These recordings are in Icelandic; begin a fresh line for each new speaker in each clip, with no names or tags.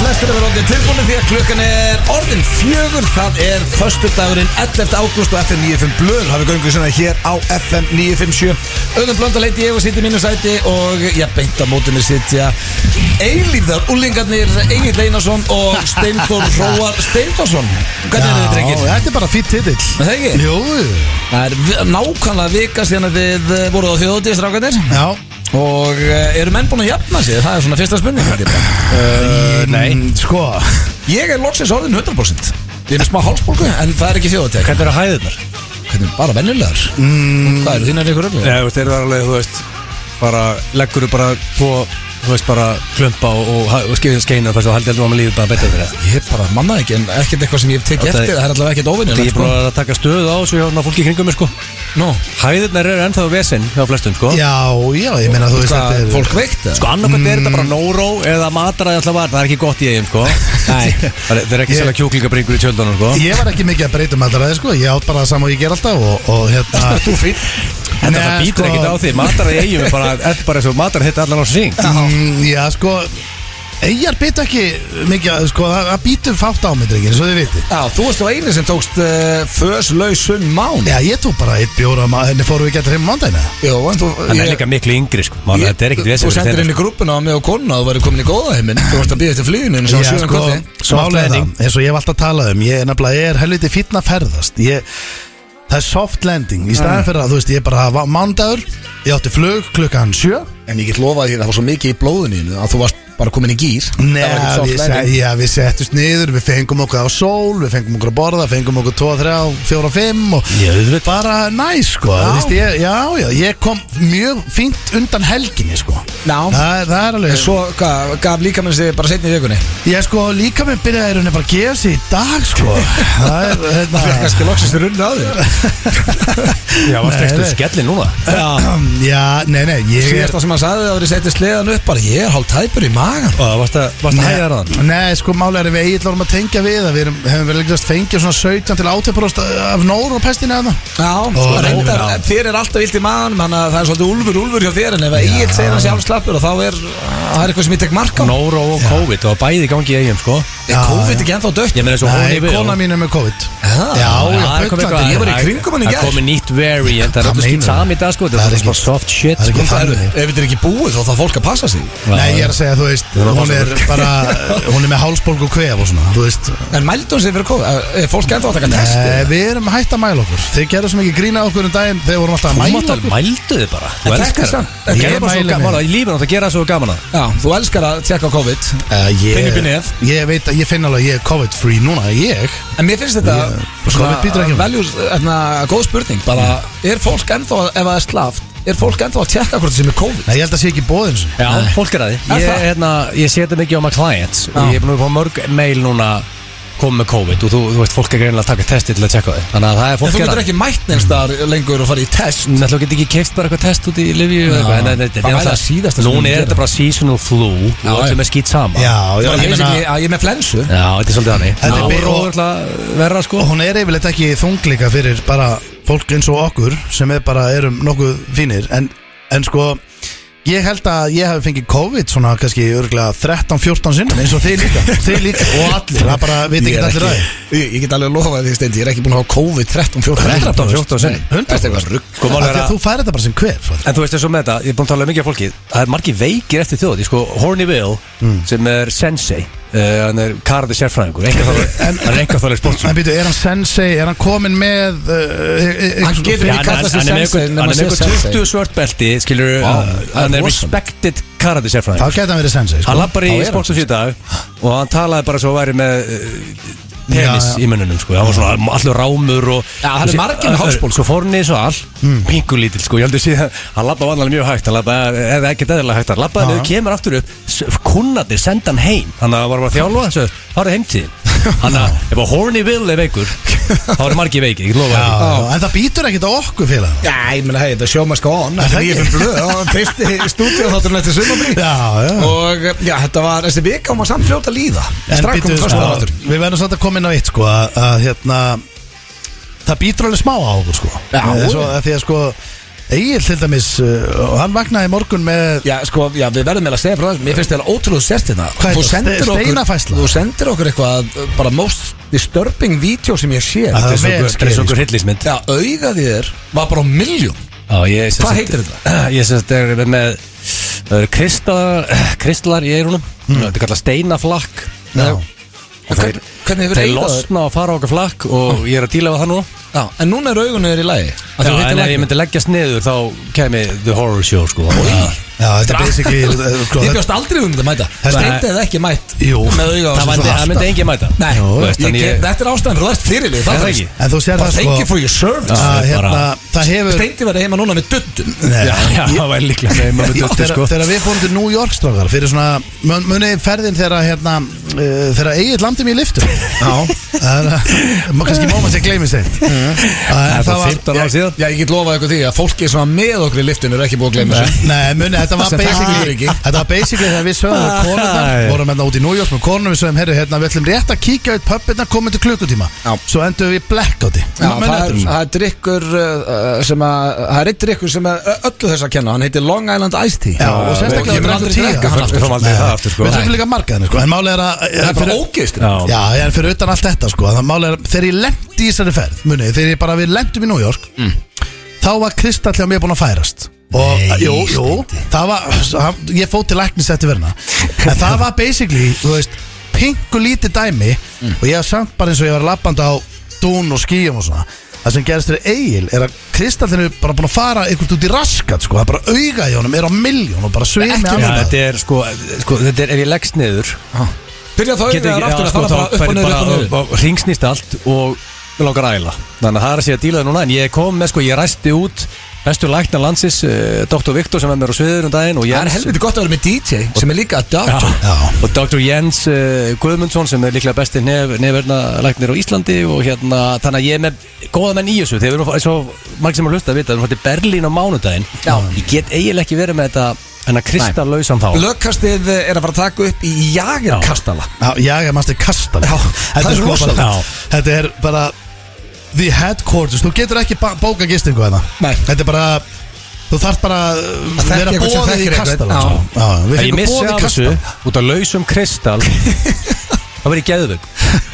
Gestur er orðin tilbúinu því að klukkan er orðin fjögur Það er föstudagurinn 11. ágúst og FM 95 blöð Hafið göngu sinna hér á FM 957 Öðum blanda leiti ég og sitja í mínu sæti Og ég beint á mótinu sitja Eilíðar úlingarnir Egil Einarsson og Steindor Róar Steindorsson Hvernig er þið drengir?
Já, þetta er bara fýtt titill
Er það ekki?
Jú
Það er vi- nákvæmlega vika síðan að þið eh, voruð á þjóðutíðistrákarnir
Já
Og eh, eru menn búin að jafna sig? Það er svona fyrsta spurning held ég bara.
uh, Nei Sko
Ég er loksins orðin 100% Ég er með smá hálsbólgu en það er ekki þjóðutíð
Hvernig eru hæðirnar?
Hvernig bara vennilegar mm. Hvað eru þínar ykkur öllu?
Já, þú veist, þeir eru alveg, þú veist, bara leggur þú bara tvo, þú veist, bara klumpa og, og, og skifin skeinu og fyrst og haldið heldur að maður lífið bara betur fyrir það.
Ég bara manna ekki en ekkert eitthvað sem ég hef tekið
Þetta er-
eftir Það er allavega ekkert
Því
óvinnilegt
ég er bara að taka stöðu á þessu hjá hérna fólki í kringum mér, sko.
Nú,
Hæðirnar eru ennþá vesinn hjá flestum, sko.
Já, já, ég meina þú veist
hvað,
þetta er-
fólk veikt eða?
Sko annarkvæmt er þetta bara nóró eða matræði alltaf var, það er ekki gott í eigum sko Nei Það er það er ekki
Ég-
sérlega kjúklingabringur í tjöldunum sko
Ég var ekki mikið að breyta mataræði sko Ég átt bara það sama og ég ger alltaf Og, og hérna Þú fýtt
En það
sko-
býtur ekkert á því, matræði í eigum er bara, er bara eins og matræði hitt allan á sig
Mm, já, sko Eyjar býtu ekki mikið að- Sko, það það býtu fátt á mig, drengir, svo þið viti
Já, þú varst á einu sem tókst uh, föslausum mán
Já, ég tók bara eitt bjóra Henni fórum við gæti heim á mándagina
Jó, en þú
Hann er líka miklu yngri sko, maður þetta er ekkert
Þú
vesinn
sendir inn í grúppuna á mig og konuna og þú væri komin í góða heiminn Þú varst að býða eftir fluginu en svo
Já,
sjöðan
sko,
kvöldi
málið er
landing.
það, eins og ég hef alltaf talað um Ég er nefnilega, ég er helviti fínn að ferðast ég, Það er soft landing Í staðan fyrir að, þú veist, ég bara hafa mándagur Ég átti flug klukkan sjö
En ég get lofað því að það var svo mikið í blóðinu að þú varst bara komin í gýr
Nei, við, se, já, við settust niður, við fengum okkur á sól, við fengum okkur að borða, fengum okkur 2, 3, 4, 5 og
Já, auðvitað.
bara næ, sko. Já. Vist, ég, já, já, ég kom mjög fínt undan helginni, sko.
Já.
Það, það er alveg,
Svo gaf, gaf líka minn sig bara setni í vikunni
ég sko líka með byrjaði rauninni bara að gefa sig í dag, sko. það er, hérna,
Fyrir kannski loksist þér unni á því
Já, var
Nei,
stekstu
nei.
skelli núna
já, nei, nei, ég er...
Síðasta sem hann sagði það var ég setti sleðan upp bara Ég er hálf tæpur í magan
Og varst að hæða þaðan
Nei, nei, sko málega er að við eigin vorum að tengja við að við erum, hefum vel ekki fengið svona 17 til 18% af nóru og pestinni að það
Já,
Ó,
reyndar,
já.
þér er alltaf vilt í maðan Þannig að það er svolítið úlfur, úlfur hjá þér En ef að ég segir hann sé alveg slappur og þá er Það er eitthvað sem ég tek mark á
Nóró og COVID, það var bæði í gangi í eigum sko
Er COVID ekki Ah, ennþá dött?
Ég meina eins og hún
Nei,
í við
kona mín er með COVID
Já,
Já,
Já, já,
það kom
bullandi,
eitthvað-
ég var í kringum hann í
Það
gær.
komi nýtt variant, það er
Hvað
alltaf skilt
meinarðu?
sami í dag sko
Það
Það
er
er
ekki-
svona soft shit
það er
sko
ekki
Það eru-
þannig.
Ef þetta er ekki búið þá þarf fólk að passa sig
Nei, ég er að segja, þú veist, hún er bara, hún er með hálsbólgu og kvef og svona, þú veist
En mældu hún sig fyrir COVID? eh, Er fólk ennþá að taka test?
Eh, Við erum að hætta að mæla okkur Þeir gerðu svo mikið grína okkur um daginn Þeir vorum alltaf að
Þú
mæla
mátt að
okkur
mældu þið bara Þú
En þetta
elskar
er
það
samt-
Ég
þetta er
er bara svo
mælið
gaman að í lífinu átt að gera svo gaman að
Já, þú elskar að tjekka á COVID
Eh,
Finn upp í
ég,
nef.
ég veit að ég finn alveg að ég er COVID-free núna Ég?
En mér finnst þetta
Ég- COVID býtur ekki á mig.
veljús, enna, góð spurning bara, er fólk ennþá, ef það er slaft er fólk ennþá að tjekka hvort það sem er COVID?
Nei, ég held að sé ekki bóðin
Já, Eh, fólk er að
Er
því Ég,
það?
hérna, ég seti mikið á maður clients
Já.
og ég er búin að fá mörg mail núna komið með COVID og þú, þú veist, fólk er greinilega að taka testi til að tjekka því Þannig að það er
En
fólk
þú
er
getur
að
ekki mætt neinstar lengur og fara í test
Nættu getur ekki keift bara eitthvað test út í Livíu eða eitthvað
Já.
En þetta- þetta er
Hvað væri það síðasta
alltaf
sem
Núna
þú
er
myndir
þetta bara seasonal flu
Já,
og
já.
öllum er skýt sama
Já, já,
Ég
ég
meina
meina
að ég er með flensu
Já, þetta er svolítið þannig
Þetta er
Já,
byrjun-
og- og- verra sko
Hún er yfirleitt ekki þunglika fyrir bara fólk eins og okkur sem er bara erum nokkuð fínir en, en sko Ég held að ég hef fengið COVID svona kannski örgulega 13-14 sinnum eins og þið líka, þið líka og allir, það bara veit ekki allir ræði
Ég, ég get alveg að lofa því stendi, ég er ekki búin að hafa COVID 13, 14,
13, 14 sinni
Þetta er eitthvað rugg
Sko, mál er
Af því að
að
þú færi þetta bara sem hver fattar.
En þú veist eins og með þetta, ég er búin að tala um mikið af fólki Það er margir veikir eftir þjóð sko, Horny Will,
Mm.
sem er sensei uh, Hann er karði sérfræðingur einkaþjálfari- Hann er enga þálega sport
En býtu, er hann sensei, er hann komin með uh, e- e-
Hann getur
Já,
ekki
hann, hann,
kallað sig
hann er með
sensei
eitthvað-
nema
hann er
sé
með eitthvað
sensei.
20 svört belti skilur,
Vá, það er
hann er
rosalegt.
respected karate
Þá
sérfræðing
geta hann verið sensei sko.
hann lappar í
þá er hann.
sportsu síðu dag og hann talaði bara svo að væri með uh, penis
Já, já.
í mununum sko. hann var svona allur rámur og,
Já, hann er margir með Hmm. hálsbólgu.
svo fór hann í svo all mm. pingulítil sko. ég heldur síðan hann lappaði vanlega mjög hægt hann lappaði eða ekkert eðlilega hægt hann lappaði niður kemur aftur upp kunnatir senda hann heim hann var bara að þjálfa þessu farið heimtíðin hann að ef að horny will er veikur þá eru margir veikir ég lofa
Já,
þér því.
já, En það býtur ekkert á okkur félag
Já, ég meina, hei, þetta er sjómaska on Þetta er nýjum blöð og hann fyrsti stúdíu þátturinn eftir sumabrí
Já, já
Og já, þetta var, þessi vika hún var samt fljóta líða
En
Strakk
býtu, sko,
um fyrstuðaráttur
við verðum svolítið að koma inn á eitt sko að, að hérna Það býtur alveg smá á okkur sko
Já.
Það er svo, að Því að sko Egil til dæmis, uh, hann vaknaði í morgun með
Já, sko, já, við verðum með að segja frá það Mér finnst þetta ótrúlega sért hérna
Hvað er
Þú
þetta?
sendir
Ste-
okkur-
steinafærsla?
Þú sendir okkur eitthvað uh, bara most disturbing vídeo sem ég sé
það
Þetta er
er
svo
vel
gu- þetta er
skeri,
svo okkur hillismynd
Já, augaðið þér var bara á miljón Hvað heitir þetta?
Ég sem þetta er með Það eru kristalar, kristalar í eyrunum Þetta er kallað steinaflakk
Já.
Og þeir,
Hvernig hefur
þeir
augaðið þér?
losna og fara á okkar flakk Og ég er að díla við það nú
Já, en núna er augunni þér í lagi Að
Já,
þú hittir
en ef
lækni.
ég myndi leggjast niður Þá kemi The Horror Show sko Það-
Já, þetta er basically uh, sko,
Ég
þetta-
bjóst aldrei um þetta mæta
Þetta-
Steindið ekki mætt
Jú.
Með auga á
Það
sér
myndi-
svona.
það myndi engin mæta
Nei,
Jú,
ég
veist, en
get-
ég-
þetta er ástæðan fyrir þú ert fyrirlið
Er það
Það
ekki?
En þú sér
Bara
það
thank you
sko
for your service
að,
Já,
hérna,
bara-
Það hefur
Steindi verði heima núna með döddun
Nei,
Já, já, það var líklega Nei, maður myndi
Já, þegar,
þetta sko
þegar við fórum til New York strákar fyrir svona, mun- munið þið ferðin þegar hérna, uh, þegar Egil landi mér í liftu já, það er má- kannski má maður sér gleymi sér
Mhm.
Það
það
var 15 ár síðan
Já, ég get lofað ykkur því að fólki sem var með okkur í liftinu er ekki búið að gleyma þessu
Nei, muni, þetta var
Sem það skilur
basically
ekki.
Þetta var basically þegar við sögum við konurnar
Æ.
Vorum hérna út í New York með konurnar Við sögum, herru, hérna, við ætlum rétt að kíkja út pöppirna Komum hérna til klukkutíma
Já.
Svo endum við í blackouti
Já,
Munið
það er,
eftir þessu?
það er drikkur uh, sem að, það er eitt drikkur sem er öllu þess að kenna, hann heitir Long Island Iced Tea
Já, og sérstaklega
ég mun
þegar
aldrei
þú
drekka
drekka
hann
Við
aftur
fáum aldrei það aftur sko
Við þurfum líka markaðinu, sko En málið er að
Það er bara
fyrir-
ógeist
Já.
Já, ég er fyrir utan allt þetta sko að Það málega er, þegar ég lendi í þessari ferð Munið, þegar ég bara við lendum í New York
Mm.
Þá var Kristall hjá mér búin að færast Og,
Nei,
jú, jú Það var, hann- ég fóð til læknis eftir verna En það var basically, þú veist Pingu lítið dæmi
Mm.
Og ég var samt bara eins og ég var labband á Dún og skíum og svona Það sem gerist fyrir Egil er að Kristallinu bara búin að fara einhvern út í raskat sko, það er bara auga í honum, er á miljón og bara svimi
Ekki
Já,
annað.
þetta er sko, sko Þetta er ef ég leggst niður
Byrja þá
Getur ekki,
auðvitað
já,
aftur að
sko,
fara bara
þá
upp og
færi
niður, upp og niður
bara Ringsnýst allt og mig langar að æla Þannig að það er að sé að díla það núna En ég kom með, sko, ég ræsti út Bestu læknar landsins, uh, Dr. Viktor sem er mér á sviður um daginn Og
Það er
Jens
helviti gott að vera með DJ sem er líka að
Já.
dögt
Já.
Og Dr. Jens uh, Guðmundsson sem er líklega besti nef, nefverna læknir á Íslandi og hérna, þannig að ég er með góða menn í þessu þegar við erum eins og margir sem að hlusta að vita, við erum fættið Berlín á mánudaginn
Já.
ég get eiginlega ekki verið með þetta hennar kristallausan þá
Lögkastið eh, er að fara að taka upp í jagerkastala
Já, ég er mannstu kastan
Já, það
þetta
er
er sko
rosalegt.
bara Þetta er bara The headquarters, þú getur ekki ba- bóka gistingu hérna
Nei.
Þetta er bara Þú þarft bara uh,
Að þekkja
vera
einhvern
bóðið
sem
í
þekkir
kastan
einhvern. Já.
að
Við
ég
fengum
missi
bóðið í
af þessu
kastan
út af lausum kristall þá verð ég geðvögg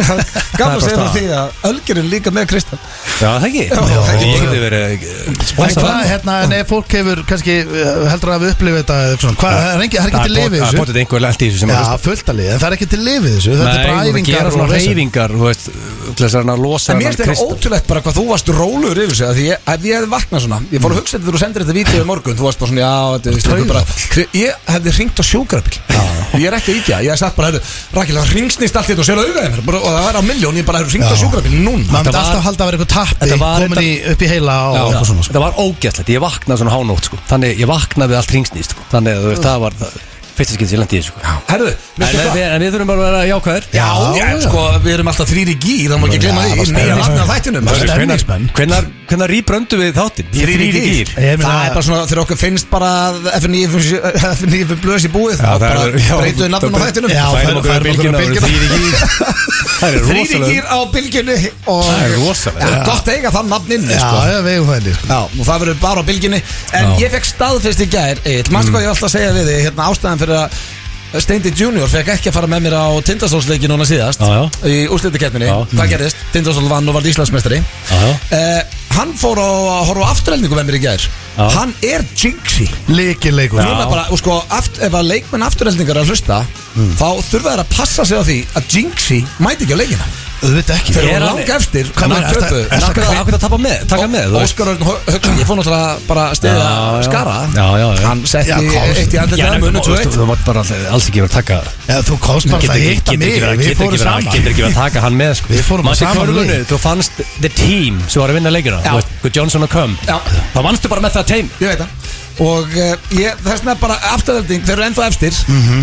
bara
Gaman að segja það
staðan.
því að Ölgerinn líka með Kristall
Já, það ekki
Já, það ekki.
Ég geti verið eh,
En
sponsor
hvað, hérna, en ef fólk hefur kannski uh, heldur að við upplifið þetta eitthvað svona, hvað, það er ekki, það er ekki til lifið
Það er
þessu
bóttið einhver lent í þessu sem
Já,
að hlusta.
fullt að lið, en það er ekki til lifið þessu Þetta er
Nei, þú ert að gera
bara æfingar og
svona
vesen.
reyfingar Þú veist, til þess að hann að losa
En
þennan
mér finnst þetta
kristall.
ótrúlegt bara hvað þú varst róluður yfir sig að Því ég, ef ég hefði vaknað svona Ég fór að hugsa þetta þegar þú sendir þetta vídeo í morgun Þú varst bara svona, já, þetta er veist, einhver bara kri- Ég hefði ringt á sjógrafbíl Ég er ekki að íkja, ég hef sagt bara, heyrðu, Rakil, það ringsnýst allt þetta og sér auðvitað mér bara, Og það er á milljón, ég bara hefði ringt á
Já.
sjógrafbíl núna
Maður
Þetta
myndi
var-
alltaf halda að vera eitthvað
Þetta var
tappi Komin í, upp í heila og
Já,
eitthvað svona sko.
þetta var ógæslegt, ég vaknaði svona hánótt sko. Þannig ég vaknaði við allt ringsnýst sko. Þannig að þú veist, það var það- fyrsta skilt sem ég lendi í þessu sko.
Herðu,
en,
veistu
en,
hvað?
við- en við þurfum bara að vera jákvæðir
Já,
Já,
já,
já.
sko, við erum alltaf þrýri gýr, það má ekki glemma
Já,
því
það
Í
var
nýja
stemning.
vatna þættinum
Það var stemning. Stemningsmenn.
Hvernig, hvernig rýbröndu við þáttinn? Í
Þrýri
þrír í
gýr Það
Ég
er
meina-
bara svona þegar okkur finnst bara FNF blöðs í
Já,
búið þá
það
bara
er- já,
breytuðu nafnum á
það-
þættinum
Já,
Færum
færum
okkur
okkur
í bylgjuna,
bylgjuna.
það eru þrír í gýr. Það er rosalega-
Þrýringir á bylginni og
Það er rosalegt.
Já, Gott að eiga þann nafninni
Já,
sko.
já, við eigum það inni, sko.
Já, og það verður bara á bylginni En
Já.
ég fekk staðfest í gær Eitt, mannstu hvað ég var alltaf að segja við þig Hérna ástæðan fyrir að Steindi Junior fekk ekki að fara með mér á Tindastólsleiki núna síðast
Já, já.
Í úrslitakeppninni
Já.
Hvað gerðist? Tindastól vann og varð Íslandsmeistari
Já, já.
Eh, Hann fór á að horfa á afturhelningu með mér í gær
Já.
Hann er jinxi
Líkileikur
Núna bara, og sko, aft, ef að leikmenn afturheldingar að hlusta Þá þurfa þær að passa sig á því Að Jinxi mæti ekki á leikina
Auðvitað ekki
Er
Þegar hún
hann-
langa eftir
Hvað
ná
meinar, ertu-
töpuðu.
ertu-
Ná
Akkur
töpuðu.
akkur að taka með, taka með þú
Ó-
veist.
Óskar Örn Högson, ég fór náttúrulega bara að stiða
Já, já.
skara
Já, já, já.
Hann
Já,
setti
kom-
eitt í andið
Já,
Það
nei,
munið
þú veist,
2-1
Þú mátt bara all- alls ekki vera að taka
Já, þú komst bara
Getur
alltaf að
ekki-
hitta
getur
mig
ekki verið-
Við
getur ekki verið-
fórum
Getur
saman
ekki verið að taka hann með sko.
Við fórum á
Manstu
sama
körfunni,
lið.
Þú fannst the team sem var að vinna leikina
Já.
Þú veist, Guð Johnson og Köm
Já.
Þá vannstu bara með það team
Ég veit það og uh, ég, þessna bara afturvelding, þeir eru ennþá efstir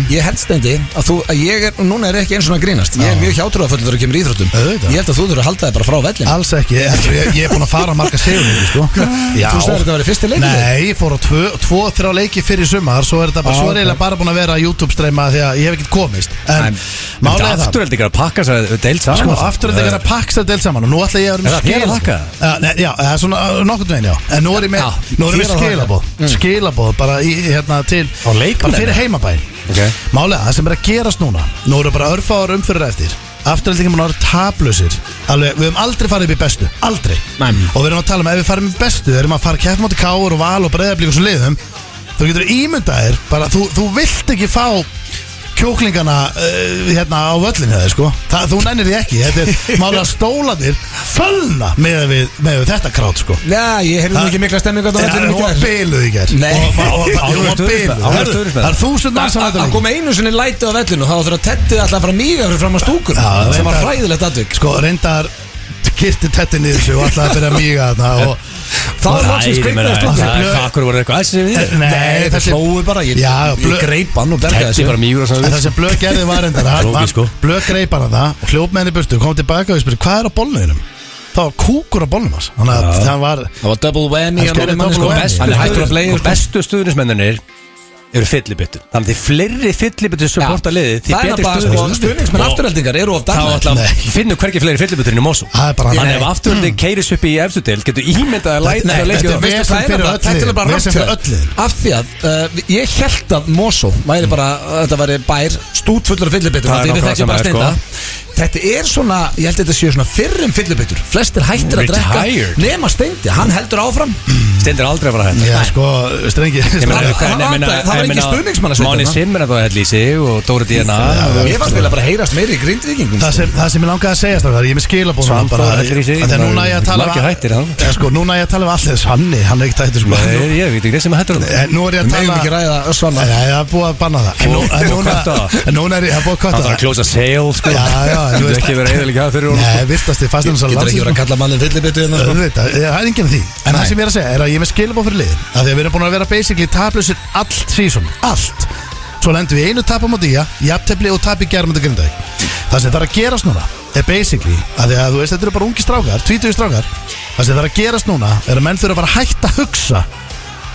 ég held stendi að þú, að ég er núna er ég ekki eins og að grínast, ég er mjög hjátrúðafull þegar að kemur í íþróttum,
Auðvitað.
ég held að þú þurfur að halda þig bara frá vellin
Alls ekki, ég, ég, ég er búin að fara marga segurleiki sko. Já.
Þú sagðir þetta væri fyrsti leikur þinn?
Nei, ég fór á tvö, tvo, þrjá leiki fyrir sumar Svo er þetta
Ah,
bara,
Á,
svo er
ok.
eiginlega bara búin að vera YouTube streyma Því að ég hef ekkert komist En málega það
Afturöldingar að pakka sér deilt saman
Sko, afturöldingar að pakka sér deilt saman Og nú ætla ég að
Er
vera með
það þér að þakka?
Já, nei, Já, það er svona nokkurt veginn, já En nú er ég
Já,
með, nú er ég
þér
með
að þakka.
skilabóð
Mm.
Skilabóð, bara í, hérna til
Á leikmenn?
Bara fyrir heimabæn
Ok.
Málega, það sem er að gerast núna Nú eru bara örfáður umfyrir eftir Afturöldingum er tablusir Alveg, við höfum aldrei farið upp í bestu, aldrei
Nei.
Og við erum að tala um, ef við farum upp í bestu Erum að fara að keppa mátti káur og val og breyðablík og svo liðum Þú getur ímyndaðir, bara þú, þú vilt ekki fá kjóklingana uh, hérna á völlinu þeir sko Þa, þú nennir því ekki, þetta er málega stólanir fölna með, við, með við þetta krát sko
Já, ég heyrði nú ekki mikla stemmingu að
Já,
það
hún var biluð í gær
Nei.
Og- og- og-
Ánægður
Hún var biluð
stuðningsmenn, ánægður
Herðu,
stuðningsmenn.
Það er þúsund manns á
Að
þetta
að
leik.
koma einu sinni læti á vellinu þá þurfa tettið alltaf að fara mýga fyrir fram á stúkun
Já,
sem var
reyndar-
hræðilegt atvik
Sko reyndar kyrti tetti niður sig og alltaf að byrja að míga þarna og
Þá er loksins kveiknaði stúkun
Akkur voru eitthvað aðsins við
Nei, það slói bara, ég,
Já,
ég
blö-
greip hann og bergaði
Tætti
sér
bara mýgur og
En
svona
það sem blöð gerði var reyndar hann-
Flókið,
hann-
sko.
Blöð greip hann að það og hljóp með henni í burtu og kom tilbaka og ég spurði hvað er á bolnuðinum þá var kúkur á bolnum hans þannig að það var
Það var double
Hann
whammy hann
gerði
orðið
double
manni, sko.
whammy.
Hann er hættur að bleið sko.
Bestu stuðnismennir eru fyllibittu Þannig að því fleiri fyllibittu sem porta liði Því
Það er
betri
bara sko, stuðningsmenn
stuðnismenn
afturheldingar eru of
Þá
daglægt
ætla finnum hvergi fleiri fyllibittur inn í Mosó
Það er bara-
Þannig
Nei.
ef afturöldin keiris upp í efstu deil Getur ímyndað að læta að
Nei, þetta
leikja
er
vesen
vesen
fyrir
fyrir
öll
öllu Þetta er
liðin.
bara
Vesen
rámt
fyrir öll liðin.
Af því að uh, ég held að Mosó væri bara, þetta væri bær stútfullur af fyllibittur
Það er
Þetta er
nákvæmlega
þetta bara
sama,
steinda Þetta er svona, ég held að þetta séu svona fyrrum fyllibittur Flestir hættir að
Retired.
drekka Nema steindi, hann heldur áfram
Stendur aldrei að fara hægt
já sko strengi
Ég meina,
Það-
en ég meina-
það
en
var
ég
ekki
meina,
stuðningsmannasveitin,
Máni
það.
Simmer er það að hella í sig og Dóri DNA
Ég fannst vilja bara heyrast meiri í grindvíkingum
Það sem, það sem ég langaði að segja strákar, ég er með skilabóð
Svanþór heldur í sig,
Þegar
bara
núna ég að tala
margir hættir, hann.
ja, sko, Núna ég að tala við allir Svanni, hann er ekkert hættur sko
Nei, Ég veit ekki, það sem hættur það
En Eh, Nú er ég að
Við megum ekki
tala
ræða
Nei,
Össvanna
nei, það er búið að banna það En nú- en
Og
núna-
kötta það.
En núna er ég að búið
Það
að kvötta
þarf að
það
klósa sale, sko
Já, já, en
Þú
þú veist-
veist ekki verið eða líka fyrir hún
Nei, vistast ég fast um
Getur ekki verið að kalla mannin fyllibittu hérna sko.
Auðvitað, eh, það er enginn að því En það
Nei.
sem ég er að segja er að ég er með skilabóð fyrir liðin Af því að við erum búin að vera basically tablusir allt sísum Allt Svo lendum við í einu tap á móti í að Jafntefli og tap í gerðmönda grindaði Það sem þarf að gerast núna er basically að Því að þú veist þetta eru bara ungi strákar, 20 strákar Það sem þarf að gerast núna er að menn þurfa bara að hætta að hugsa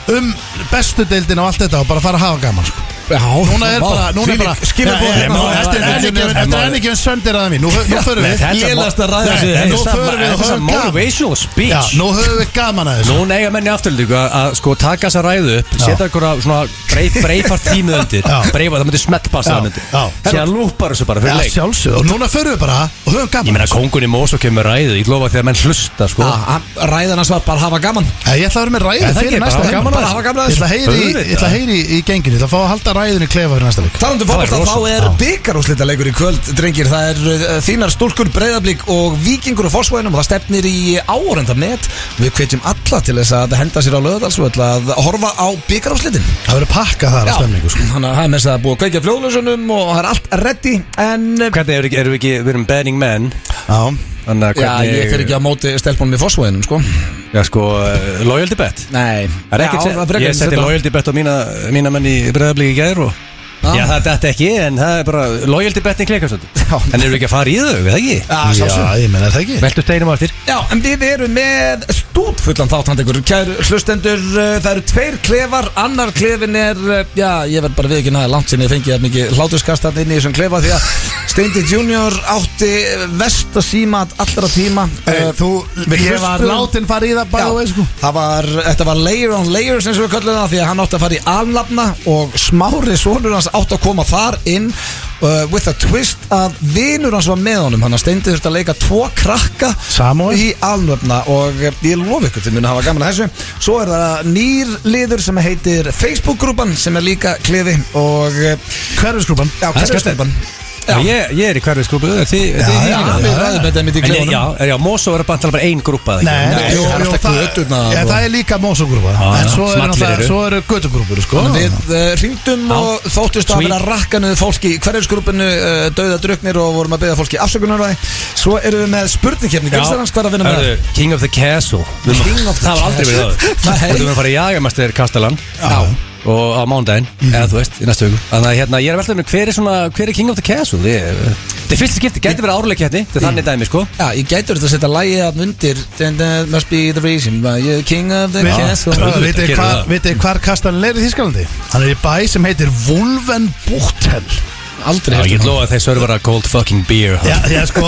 Um bestu deildin og allt þetta og bara fara að hafa gaman sko
Já,
Núna er
vá,
bara, núna er bara
þvílík skilaboð
Nei,
hérna.
nei, þetta er- þetta er ekki- Þetta er ekki en söndir aða mín Nú nú förum
Nei,
við
þetta er-
Lélasta ræða
Nei,
sig.
en Nú
Þetta er-
förum við og
þetta er
höfum gaman
motivational
Já,
speech
nú höfum við gaman að þessu
Nú neyja menni afturlíku að, að sko taka þessa ræðu upp Setja einhverja svona breif, breifar tímið undir
Já.
Breifa, það myndi smeltpassa
Já,
hann undir
já.
Síðan lúpar þessu bara
Já,
fyrir leik
sjálfsög Og núna förum við bara og höfum
Ég
gaman
meina, sko- kóngun í Mosó kemur með ræðu Ég lofa því að menn hlusta, sko
Ah, ah, Ræðan hans var bara að hafa gaman
Nei, Ég ætla að vera með
Nei,
ræðu
það
fyrir
ekki,
næsta
bara
leik.
gaman að
Bara hafa gaman að
Ég ætla að
þessu.
heyri í- ég ætla að heyri í- í genginu Ég ætla að fá að halda ræðinu í klefa fyrir næsta leik
Talandu
Það er
fólkvallta, um þá
rosa.
er byggarúslitaleikur í kvöld, drengir Það er uh, þínar stúlkur, breyðablík og vikingur og fórsvæðinum og það stefnir í áhorenda met Við hvetjum alla til þess að henda sér á löðalsvöld að horfa á byggarúslitin
Það verður pakka þar að stemningu sko.
þannig að það er með þess að búa að kveikja fljóðlösunum og það er allt ready En uh,
Hvernig erum við ekki, erum við ekki, við erum beðning menn
Já
Þannig að
já,
hvernig
ég fer ekki á móti stelpunum í fórsvæðinum, sko
Já, sko, uh, loyalty bet
Nei,
Það er ekkert
já, það
sem,
frekar
ég
en
seti
þetta.
loyalty bet á mína, mína menn í breðablík í gæður og
Ah.
Já, það dætti ekki, en það er bara loyalty betni klikast
Já.
En erum við ekki að fara í þau, við það ekki?
Já, sjálfsögðu.
Já, ég menna það ekki
Veltu steinum á eftir
Já, en við erum með stútfullan þáttand ykkur Kæru hlustendur, uh, það eru tveir klefar Annar klefin er, uh, já, ég verð bara við ekki næði langt sinni Ég fengi það mikið hlátuskast þarna inn í þessum klefa Því að Steindi Junior átti vest að síma allra tíma
Eh, Þú,
við
ég var
hlustuðum-
látin fara í það bara
Já,
og veið sko
það var, þetta var layer on layer sem við köllum það því að hann átti að fara í alnafna og smári sonur hans átti að koma þar inn uh, with a twist að vinur hans var með honum hann að steindi þurfti að leika tvo krakka
Samúel?
í alnafna og uh, ég lofi ykkur til mun að hafa gaman að þessu svo er það nýr liður sem heitir Facebook-grúpan sem er líka kliði og uh,
Hverfisgrúpan
Það
já,
er skemmtilegt.
hverfisgrúpan
Og Ég, ég er í hverfið skrúpu Þið
Já, já,
Við ræðum þetta einmitt í klefanum.
Já, já, Mosó er bara, bara ein grúpa eða ekki?
nei, það er alltaf göturnar
ja,
og-
það er líka mósugrúpa
Já,
En
já,
svo
sem allir
eru náttúrulega-
eru.
svo eru götugrúpur sko.
Við uh, ringdum og þóttist að
Sweet.
vera að rakka niður fólki í hverjarsgrúpinu uh, dauða druknir og vorum að beða fólki afsökunar á því. Svo erum við með spurningkefni,
Já.
Gilsarans, hvað er að vinna með
Hörðu,
það?
King of the Castle Við erum-
King of the
Það var aldrei verið
Castle.
það
Nei.
Við erum að fara í jagamæstir Kastalan
Já.
Og á mándaginn, eða þú veist, í næstu hugu Þannig að hérna, ég er að veltað mér, hver er svona, hver er King of the Castle? Ég er- Þetta er fyrsta skipti, gæti verið árleik hérna Þetta er þannig dæmi, sko
Já, ég gætur þetta að setja lægið að undir Then that must be the reason why you're king of the castle
auðvitað
Vitið þið
gerir
hvar-
það.
vitið þið hvar kastan er í Þískalandi? Hann er í bæ sem heitir Wolvenbuchtel
Aldrei
Já,
heyrt
ég
um
lofa að þeir sörfara cold fucking beer
Já, já, sko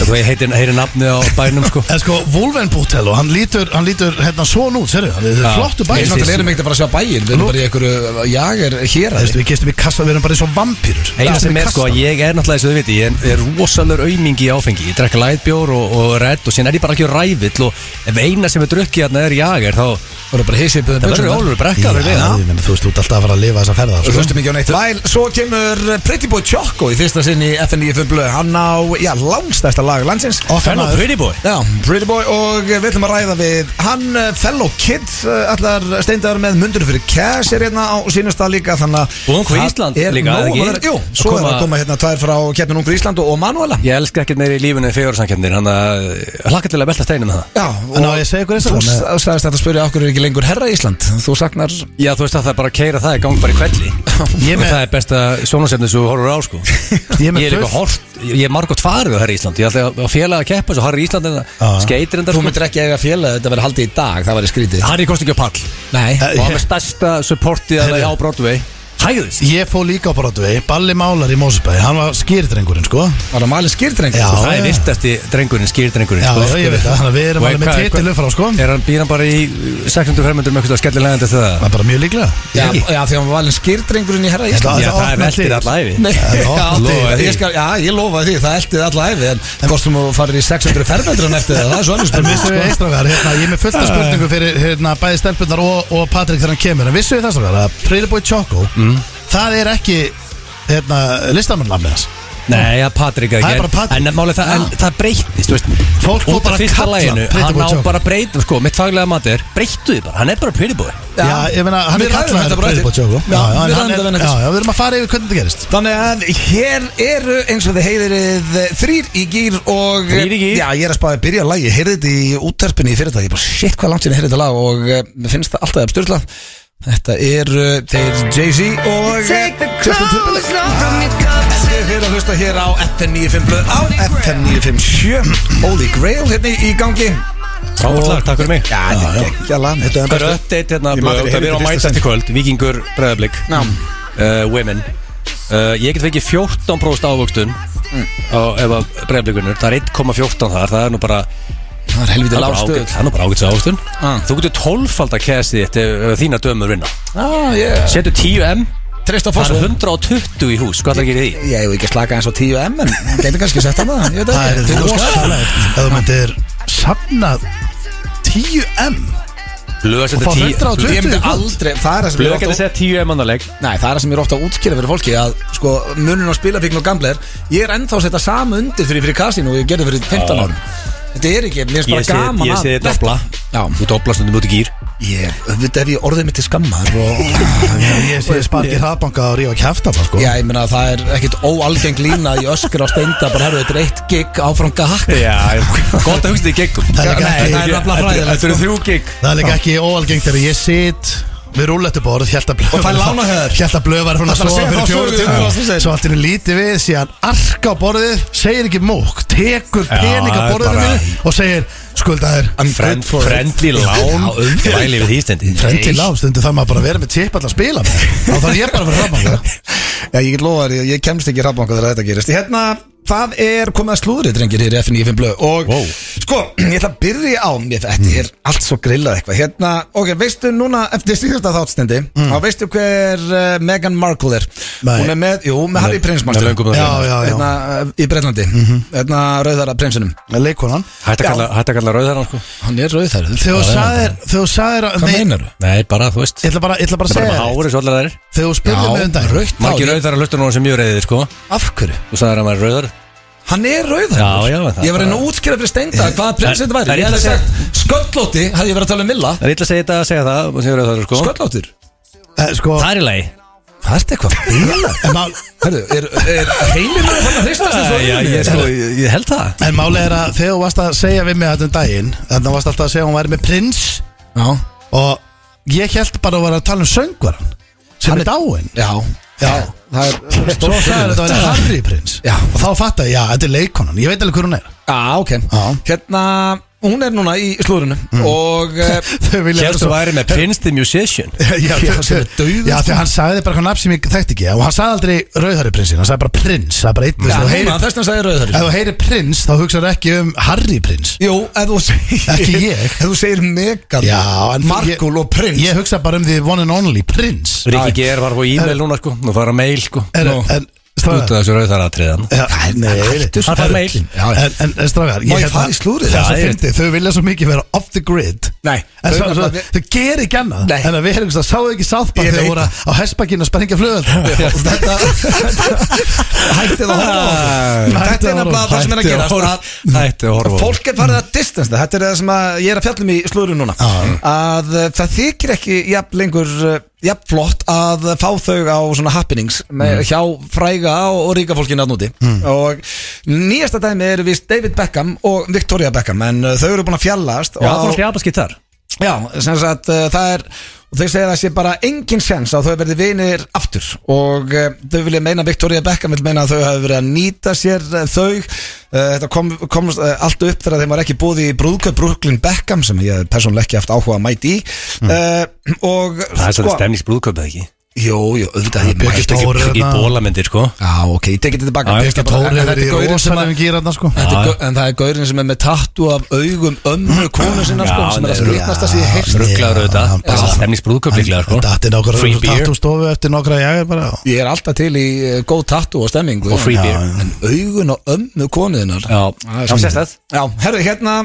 Þú veit, heitir, heitir nafni á bænum, sko
En sko, Wolvenbuchtel og hann lítur, hann lítur hérna svona út, serðu, það er
Já.
flottu
Við
bæn
náttúrulega erum ekkert að fara að sjá bæinn Við erum bara í einhverju jager hér að
Veistu, við gistum í kasta, við erum bara eins og vampýrur
Eina sem er sko að ég er náttúrulega eins og þau viti Ég er- er rosalur aumingi í áfengi Ég drekka lætbjór og, og redd Og síðan er ég bara ekki rævill Og ef eina sem er drukkið hérna er jager Þá
Við erum bara hissið upp um
það verður
buxurnar.
ólur
Já,
brekka fyrir mig
ég meina, þú veist, þú ert alltaf að fara að lifa þessa ferða sko.
Svo hlustum ekki á neitt Væl, svo kemur eh, Pretty Boy Choco í fyrsta sinn í FNF blöð Hann á, já, langstæsta lag landsins
Fenn og Pretty Boy
Já, Pretty Boy og við ætlum að ræða við hann eh, fellow kid eh, allar steindaður með mundur fyrir cash er hérna á sínasta líka þannig að
Og Ungur
það
Ísland
er
líka,
nóg
eða ekki?
að vera- Jú,
Að
svo er
koma-
að koma hérna tvær frá keppin Ungur Ísland og, og Manuela
Ég elska ekkert meira í lífinu en fegurðarsamkeppnir, þannig að hlakka til að velta steinum með það
Já,
En á ég að segja ykkur eins og
þú
það?
sa- sagðist þetta að spyrja okkur er ekki lengur herra Ísland Þú saknar
Já, þú veist að það er bara að keira það í gang bara í kvelli
Ég
Og
með-
það er besta sjónasefni sem þú horfur á, sko
Ég
Ég
með
er líka
fullt-
hort, ég er margótt farið á Herri Ísland Ég ætla að félaga að keppa, svo Harri Ísland en
Já.
það skeitir enda,
Þú
sko
myndir ekki eiga félagi þetta verið haldið í dag, það verið skrítið
Harri kosti ekki á pall
Nei,
Eh,
Og hann er stærsta supportið að
Heyrðu.
það á Broadway Hæðis
Ég fó líka á Broadway, Balli Málar í Mósebæ, hann var skýrdrengurinn, sko
var það malin skýrdrengur
Já.
Það er viltasti drengurinn, skýrdrengurinn
Já,
sko.
já, ég veit það, þannig að við erum
Og
alveg með
hvað-
titil
hvað-
upp frá, sko.
Er hann býran bara í 600 fermendur með eitthvað skellilegandi til það
Það er bara mjög líklega Ég
Já,
ekki.
já, því að hann var valinn skýrdrengurinn í herra Ísland
Já,
Já, það
opnar
er veltir
dyr.
alla æfi
Nei,
Það er
já,
opnið.
lofaði því. Ég skal- já, ég lofaði því, það eldið alla æfi En hvort sem þú farir í 600 fermetran eftir það, það er svo sko. annars
En vissu við eistragar, hérna, ég er með fullt af spurningu fyrir hérna, bæði stelpunar og, og Patrik þegar hann kemur En vissu við þess að vera að Pretty Boy Choco, það er ekki hérna, listamannlamni hans
Nei, ja, Patrik er
Það er
ekki
bara Patrik.
En, en, máli, það, en það breytist, þú veist
Fólk fór
út af
bara að
fyrsta
kalla
laginu,
Pretty
Hann
Boy
á
Joker.
bara breyt, sko, mitt faglega matur Breyttu þið bara, hann er bara pretty boy
Já, ég meina, hann er kallaður Pretty Boy Choco
Já,
já,
við
en hann
ræðum
er-
það venni
já, já, við erum að fara yfir hvernig þetta gerist
Þannig að hér eru eins og þið heyrið þrýr í gýr og
Þrír í gír.
Já, ég er að spáði að byrja að lagi, heyrið þetta í útarpinni í fyrirtæk Ég bara shit hvað langt sinni heyrið þetta lag og eh, mér finnst það alltaf absturla Þetta eru þeir Jay-Z og eh,
Take the
Justin Timberlake
clothes off from your cup.
Þið eru að hlusta hér á FM 95 blöð á FM 957 Holy Grail hérna í gangi
Frábært lag, takk fyrir mig.
Já, þetta er ekki að lana Þetta
Það
er
er
bestu
update hérna,
Ég man
blöð, það
ekki,
er að
heyrði fyrsta
mæta eftir kvöld Víkingur, breðablik
Já.
uh, Women uh, Ég get fengið 14% ávöxtun á, Ef að breðablikunur Það er 1,14 þar, það er nú bara
Það er helviti
Það er bara
lágstöð
ágæt- það er nú bara ágætt ávöxtun
Ah.
Þú getur 12 fald að kæsi þitt ef ef þína dömur vinna
Já, ég
Setur 10M,
Trist á
það
fósum
er 120 í hús Hvað það gerir því?
Ég hef ekki slakað eins á 10M en gæti kannski sett hann það Ég veit
Það
ekki
er
Til þú skall.
rosalegt Ef þú myndir safna 10M
Blöð að
Og fá
setja 10
120
Ég myndi
í kvöld.
aldrei Það er það sem ég
Blöð
er
getur
ofta
setja 10M annaðleik
Nei, það er það sem ég er ofta að útskýra fyrir fólki að sko munun á spilafíkn og gambler ég er ennþá að setja sama undir fyrir fyrir kassin og ég gerði fyrir 15
Já.
árum Þetta er ekki, mér finnst
Ég
bara
sé,
gaman
ég
að-
sé dobla
Já.
Þú dobla stundum út í gýr
Ég, auðvitað hef ég orðið mitt til skammar og
Ég sé sparkið hraðbanka og rífa kæfta bara sko
Já, ég meina að það er ekkit óalgeng lína í öskur á steinda bara herðu þetta er eitt gig áfram gakk
Já, gott að hugsa þig í geggum
Það er ekki-
Nei, það er
sko.
nafnilega
Þetta eru
fræðilegt
þrjú gig
Það er líka ekki óalgengt þegar ég sit við rúllettuborð, hjælt að blöð
Og fær lánahæðar.
Hjælt að blöð var hún að
Ætlar að
sofa
segja
fyrir
þá sögu,
fjóru
þú varst að
tíma
segja.
Svo allt henni lítið við, síðan arka á borðið Segir ekki múk, tekur
Já,
pening
það
af
er
borðinu
bara-
mínu Og segir, skuldaðir
Friend, Friendly lán Væli við hýstendi
Frendli lág, stundum þarf maður bara að vera með tipp alltaf að spila með Þá þarf ég bara að vera hraðbanka
Já, ég get lofa þér, ég- ég kemst ekki rafbanka þegar þetta gerist Hérna, Það er komið að slúðrið, drengir, hér í FNF Blöð Og
Wow. Mm.
sko, ég ætla að byrja á mér Þetta er allt svo grillað eitthvað Hérna, ok, veistu núna, eftir síðasta þáttstendi
Mm.
Þá veistu hver uh, Meghan Markle er
Nei.
Hún er með, jú, með Harry Prins
með Mhm. löngum nafni.
manstu?
Já, já, já
Hérna, uh, í Breitlandi Hérna, rauðara prinsinum
Leikonan
Hætt að kalla, hætt að kalla rauðar sko
Hann er rauðarður
Þegar þú sagðir Þegar þú sagðir að-
Hvað
Nei,
meinar þú?
Nei, bara, þú veist
Ég ætla bara, ég ætla bara að
Það er
segja
bara
þér.
hárið svo allar þær
Þegar þú spurðir mig um daginn
rautt
Margir
hár
rauðar að hlusta núna sem ég reyðir sko
Af hverju?
Þú sagðir að maður er rauðar
Hann er rauðarður
Já, já, það- Eh,
Ég var einn að útskýra fyrir steinda Hvaða prins þetta
Það
væri
er
Ég
illa
hefði
að
sagt, sköllóti, hefði ég verið að tala um Milla
Það er illa að segja þetta að segja það sem ég rauðar sko
Sköllóttur
Eh, Sko
Það er í lagi
Það ert eitthvað bílar
En mál-
Herru, er, er heiminn að fann að hristast þessu
Já, ég, sko, ég, ég held það
En málið er að þegar þú varst að segja við mig þetta um daginn Þannig að varst alltaf að segja að hún væri með prins
Já,
Og ég held bara að vera að tala um söngvaran Sem
Hann
er dáinn
já,
Já
það er
Svo sagði þetta að vera Harry prins
Já.
Og þá fattar ég, já, þetta er leikonan Ég veit alveg hver hún er
Já, ok
Já. Mm.
Hérna, hún er núna í slúrinu Og eh,
Þau vilja
Hérstu væri með Prince the Musician
Já,
Já,
þau-
sem er
já
dauður, sko.
því hann sagði bara hvað nafn sem ég þekkti ekki Og hann sagði aldrei rauðhæri prinsin Hann sagði bara prins Það er bara einn
Já,
þú
núna,
heyrir-
þess vegna sagði
Ef
rauðhörður
þú heyrir prins Þá hugsaðu ekki um Harry prins
Jú, ef þú segir
Ekki ég.
Ef þú segir Megan,
Já, en-
Markul og Prins
Ég hugsa bara um því one and only prins
Rikki Ger var á e-mail núna sko Nú fara mail sko
En,
Nú,
en
Út af
stráðar
þessu rauðar aðtriðan Hann fær mail
En, en, en stráðar
Má ég fara í slúðrið?
Já,
Það er
ég
svo
veit.
fyndið Þau vilja svo mikið vera off the grid
Nei,
En
þau-
svo, svo,
við-
þau gerir ekki annað
Nei.
En að við erum ekki að sáu ekki sáttbann
Ég
Þegar
veit
voru á hessbakkinu að sprengja flugöld
Þetta Hættið að horfa á
Æ,
það. Þetta er
hættið að
nefnilega
horfa
það sem er
Hættu
að
að
gerast
horfa-
að-
Hættu að horfa á Mm.
Fólk er farið að distance það Þetta er það sem að ég er að fjallum í slúðurinn núna Að uh, það þykir ekki jafn lengur uh, jafn flott að fá þau á svona happenings með,
Mm.
hjá fræga og, og ríka fólkinu að núti og nýjasta dæmi eru vist David Beckham og Victoria Beckham en uh, þau eru búin að fjallast
Já,
og,
fólk japanskitt þar
já sem sagt uh, það er og þau segja að það sé bara engin sens að þau verði vinir aftur og uh, þau vilja meina Victoria Beckham vil meina að þau hafi verið að nýta sér uh, þau uh, þetta kom, kom uh, allt upp þegar þeim var ekki búið í brúðköp Brooklyn Beckham sem ég persónuleg ekki haft áhuga að mæti í uh, og
Mm. Það er svolítið stemningsbrúðköpið ekki
jú, jú, auðvitað ég
Björki
mætti ekki
Tór.
já,
Voru
Í
þarna-
bólamyndir sko
ok, ég tekið þetta baka
Já,
Birgir Tór hefur í rosalegum gýr þarna, sko.
Þetta
Já, já.
er gau- En það er gaurin sem er með tattu af augum ömmu konu sinna sko,
Já,
sem er að
nei,
skrýtnast að sé
já,
heilt
Rugglaður auðvitað
hann bara-
Það er stemningsbrúðköp líklega sko
Þetta er nokkra
Free beer
Tattu stofu eftir nokkra jægir bara
Ég er alltaf til í eh, góð tattu og stemming
Og free
Já.
beer
En augun og ömmu konuðinnar
Já, þá sést það
Já, herru, hérna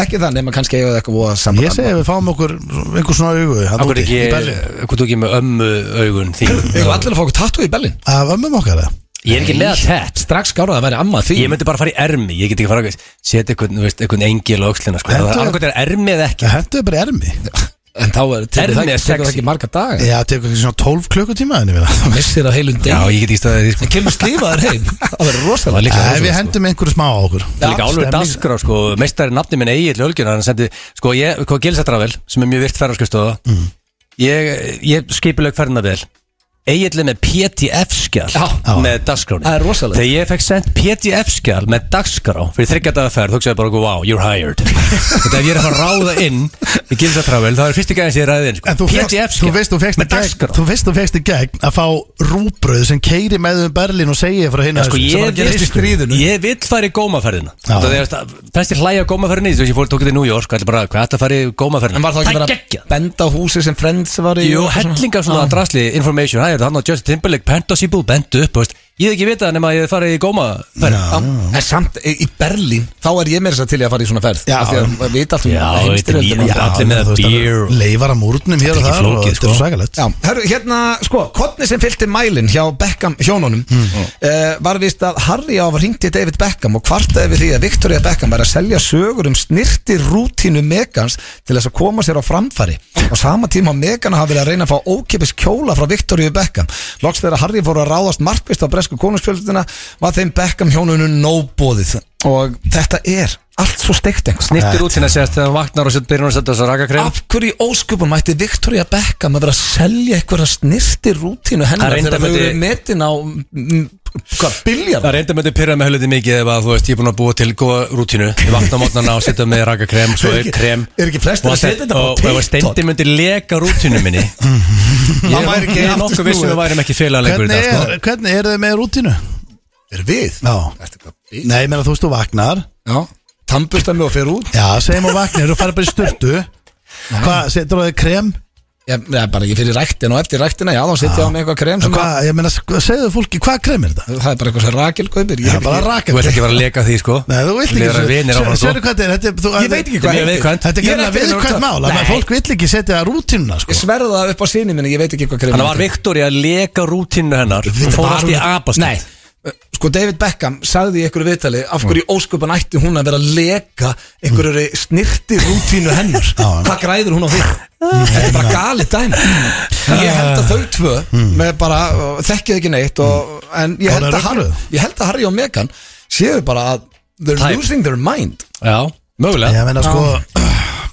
Ekki það nema kannski eigað eitthvað voða saman
Ég segi að við fáum okkur einhver svona augu þarna
Akkur
úti
ekki,
í Berlín.
akkur ekki með ömmu augun þín
Ég var um allir að fá okkur tattu í Berlin
Af ömmum okkar eða?
Ég er ekki leða tett
Strax skárað að vera amma því
Ég myndi bara fara í ermi, ég get ekki fara að setja einhvern, þú veist, einhvern engil á öxlina sko. Það
Hentu-
er annað er ermi eða ekki
Ég hentu bara í ermi
En þá er tekur
Ermi er
það ekki- tekur það
sexy.
ekki marga daga
Já, tekur ekki svona 12 klukkutíma henni við það
Missir að heilum
Já,
deg
ég get í staðið því sko.
Kemur slífaður heim Það verður
Það
rosalega
var líka
Ef við hendum einhverju smá á okkur
sko. Það er líka álveg
stemning.
dasgrá sko, meistari nafni minn Egil Ölgjur, hann sendi, sko ég, hvað Gilsatravel, sem er mjög virt ferðarskristofa,
Mm.
ég, ég skipileg ferðarnavel, Egil er með PTF-skjál
Já.
með dagskráni.
Það er rosalegt.
Þegar ég fekk sendt PTF-skjál með dagskrá fyrir þryggjadaða ferð, hugsaði bara okkur, wow, you're hired. Þetta ef ég er að fara að ráða inn í Gilsatravel, þá er fyrstu gæðin sem ég ræði inn,
En
sko.
þú fegst, þú veist,
PTF-skjál
þú fegst í
með
gegn
dagskrá.
Þú veist, þú fegst í gegn að fá rúbröð sem keiri með um Berlín og segi frá hinn
Já, sko,
sem bara
ég,
gerist í
vil, ég vil fara í gómaferðina
Já.
Það er þessi hlæja gómaferðinni Þú veist, ég fór tók þetta í New York Það er bara, hvað ætti að fara í
En
gómaferðina
var
Það
það ekki
er
bara að
geggja
benda á húsi sem Friends var í
Jú,
og eitthvað svona? Ah.
hellinga svona drasli information Það er hann og Justin Timberlake Pent á síbú, bent upp þú veist. Ég hef ekki vitað nema að ég fara í gómaferðina
Já, en samt í í Berlín þá er ég meira þess að til í að fara í svona ferð
Já.
af því að við veit allt um
Já,
heimsstyrjöldina.
veit ég,
Já.
allir með
þú veist,
beer
alveg
og-
Leifar að múrnum
Þetta
hér og
er ekki
þar og
flókið,
Þetta er
sko.
svakalegt
Já, herru, hérna, sko, kottni sem fylgti mælin hjá Beckham hjónunum mm. var vist að Harry á var hringti David Beckham og kvartaði við því að Victoria Beckham var að selja sögur um snirti rútínu Megans til þess að koma sér á framfæri og sama tíma að Megan hafi verið að reyna að fá ókipis kjóla frá Victoria Beckham loks þegar Harry fór að ráðast markvist á bresku konungsfjöldina var þeim Beckham hjónunum nóbóðið og þetta er allt svo steikt einhvers
Snittir út sinna sérst þegar hann vaknar og sér byrjun og setja þess að raka krem
Af hverju í ósköpunum ætti Victoria Beckham að vera að selja eitthvað snirti rútínu hennar
Það reyndar
þegar þau
myndi-
eru metin á mm, hvað, biljar?
Það reynda með þetta pyrra með höluði mikið ef að þú veist ég er búin að búa til góða rútínu Ég vakna á mótnana og setja með raka krem Svo er krem
Er ekki flestir
Og
að setja þetta á
og- Og ef að
TikTok?
steindin myndi leka rútínu minni Ég
væri
er
ekki
ég er
aftur
nokkuð vissum
snúið.
við værum ekki félagar lengur í
Hvernig
dag sko.
er- Hvernig eru þið með rútínu?
Er við?
Já.
Ertu eitthvað bíl?
Nei, menn að þú veist, þú vaknar
Já Tannbusta mig og fer út
Já, segjum og vaknar, þú farið bara í sturtu Hvað, setur á þig krem?
Ég er bara ekki fyrir ræktin og eftir ræktina Já, þá sitja á mig eitthvað krem sem að
Hvað, ég meina, segðu fólki, hvað krem er þetta?
Það er bara eitthvað sem Rakel kaupir Ég,
Já, bara
Þú
rakar
vilt ekki vera að leka því sko
Nei, þú
Þú
vilt ekki
vilt vera vinir áfram, sko.
Sérðu hvað þetta er, þetta er þú-
ég veit ekki
Þetta
hvað
er mjög
heitir.
viðkvæmt.
Þetta er
Ég
gæmlega
ekki hvernig
viðkvæmt
það-
mál að
Nei.
maður fólk vill ekki setja rútínuna sko.
Ég sverða það upp á síni minni, ég veit ekki hvað krem
Þannig var Viktor í að leka rútínu hennar og fór allt í abast
Nei, sko David Beckham sagði í einhverju viðtali af hverju mm. ósköpan ætti hún að vera að leka einhverju snirti rútínu hennar hvað græður hún á því þetta er bara galið dæmi ég held að þau tvö
Hmm.
með bara uh, þekkið ekki neitt og, en ég
Bara
held, að Harry,
rugluð.
ég held að Harry og Meghan séu bara að they're
Tæp.
losing their mind
Já, mögulega
Ég meina sko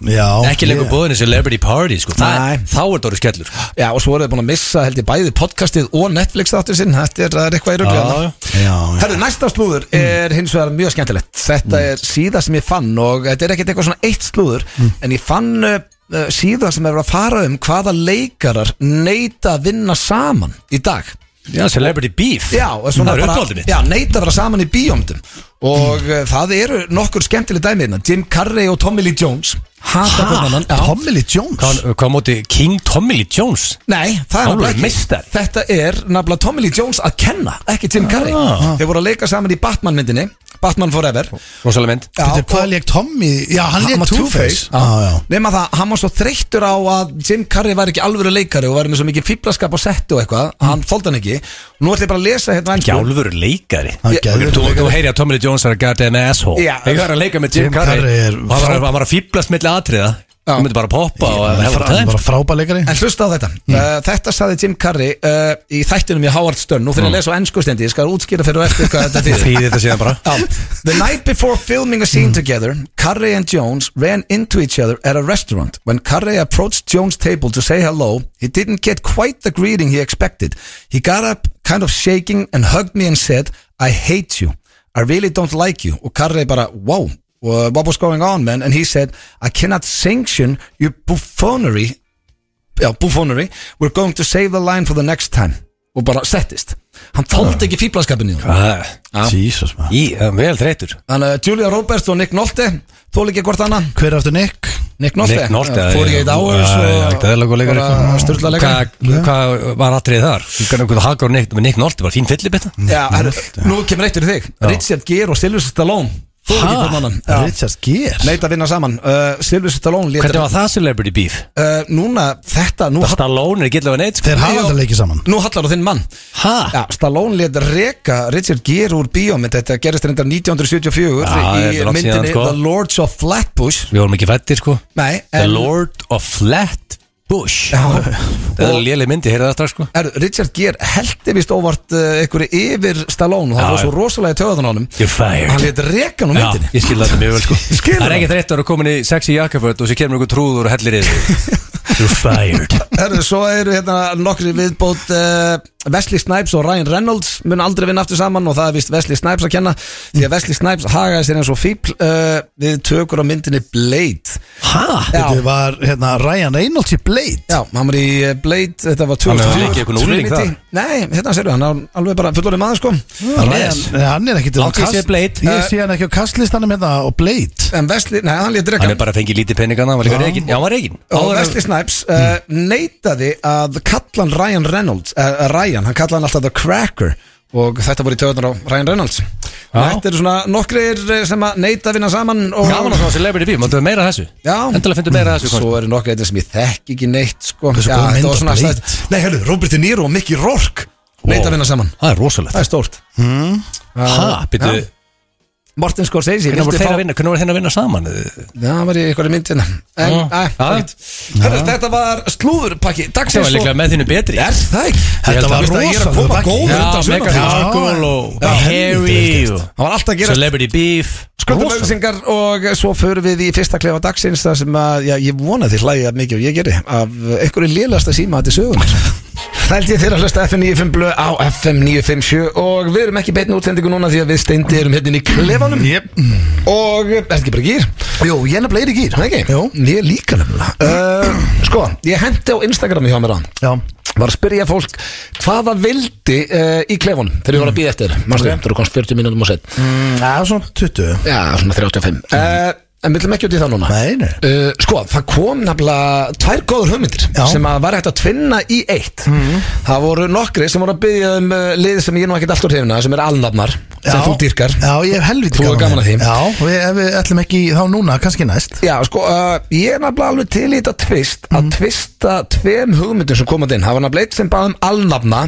Já
Ekki lengur búðinu celebrity party sko Það-
Nei.
Þá er það orðið skellur sko.
Já, og svo eru þau búin að missa held ég bæði podcastið og Netflix þáttur sinn, þetta er, það er eitthvað í
Já, Hmm.
ruglega
já.
Já,
Herru, næsta slúður er hins vegar mjög skemmtilegt
Hmm.
Þetta er síða sem ég fann og þetta er ekkert eitthvað svona eitt slúður
Hmm.
en ég fann uh, uh, síða sem er að fara um hvaða leikarar neita að vinna saman í dag
Já, celebrity beef
Já, og
Það
svona
er
bara,
uppáldið mitt
já, neita að vera saman í bíómyndum og mm. það eru nokkur skemmtileg dæmiðna Jim Carrey og Tommy Lee Jones Hata
Ha?
hvern annan. Já.
Ah, Tommy Lee Jones
Hvað hvað á móti King Tommy Lee Jones
Nei, það er
Alveg
nefnilega ekki
meistari.
Þetta er nafnilega Tommy Lee Jones að kenna Ekki Jim Carrey Þeir voru að leika saman í Batman myndinni Batman Forever
Rosalega mynd
Ah. Já,
Þetta er
og-
hvað lék Tommy Já, hann lék
var Ah.
Two-Face Já, já
Nefna það, hann var svo þreyttur á að Jim Carrey var ekki alvöru leikari og var með svo mikið fíblaskap á settu og eitthvað Hann þóldi hann ekki Nú ætlum ég bara að lesa hérna
Ekki
ensku
alvöru leikari
Hann
Ég-
gæður
Þú, þú heyri að Tommy Lee Jones er að gata en asshole
Já.
Ég var að leika með Jim
Jim
Carrey
Carrey er-
Og hann var- hann var að fýblast milli atriða Þú myndi bara poppa og
Hann er frá- hann er bara frábæleikari
En hlusta á þetta uh, Þetta saði Jim Carrey uh, í þættinum í Howard Stern Nú fyrir ég að lesa á ensku stendi Ég skal útskýra fyrir og eftir hvað þetta þýðir
Þýði þetta síðan bara
Um, the night before filming a scene together, Curry and Jones ran into each other at a restaurant. When Curry approached Jones' table to say hello, he didn't get quite the greeting he expected. He got up, kind of shaking, and hugged me and said, I hate you. I really don't like you. Og Curry bara, wow, uh, what was going on, man? And he said, I cannot sanction your buffoonery já, buffoonery We're going to save the line for the next time og bara settist hann þóldi ekki fíblaskapin í hún
Ah,
Jesus man
Í, það er vel þreytur
Þannig að Julia Roberts og Nick Nolte Þóla ekki hvort annað
Hver er aftur Nick?
Nick Nolte,
Nick Nolte,
Eh,
já,
48
já.
hours
Já, já, það er leikur leikari.
bara Sturla leikari
Hvað hva var atrið þar? Ég kannu hvernig hagar neitt með Nick Nolte, bara fín fyllibetta
Mm.
Já, herru, nú kemur eitt fyrir þig Richard Gere og Sylvester Stallone Þóla ekki
Ha?
hvort annan Já.
Richard Gere
Neit að vinna saman uh, Sylvester Stallone lét-
Hvernig var það celebrity beef?
Eh, Núna, þetta nú,
Það Stallone er ekki allavega neitt sko.
Þeir hafa þetta leikið saman
nú hallar á þinn mann
Ha?
Já, Stallone let reka Richard Gere úr bíómynd Þetta gerist reyndar 1974
Já, þetta
Í
er langt síðan,
myndinni
sko.
The Lords of Flatbush
Við vorum ekki fættir sko
Nei,
The
en-
Lord of Flat Bush
Já.
Það er léleg myndi, heyrðu það strax sko
Er, Richard Gere heldi vist óvart uh, einhverju yfir Stallone og það
Já,
var svo
já.
rosalega töðan á honum
You're fired.
Hann létt rekan úr
Já,
myndinni
ég skil þetta mjög vel sko
Skilur
Það er
það?
ekki þreytt að vera komin í sexy jakkaföld og sér kemur einhver trúður og hellir yfir You're fired
Herru, svo eru hérna nokkri viðbót uh, Wesley Snipes og Ryan Reynolds mun aldrei vinna aftur saman og það er vist Wesley Snipes að kenna því að Wesley Snipes hagaði sér eins og fíbl uh, við tökur á myndinni Blade
Ha?
Já.
Þetta var hérna Ryan Reynolds í Blade
Já, hann var í eh, Blade, þetta var
Hann er
2004
líka einhvern úling
Trinity. Nei, hérna sérðu, hann er alveg bara fullorðið maður sko
Ryan,
Yes.
Nei, hann er ekki til
Langt
á
ég sé
kast-
Blade.
Ég sé hann ekki á kastlistanum hérna og Blade
En Wesley, nei, hann létt
Hann
rekan
er bara að fengi lítið peningana, hann var líka reygin Já, hann var reygin
Og Wesley Snipes uh, neitaði að kalla hann Ryan Reynolds uh, Ryan, hann kallaði hann alltaf The Cracker og þetta voru í töðunar á Ryan Reynolds Þetta eru svona nokkrir eh, sem að neita að vinna saman og
Gaman að það var celebrity beef, máttu meira af þessu
Já.
Endilega fyndu meira af þessu
Svo eru nokkrir eitthvað sem ég þekk ekki neitt sko.
Hversu góð mynd
þetta var
á
svona
Blade?
stætt- Nei, hérðu, Robert De Niro og Mickey Rourke neita að vinna saman
Það er rosalegt
Það er stórt
Ha, býttu,
Já. Morten Scorsese
hvernig voru
vildi
þeir
fá-
að vinna, hvernig voru þeir að vinna saman?
Já, það var í einhverju myndina En,
Já.
æ,
Já.
ekkert. Herru, Þetta var slúðurpakki
Það
Dagsins
var líklega með þínu betri
Er það ekki?
Ég held
Þetta
að-
var
Veistu að ég er að
rosalega
koma góður
Já,
undan
Megan
sumarfrí.
Já.
Markle sko, og
Já,
Harry
helvítið
og
Það var alltaf að gera
Celebrity Beef
sköndumauðsingar og svo förum við í fyrsta klefa dagsins það sem að, já, ég vona þið hlægja mikið og ég geri af einhverju lélasta síma til sögunar Þældi ég þeir að hlusta FM 95 blöð á FM 957 og við erum ekki í beinni útsendingu núna því að við steindi erum hérna inn í klefanum
Jep
og, er ekki bara gýr?
Jú, ég er nefnilega í gýr
Ekki? Jó Ég líka nefnilega uh, Sko, ég hendi á Instagrami hjá mér á
Já
var að spyrja fólk hvað það vildi uh, í klefunum þegar ég var að býða eftir Manstu, okay. þú komst 40 mínútum og sett
Já, Mm, svona 20
Já, svona 35 uh, En við viljum ekki út í það núna
Nei, nei.
Uh, sko, það kom nefnilega tvær góður hugmyndir
Já.
sem að var hægt að tvinna í eitt það voru nokkri sem voru að byggja um uh, lið sem ég er nú ekkert alltaf hrifna sem er alnafnar, sem
Já.
þú dýrkar
Já, ég hef helviti
Þú hefur gaman af því.
Já, og við, ef við ætlum ekki í þá núna, kannski næst
Já, sko, uh, ég er nefnilega alveg til í þetta tvist að tvista tveim hugmyndum sem komað inn það var nefnilega eitt sem baðum alnafna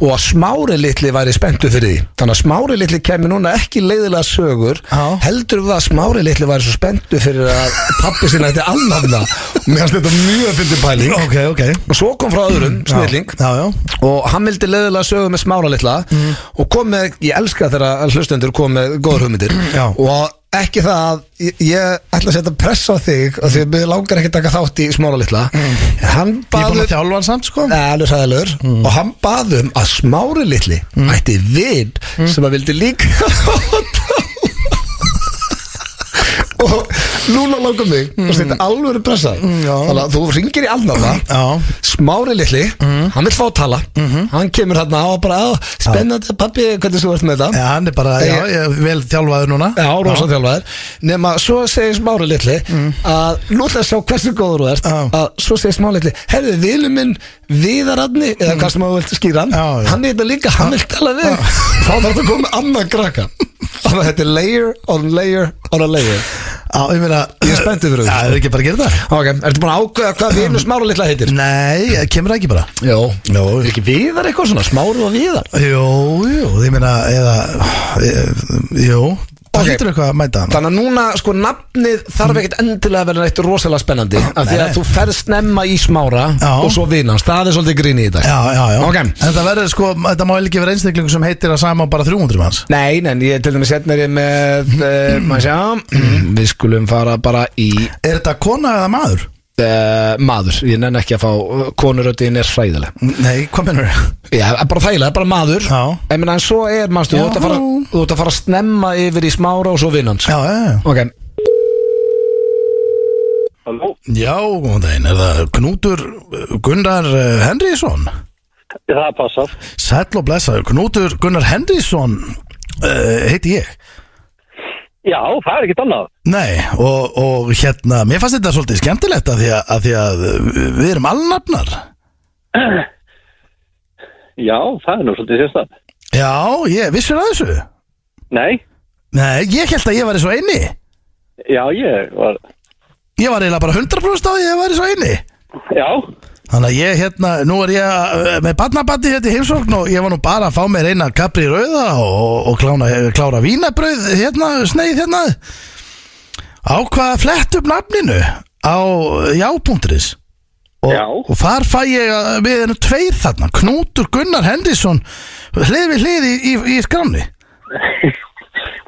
og að smári litli væri spenntu fyrir því þannig að smári litli kemur núna ekki leiðilega sögur
Já.
heldur við að smári litli væri svo spenntu fyrir að pappi sinna þetta alnafna mér hans þetta mjög fyndi pæling
Ok, ok
og svo kom frá öðrum, snilling
Mm, Já, já
og hann vildi leiðilega sögu með smára litla
Mm.
og kom með, ég elska þegar hlustendur kom með góður hugmyndir
Já.
og ekki það að ég, ég ætla að setja press á þig og því að við langar ekki að taka þátt í smára litla en hann
Mm. Ég er búin að
baður
þjálfa hann samt, sko Mm.
alveg sæðilegur og hann baðum að smári litli ætti vin
Mm.
sem að vildi líka og núna langar mig og setja alveg pressa
Mm. já.
þannig að þú ringir í alnafna
Já Mm. Mm-hmm.
Smári litli, hann vil fá að tala hann kemur hérna á og bara "Á, spennandi pappi, hvernig þú ert með þetta
Já, hann er bara, já, ég er vel þjálfaður núna
Já, Mm. rosa þjálfaður Nefna, svo segir Smári litli að lúta að sjá hversu góður þú ert
Já.
að svo segir Smári litli herðu, vilum minn Viðaradni eða hvað sem þú vilt skýra hann
Já, já.
hann er þetta líka, hann vil tala við þá þarf þetta að koma annan krakka þannig að þetta er layer on layer on a layer
Já, ég meina
Ég er spenntur
Já,
fyrir þessu.
það
sko.
er ekki bara að gera það
Ok, ertu búin að ákveða hvað vinu Smári litla heitir?
Nei, kemur það ekki bara
Jó,
Jó.
ekki viðar eitthvað svona, Smári og viðar
Jú, jú, ég meina, eða e- Jú,
Ok.
það hittur eitthvað að mæta
Þannig að núna, sko, nafnið þarf ekkert endilega að vera neitt rosalega spennandi af því
Nei,
að
nei.
þú ferð snemma í smára
Já.
og svo vinans, það er svolítið grín í dag
Já, já, já
Ok.
En það verður sko, þetta má ekki vera einstaklingu sem heitir að sama á bara 300 manns
Nei, nei, ég til dæmis hérna er ég með
Mm-hmm.
uh, maður sjá, mm, við skulum fara bara í
Er þetta kona eða maður?
uh, maður, ég nenn ekki að fá eh, konuröddin er hræðileg
Nei, hvað mennur það?
Já, bara þægilega, bara maður
Já.
En, menn, en svo er, manstu, þú
Já.
ert að fara þú ert að fara snemma yfir í smára og svo vinans
Já, já, já
Ok,
Halló,
Já, góðan daginn, er það Knútur uh, Gunnar uh, Henrísson?
það passar.
Sæll og blessaður, Knútur Gunnar Henrísson uh, heiti ég
Já, það er ekkert annað.
Nei, og, og hérna, mér fannst þetta svolítið skemmtilegt að því að, að, því að uh, við erum allnafnar
Já, það er nú svolítið sérstæð.
Já, ég vissir að þessu
Nei,
Nei, ég held að ég var í svo eini
já, ég var...
Ég var eiginlega bara 100% á því að ég var í svo eini
Já,
Þannig að ég hérna, nú er ég uh, með barnabandi hérna í heimsókn og ég var nú bara að fá mér eina kapri rauða og, og klána, eh, klára vínabrauð hérna, sneið hérna ákvaða að flett upp nafninu á eh, já.is og,
Já.
og þar fæ ég að- við erum tveir þarna, Knútur Gunnar Henriksson hlið við hlið í, í, í skráni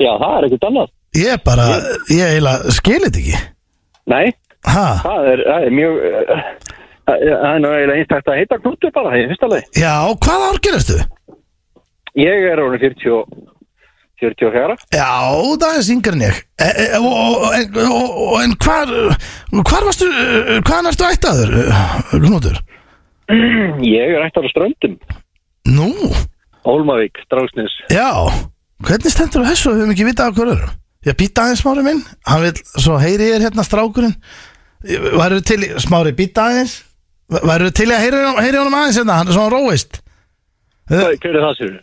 já, það er ekkert annað.
ég bara, ég eiginlega skilit ekki
Nei,
ha,
það er, það er mjög... eh, Það er það er nú eiginlega einstakta að heita knútur bara, ég finnst alveg.
já, hvaða árgerastu?
Ég er orðin 40 og... 44.
Já, það er syngar en ég e, e, og, og, en- og, og, En hvar Hvar varstu, eh, hvaðan ertu ættaður eh, Knútur?
Ég er ættar á ströndum.
Nú,
Ólmavík, Stráksnes.
já Hvernig stendur á þessu, að við höfum ekki vitað af hver öðrum Ég býta aðeins smári minn Hann vil, svo heyri ég er hérna strákurinn Værið til, í- smári býta aðeins Værið til í að heyri, heyri honum aðeins hérna Hann er svona róist
Hvað- Hver er það sér?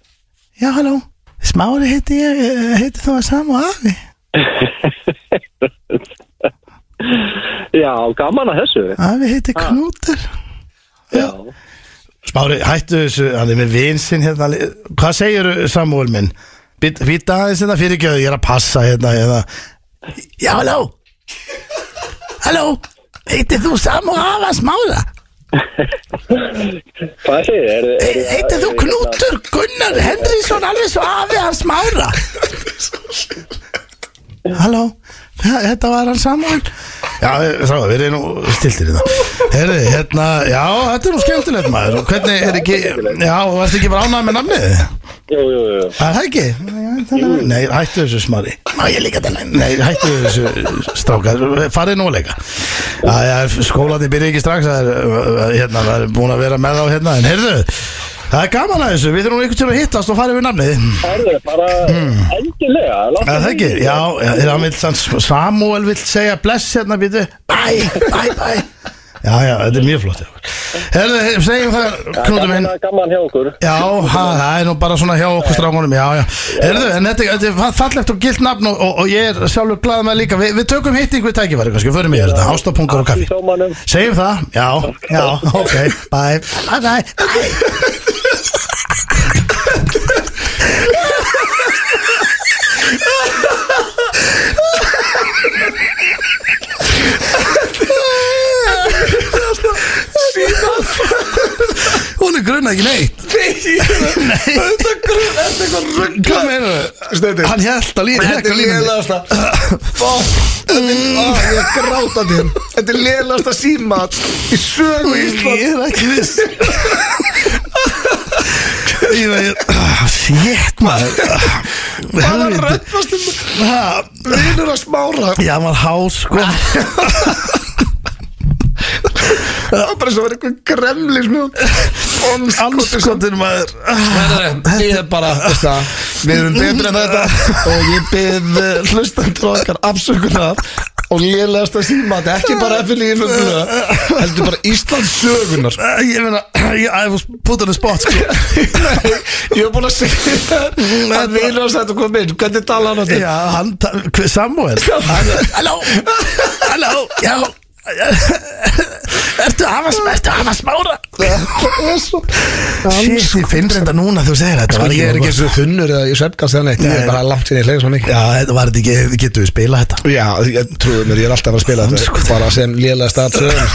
Já, halló, smári heiti ég eh, Heiti þú að sama og afi
Já, gaman að þessu.
Afi heiti Knútur
Já.
Smári, hættu þessu, hann er með vinsinn hérna Hvað segir Samúel minn? Být- Býta aðeins hérna fyrir ekki ég er að passa hérna, hérna. Já, halló Halló, heitir þú Samúel Afa Smára?
Hvað segir þið? Er- er-
Heitir þú
er-
Knútur Gunnar Henrísson alveg svo afi hans Smára? Halló, þa- þetta var hann Samúel Já, þá, við erum nú stiltir í það Herri, hérna, já, þetta er nú skemmtilegt maður Og hvernig er ekki, já, og ertu ekki bara ánægð með namnið?
Jú, jú, jú, jú.
Það er það ekki Nei, hættu þessu smari Ná, ég líka þennan Nei, hættu þessu strákar Farið nóleika Skólandi byrja ekki strax Það er, uh, hérna, það er búin að vera með þá hérna En heyrðu, það er gaman að þessu Við þurfum einhvern tíma að hittast og farið við namnið
Það er bara endilega
Já, Hmm. það ekki, já, já, hann vill sann Samuel vill segja bless hérna býtu Bæ, bæ, bæ Já, já, þetta er mjög flott já. Herðu, he- segjum það, knútum
Gaman,
minn
gaman hjá okkur
Já, ha, það er nú bara svona hjá okkur strákunum Já, já, herðu, en þetta, þetta er fa- fallegt og gilt nafn og, og, og ég er sjálfur glaðið með líka Vi, Við tökum hitt einhver tækifæri, kannski, förum í þetta Ástapungar og kaffi
Í sómanum
Segjum það, já, já, ok, bye Bye, bye, bye Hún er grunna ekki neitt
Þetta grunn, þetta er eitthvað rugg
Hvað meina
Steindi.
Hann held að líka
Þetta er Mm. lélegasta Fuck, Þetta er, á, ég er grátandi Þetta er lélegasta símat Í sögu Ísland
Ég er ekki viss Ég veit Sjétt maður
Bara
Helviti.
röddvastu
Ha,
um Vinur að smára
Já, hann var hás sko
Ah, Það er bara svo verið eitthvað gremlis mjög
Anskotin maður
Ég er bara, veist það Við erum betur en þetta Og ég byrð hlustandur okkar afsökunar Og lélegasta símat Ekki bara FLI Heldur bara Íslands sögunar
Ah, Ég meina ég- I was put on the spot sko
Nei, ég hef búin að segja þér að vinur hans þetta kom inn, hvernig tala hann á þetta?
Já, hann ta- hver- Samuel Halló Halló Já Ertu hafa, ertu hafa smára
Það er svo
Shit, ég finn þetta núna þú segir þetta var
Ég er ekki
bara-
eins og þunnur eða ég svefnkast eða neitt, ég er bara langt sinni, ég hlegi svo mikið
Já, þetta var þetta ekki, getur við spila þetta
Já, ég trúið mér, ég er alltaf að spila þetta bara sem lélega staðsöðum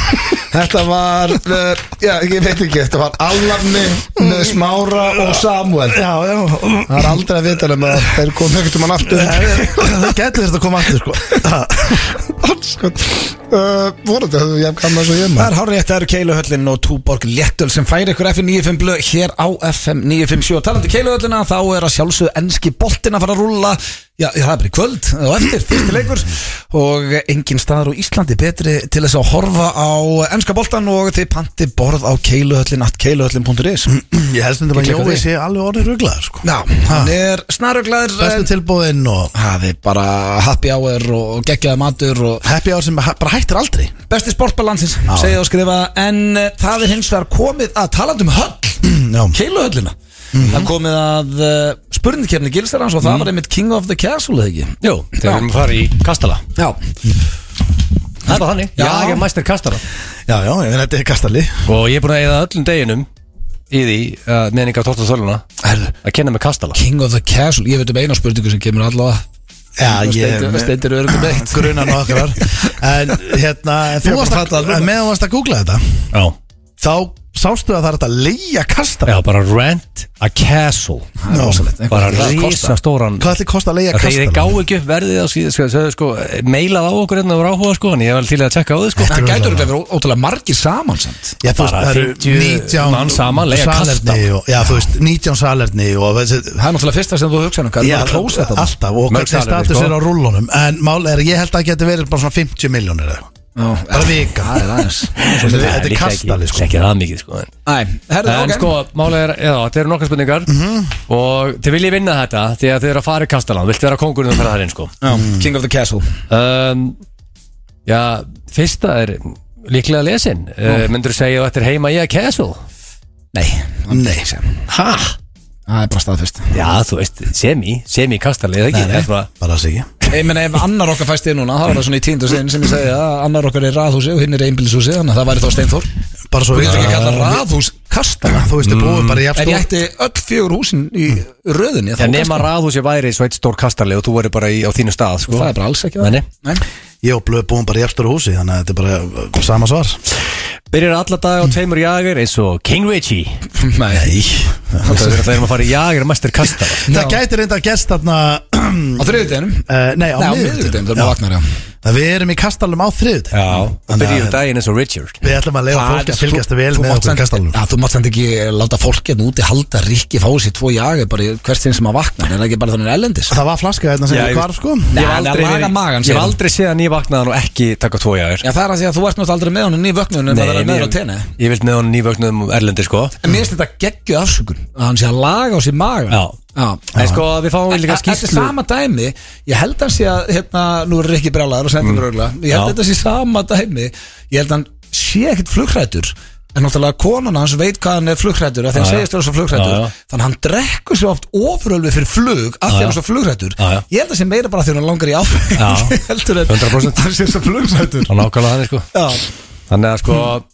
Þetta var, uh, já, ég veit ekki þetta var Allarni með Smára og Samuel
Já, já
Það er aldrei að vita nema að þeir komum ekkert um hann aftur
Það getur þetta að koma aftur sko
Anskot sko. uh, Voru þetta, þú ég hef gaman svo ég
Það
maður
er hárið eftir Keiluhöllin og Túborg Léttöl sem færi ykkur FM 95 blöð hér á FM 957 og talandi um Keiluhöllina þá er að sjálfsögðu enski boltin að fara að rúlla já, já, það er bara í kvöld og eftir fyrsti leikur og engin staðar á Íslandi betri til þess að horfa á enska boltan og þið panti borð á Keiluhöllin at keiluhöllin.is
Ég helst þetta bara
Ég klika
Jói
því.
sé alveg orðið ruglaður sko
Já, hann er snaruglaður
Bestu tilbúðinn og
Það er bara happy hour og geggjaða matur og
happy hour sem ha- bara hættir aldrei
besti sportbalansins, segja og skrifa en eh, það er hins vegar komið að talandi um höll
Já Mhm.
keiluhöllina það komið að uh, spurningkefni gilsarans og það var einmitt King of the Castle eða ekki
Jú, þegar við erum að fara í Kastala
já,
Það er bara þannig
Já.
Já, ég er mæstir Kastala
Já, já, ég meina þetta er kastali
Og ég er búin að eða öllum deginum Í því, uh, meðning af 12. þöluna
Herðu.
Að kenna með Kastala
King of the Castle ég veit um eina spurningu sem kemur allavega
Já,
Steindir-
ég
steindir eru örgum eitt
Grunan okkar En hérna, en þú
Ég
varst
bara
að
fatta það núna.
en meðan þú varst að googla þetta
Já,
Þá sástu að það er hægt að leigja kastala
Já bara rent a castle
Já.
Bara
það kostar.
rísa stóran
Hvað ætli kosta að leigja
Þegar þeir
kastala?
gáðu ekki upp verðið á síðan sko, sögðu, sko, Meilað á okkur hérna og ráhuga sko, En ég var til í að tjekka á þið sko.
það gætur ekki að vera ó- ótrúlega margir samansend
Já, þú veist,
Bara
það eru
50
19
mann saman, leigja
salerni
kastala.
og, Já, þú veist, 19 salerni og þessi-
það er náttúrulega fyrsta sem þú hugsaði hvað
Já,
er að klósa þetta
alltaf og
Mörg
hvernig
salerni,
status
sko.
er á rúllunum En mál er, ég held að það geti verið bara svona 50 miljónir eða eitthvað. Bara vika
það er aðeins
Þetta er- þetta er
líklega
kastali
ekki,
sko
ekki það mikið sko, en,
Æ, herðu,
en
ok.
sko, málega er, já, þetta eru nokkar spurningar Og þið viljið vinna þetta Því að þið eru að fara í kastalan Viltu vera kongurinn og fara þar inn sko.
Já, King of the Castle
um, Já, fyrsta er líklega lesin uh, Myndur þú segja að þetta er heima ég að castle
nei,
Nei,
Ha?
það er bara staðfest
Já, þú veist, semi, semi kastali eða ekki,
Nei,
það er bara
bara þess ekki
Ég meina ef annar okkar fæst inn núna, það var það svona í tíndu sinn sem ég segi að annar okkar er raðhúsi og hinn er einbílishúsi, þannig að það væri þá Steinþór
Bara svo
Þú getur ekki að kalla raðhús kastala
Þú veist, þið
Mm.
búið bara í
Ef ég
aftur
ætti öll fjögur húsin í röðinni þá
Já, nema
kastala.
ráðhúsi væri svo eitt stór kastali og þú verður bara í, á þínu stað sko.
Það er bara alls ekki
Nei, nei.
Nei.
Ég og blöð búum bara í eftir húsi Þannig að þetta er bara uh, sama svar
Byrjar alla dag á tveimur jager eins og King Richie
Nei
Það er að fara í jager mestir kastala
Það gæti reynda að gest þarna
Á þriðuteginum
eh, Nei, á
Nei, á
miðvikudeginum.
miðuteginum
Já.
þegar maður vaknar já
að við erum í kastalum á þriðut
og byrjuðu daginn eins og Richard
Við ætlum að leifa fólki að fylgjast vel með okkur í kastalum
Já, þú mátt samt ekki láta fólk hérna úti halda Rikki fá sér tvo jaga bara í hvert sinn sem að vakna en það er ekki bara þannig erlendis
Það var flaska hérna sem
Já,
við
ég-
hvar sko
Ég
Nei,
hef aldrei,
að laga
verið-
magann,
ég hef
segir
aldrei séð hann í vaknaðan og ekki taka tvo jáður
Já, það er að því að þú ert náttúrulega aldrei með honum í vöknunum en það er meður á tenni
ég, ég vild með hann nývöknuðum erlendi sko
En mér finnst þetta geggju afsökun að hann sé að laga á sér magan
Já. En sko við fáum líka
Þetta er
skýrslu
sama dæmi Ég held að hann sé að hérna, nú er Rikki brjálæður og sendur mér örgla Ég held
Já.
að þetta sé sama dæmi Ég held að hann sé ekkit flugrættur En náttúrulega konan hans veit hvað hann er flugrættur Þegar hann
Já, já.
segist þér svo
Já, já.
flugrættur Þannig að hann drekkur svo oft ofurölvi fyrir flug Af því að hann er svo flugrættur
Já, já.
Ég held að sé meira bara því að hann langar í áfengi
Já.
Heldur en
100%.
Hann sé svo flugrættur
og nákvæmlega þannig sko
Já,
þannig að sko
Hmm.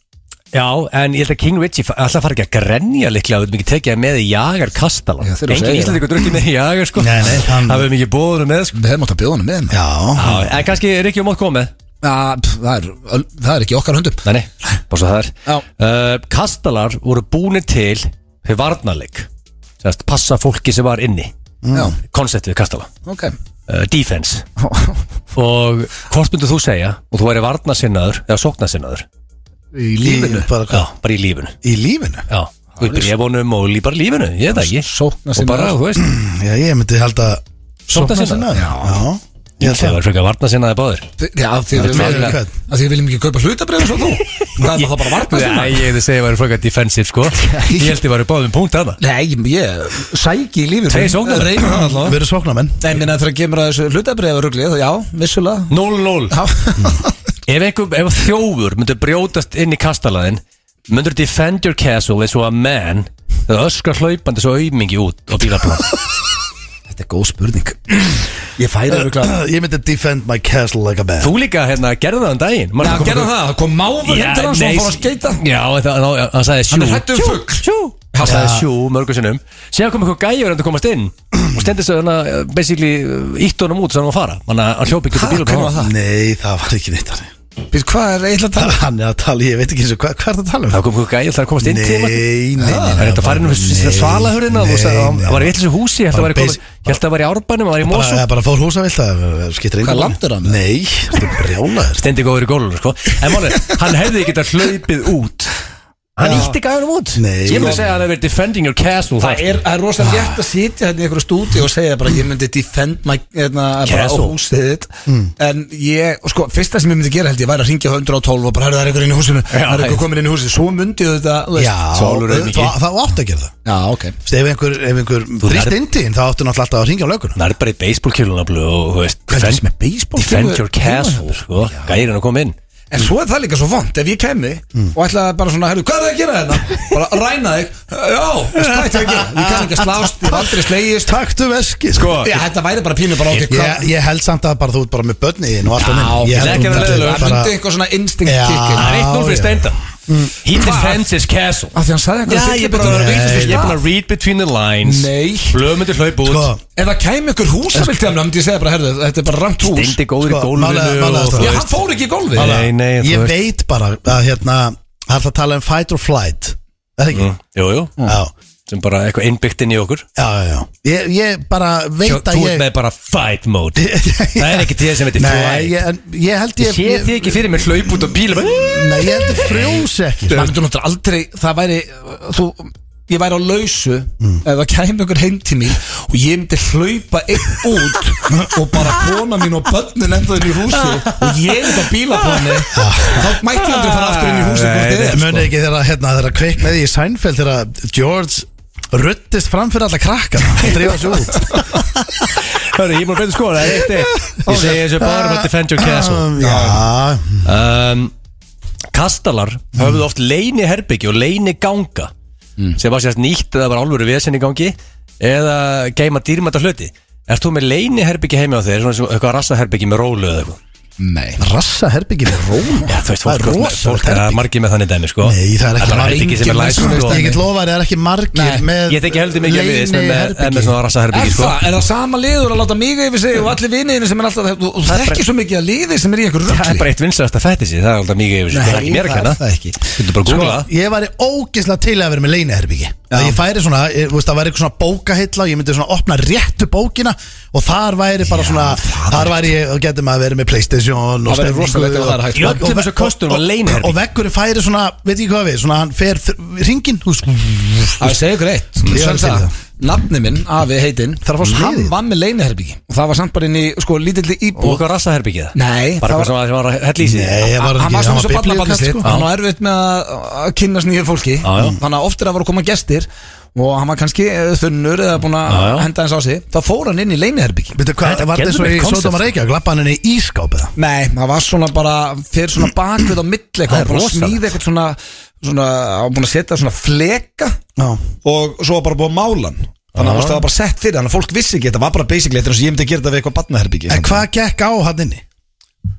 Já, en ég held að King Richie fa- ætla að fara ekki að grenja líklega að við mikið tekið með í jagar kastala
Já, þeir eru að
Engin
segja það.
íslendingur drukkið með í jagar sko
Nei, nei, hann-
Það verður mikið bóður með sko
við hefum átt að bjóða hann með
Já,
Já, En kannski er ekki um átt komið
Já, pff, það, er, það er ekki í okkar höndum
Nei, nei, bara svo það er
Já.
uh, Kastalar voru búni til fyrir varnarleik Sest, passa fólki sem var inni
Já,
konceptið við kastala
ok
uh, defense og hvort myndu þú segja og þú væri varnarsinnaður eða sóknarsinnaður
í lífinu bara,
já, bara í lífinu
Í lífinu?
já, og í brefunum og lí, bara lífinu ég veit það ekki og
Sóknarsinnaður.
bara, þú veist
Já, ég myndi held að
Sóknarsinnaður?
Já, já. Ég
ég
held
það
að
var frekar varnarsinnaði báður
Já, því við
meira en
viljum
hvern.
ekki Því við viljum ekki kaupa hlutabrið eins og þú Það er það bara varna sinna
Nei, ég hefði segja að væri frekar defensive sko ég held ég væri báðum punkt að það
Nei, ég sæki í lífið
Tveir sóknarmenn.
Reynir það allavega.
Við erum sóknarmenn
Nei, minna þegar kemur að þessu hlutabrið rugli, þá já, vissulega
0-0
Já,
Ef einhver, ef þjófur myndur brjótast inn í kastalaðin myndur defend your castle eins og a man það öskar hlaupandi svo aumingi út á bílaplan
Þetta er góð spurning Ég færi rugla
Ég myndi defend my castle like a man
Þú líka hérna gerði það um daginn Man
Já,
kom-
gerða það, það kom máfur
Já,
hendur hans og hann
nei,
fór að skeita
Já, en það- þá- hann sagði sjú
Hann er hræddur um
sjú,
fugl.
Sjú Hann sagði sjú mörgur sinnum Síðan kom eitthvað gæjur en það komast inn og stendist þau hérna eh, basically ítt honum út sem hann var að fara Þannig að hann hljópi ekki út á
hvernig var
bílaplan
það?
Nei, það var ekki neitt þannig
Býr, hvað er eiginlega að tala?
Hann er að tala, ég veit ekki eins og hvað, hvað er það að tala um
Það kom eitthvað gæjur það að komast inn til hann
Nei, nei, nei
Það er þetta farin um svalahurðina og sagði, hann hann var í eitthvað húsi Ég held að
Bara
væri komið-
basic-
ég held að væri í árbænum, hann var í
Bara,
Mosó
eða bara fór húsavilt að skiptir einhvern
Hvað, land er hann?
Nei, þetta er brjálaður
stendi góður í gólunum sko. en málið, hann hefði ekki að hlaupið út hann
Já.
ítti gæðunum út
Nei.
ég myndi segja að hann hefði verið defending your castle
Það er, það er rosalega létt að sitja hérna í einhverju stúdíu og segja bara ég myndi defend my, hérna, bara á
Castle.
húsið þitt en ég, og sko, fyrsta sem ég myndi gera held ég væri að ringja á 112 og bara, herru það er einhver inn í húsinu það er einhver
já.
komin inn í húsinu, svo myndi ég þetta þú veist.
Já,
Sálur
það,
auðmýki.
það, það átti að gera það
já, ok
Þú veist, Ef einhver, ef einhver brist
lærð-
indi þá áttu náttúrulega alltaf að ringja á löguna
hann er bara í baseballkjöluna og þú veist,
Hvað er þessi með baseballkjólur?
defend your
Heima
castle sko. gæðurinn að koma inn
hérna. en svo er það líka svo vond, ef ég kemi og ætlaði bara svona, herru, hvað er það að gera þetta? bara að ræna þig, já, veist, hvað er það að gera? ég kann ekki að slást, ég hef aldrei slegist
Taktum eski
Sko,
já, þetta væri bara pínu bara
ég,
okkur
ég, ég held samt að bara þú ert bara með börni þín og allt
Já,
annað. Ég
er
held
það
ekki að
þú
vera
myndir
leiðilegur.
Það myndi
bara-
eitthvað svona instinct
Já.
kickin
það er 1-0 fyrir
já.
steinda he defends his castle
Af því hann sagði eitthvað
Mm.
um
ég er bara að
fyllibyttur.
vera
Nei.
ég er bara að read between the lines
Nei.
blöðmyndir hlaup út
Sko,
Ef það kæmi ykkur húsavildi hann, myndi ég segja bara, herðu, þetta er bara ramt hús
steindi góður í
Sko, málega-
gólfinu
málega
og
það.
þú
Já,
veist-
hann fór ekki í gólfi
Nei, nei, þú
ég
veist.
veit bara að hérna Það er það að tala um fight or flight Er Það ekki?
jú, jú,
Já,
sem bara eitthvað innbyggt inn í okkur
já, já, já. Ég, ég bara
þú
veit að
ert
ég
með bara fight mode það er ekki til sem heitir
Nei,
flight
ég, en ég held ég,
Sér þið ekki fyrir mér hlaup út á bílum
Nei, ég held ég frjós ekki
Það myndi náttúrulega aldrei, það væri, þú, ég væri á lausu
Mm.
Ef það kæmi ykkur heim til mín Og ég myndi hlaupa einn út Og bara kona mín og börnin enda inn í húsi Og ég myndi á bílaplani Þá mætti ég aldrei fara aftur inn í húsi
Nei,
hvort þið
nei,
er, sko.
Mönið ekki þegar hérna, þegar kveiknaði í Seinfeld þegar George ruttist fram fyrir alla krakka Drífa svo út
Hörru, ég múið betur skoða, það er eitt eitt Ég segi þessu bara um að defend your castle
Um, Já,
um, Kastalar höfðu oft leini herbyggju og leini ganga
Mm.
sem var sérst nýtt eða var álfur vesen í gangi eða geima dýrmæta hluti Ert þú með leini herbyggju heimi á þér svona sem eitthvað rassa herbyggju með rólu eða eitthvað
Nei
rassa herbyggir er róm
Já, þú veist,
Það er
fólk, fólk,
rosalegt
fólk er
herbergi.
margið með þannig dæmi, sko
Nei, það er ekki
Allar
margir-
herbergi sem er
enginn
læst,
með svona-
sko.
Ég get lofa þér, það er ekki margir
Nei,
með
Ég þekki heldur mikið að við sem er með,
leyniherbergi.
með svona rassa
Er
herbyggju, sko
það, er það sama liður að láta mig yfir sig og allir viniðinni sem er alltaf þú- Þú
er
þekkir
bara-
svo mikið að liði sem er í einhver
Það er
rugli
bara eitt vinsalasta fættið sér, sko. það er alltaf mikið yfir sér, það er ekki mér að kenna
það er ekki
Þú getur bara að
Sko,
googla það.
ég væri ógislega til að vera með leiniherbyggi að ég færi svona, ég, þú veist, það væri eitthvað svona bókahilla og ég myndi svona opna réttu bókina og þar væri bara svona þar væri ég, og getur maður að vera með Playstation og
Það væri rosalegt ef það er hægt.
Í öllum þessu kostum var leyniherbergi.
og vekkur færi svona, veit ekki hvað við svona hann fer ringin, þú veist
Það segja ykkur eitt
Ég er
Svensa,
til í það.
Nafni minn, Afi heitinn Þar fórst hann
Liðið.
var með leiniherbygi Og það var samt bara inn í sko lítilli
Og
íbúð
eitthvað rassaherbyggið
Nei,
Bara
það
eitthvað sem var- sem var að hella í sig
Nei, ég var
Hann var
ekki,
svona svo
biblíukall,
ballaballislitt
sko.
Hann var erfitt með að að kynnast nýju fólki
Já, já.
Þannig að oft er að voru að koma gestir Og hann var kannski eh, þunnur Eða búin að
Já, já.
henda hans á sig Þá fór hann inn í leiniherbygi
Veitu hvað,
Þetta
var þetta
getur
svo í
verið koncept.
Sódóma Reykjavík, lappa hann inn í ískáp eða?
Nei, það var svona bara Fyrir svona bakvið á
Það
milli
er
Hann var að
rosalegt.
smíða eitthvað svona Svona, hann var búin að setja svona fleka
Já,
og svo var bara búið að mála hann þannig að þú veist, það var bara sett fyrir hann að fólk vissi ekki þetta var bara basically þetta er eins og ég myndi að gera þetta við eitthvað barnaherbyggi
en hvað gekk á hann inni?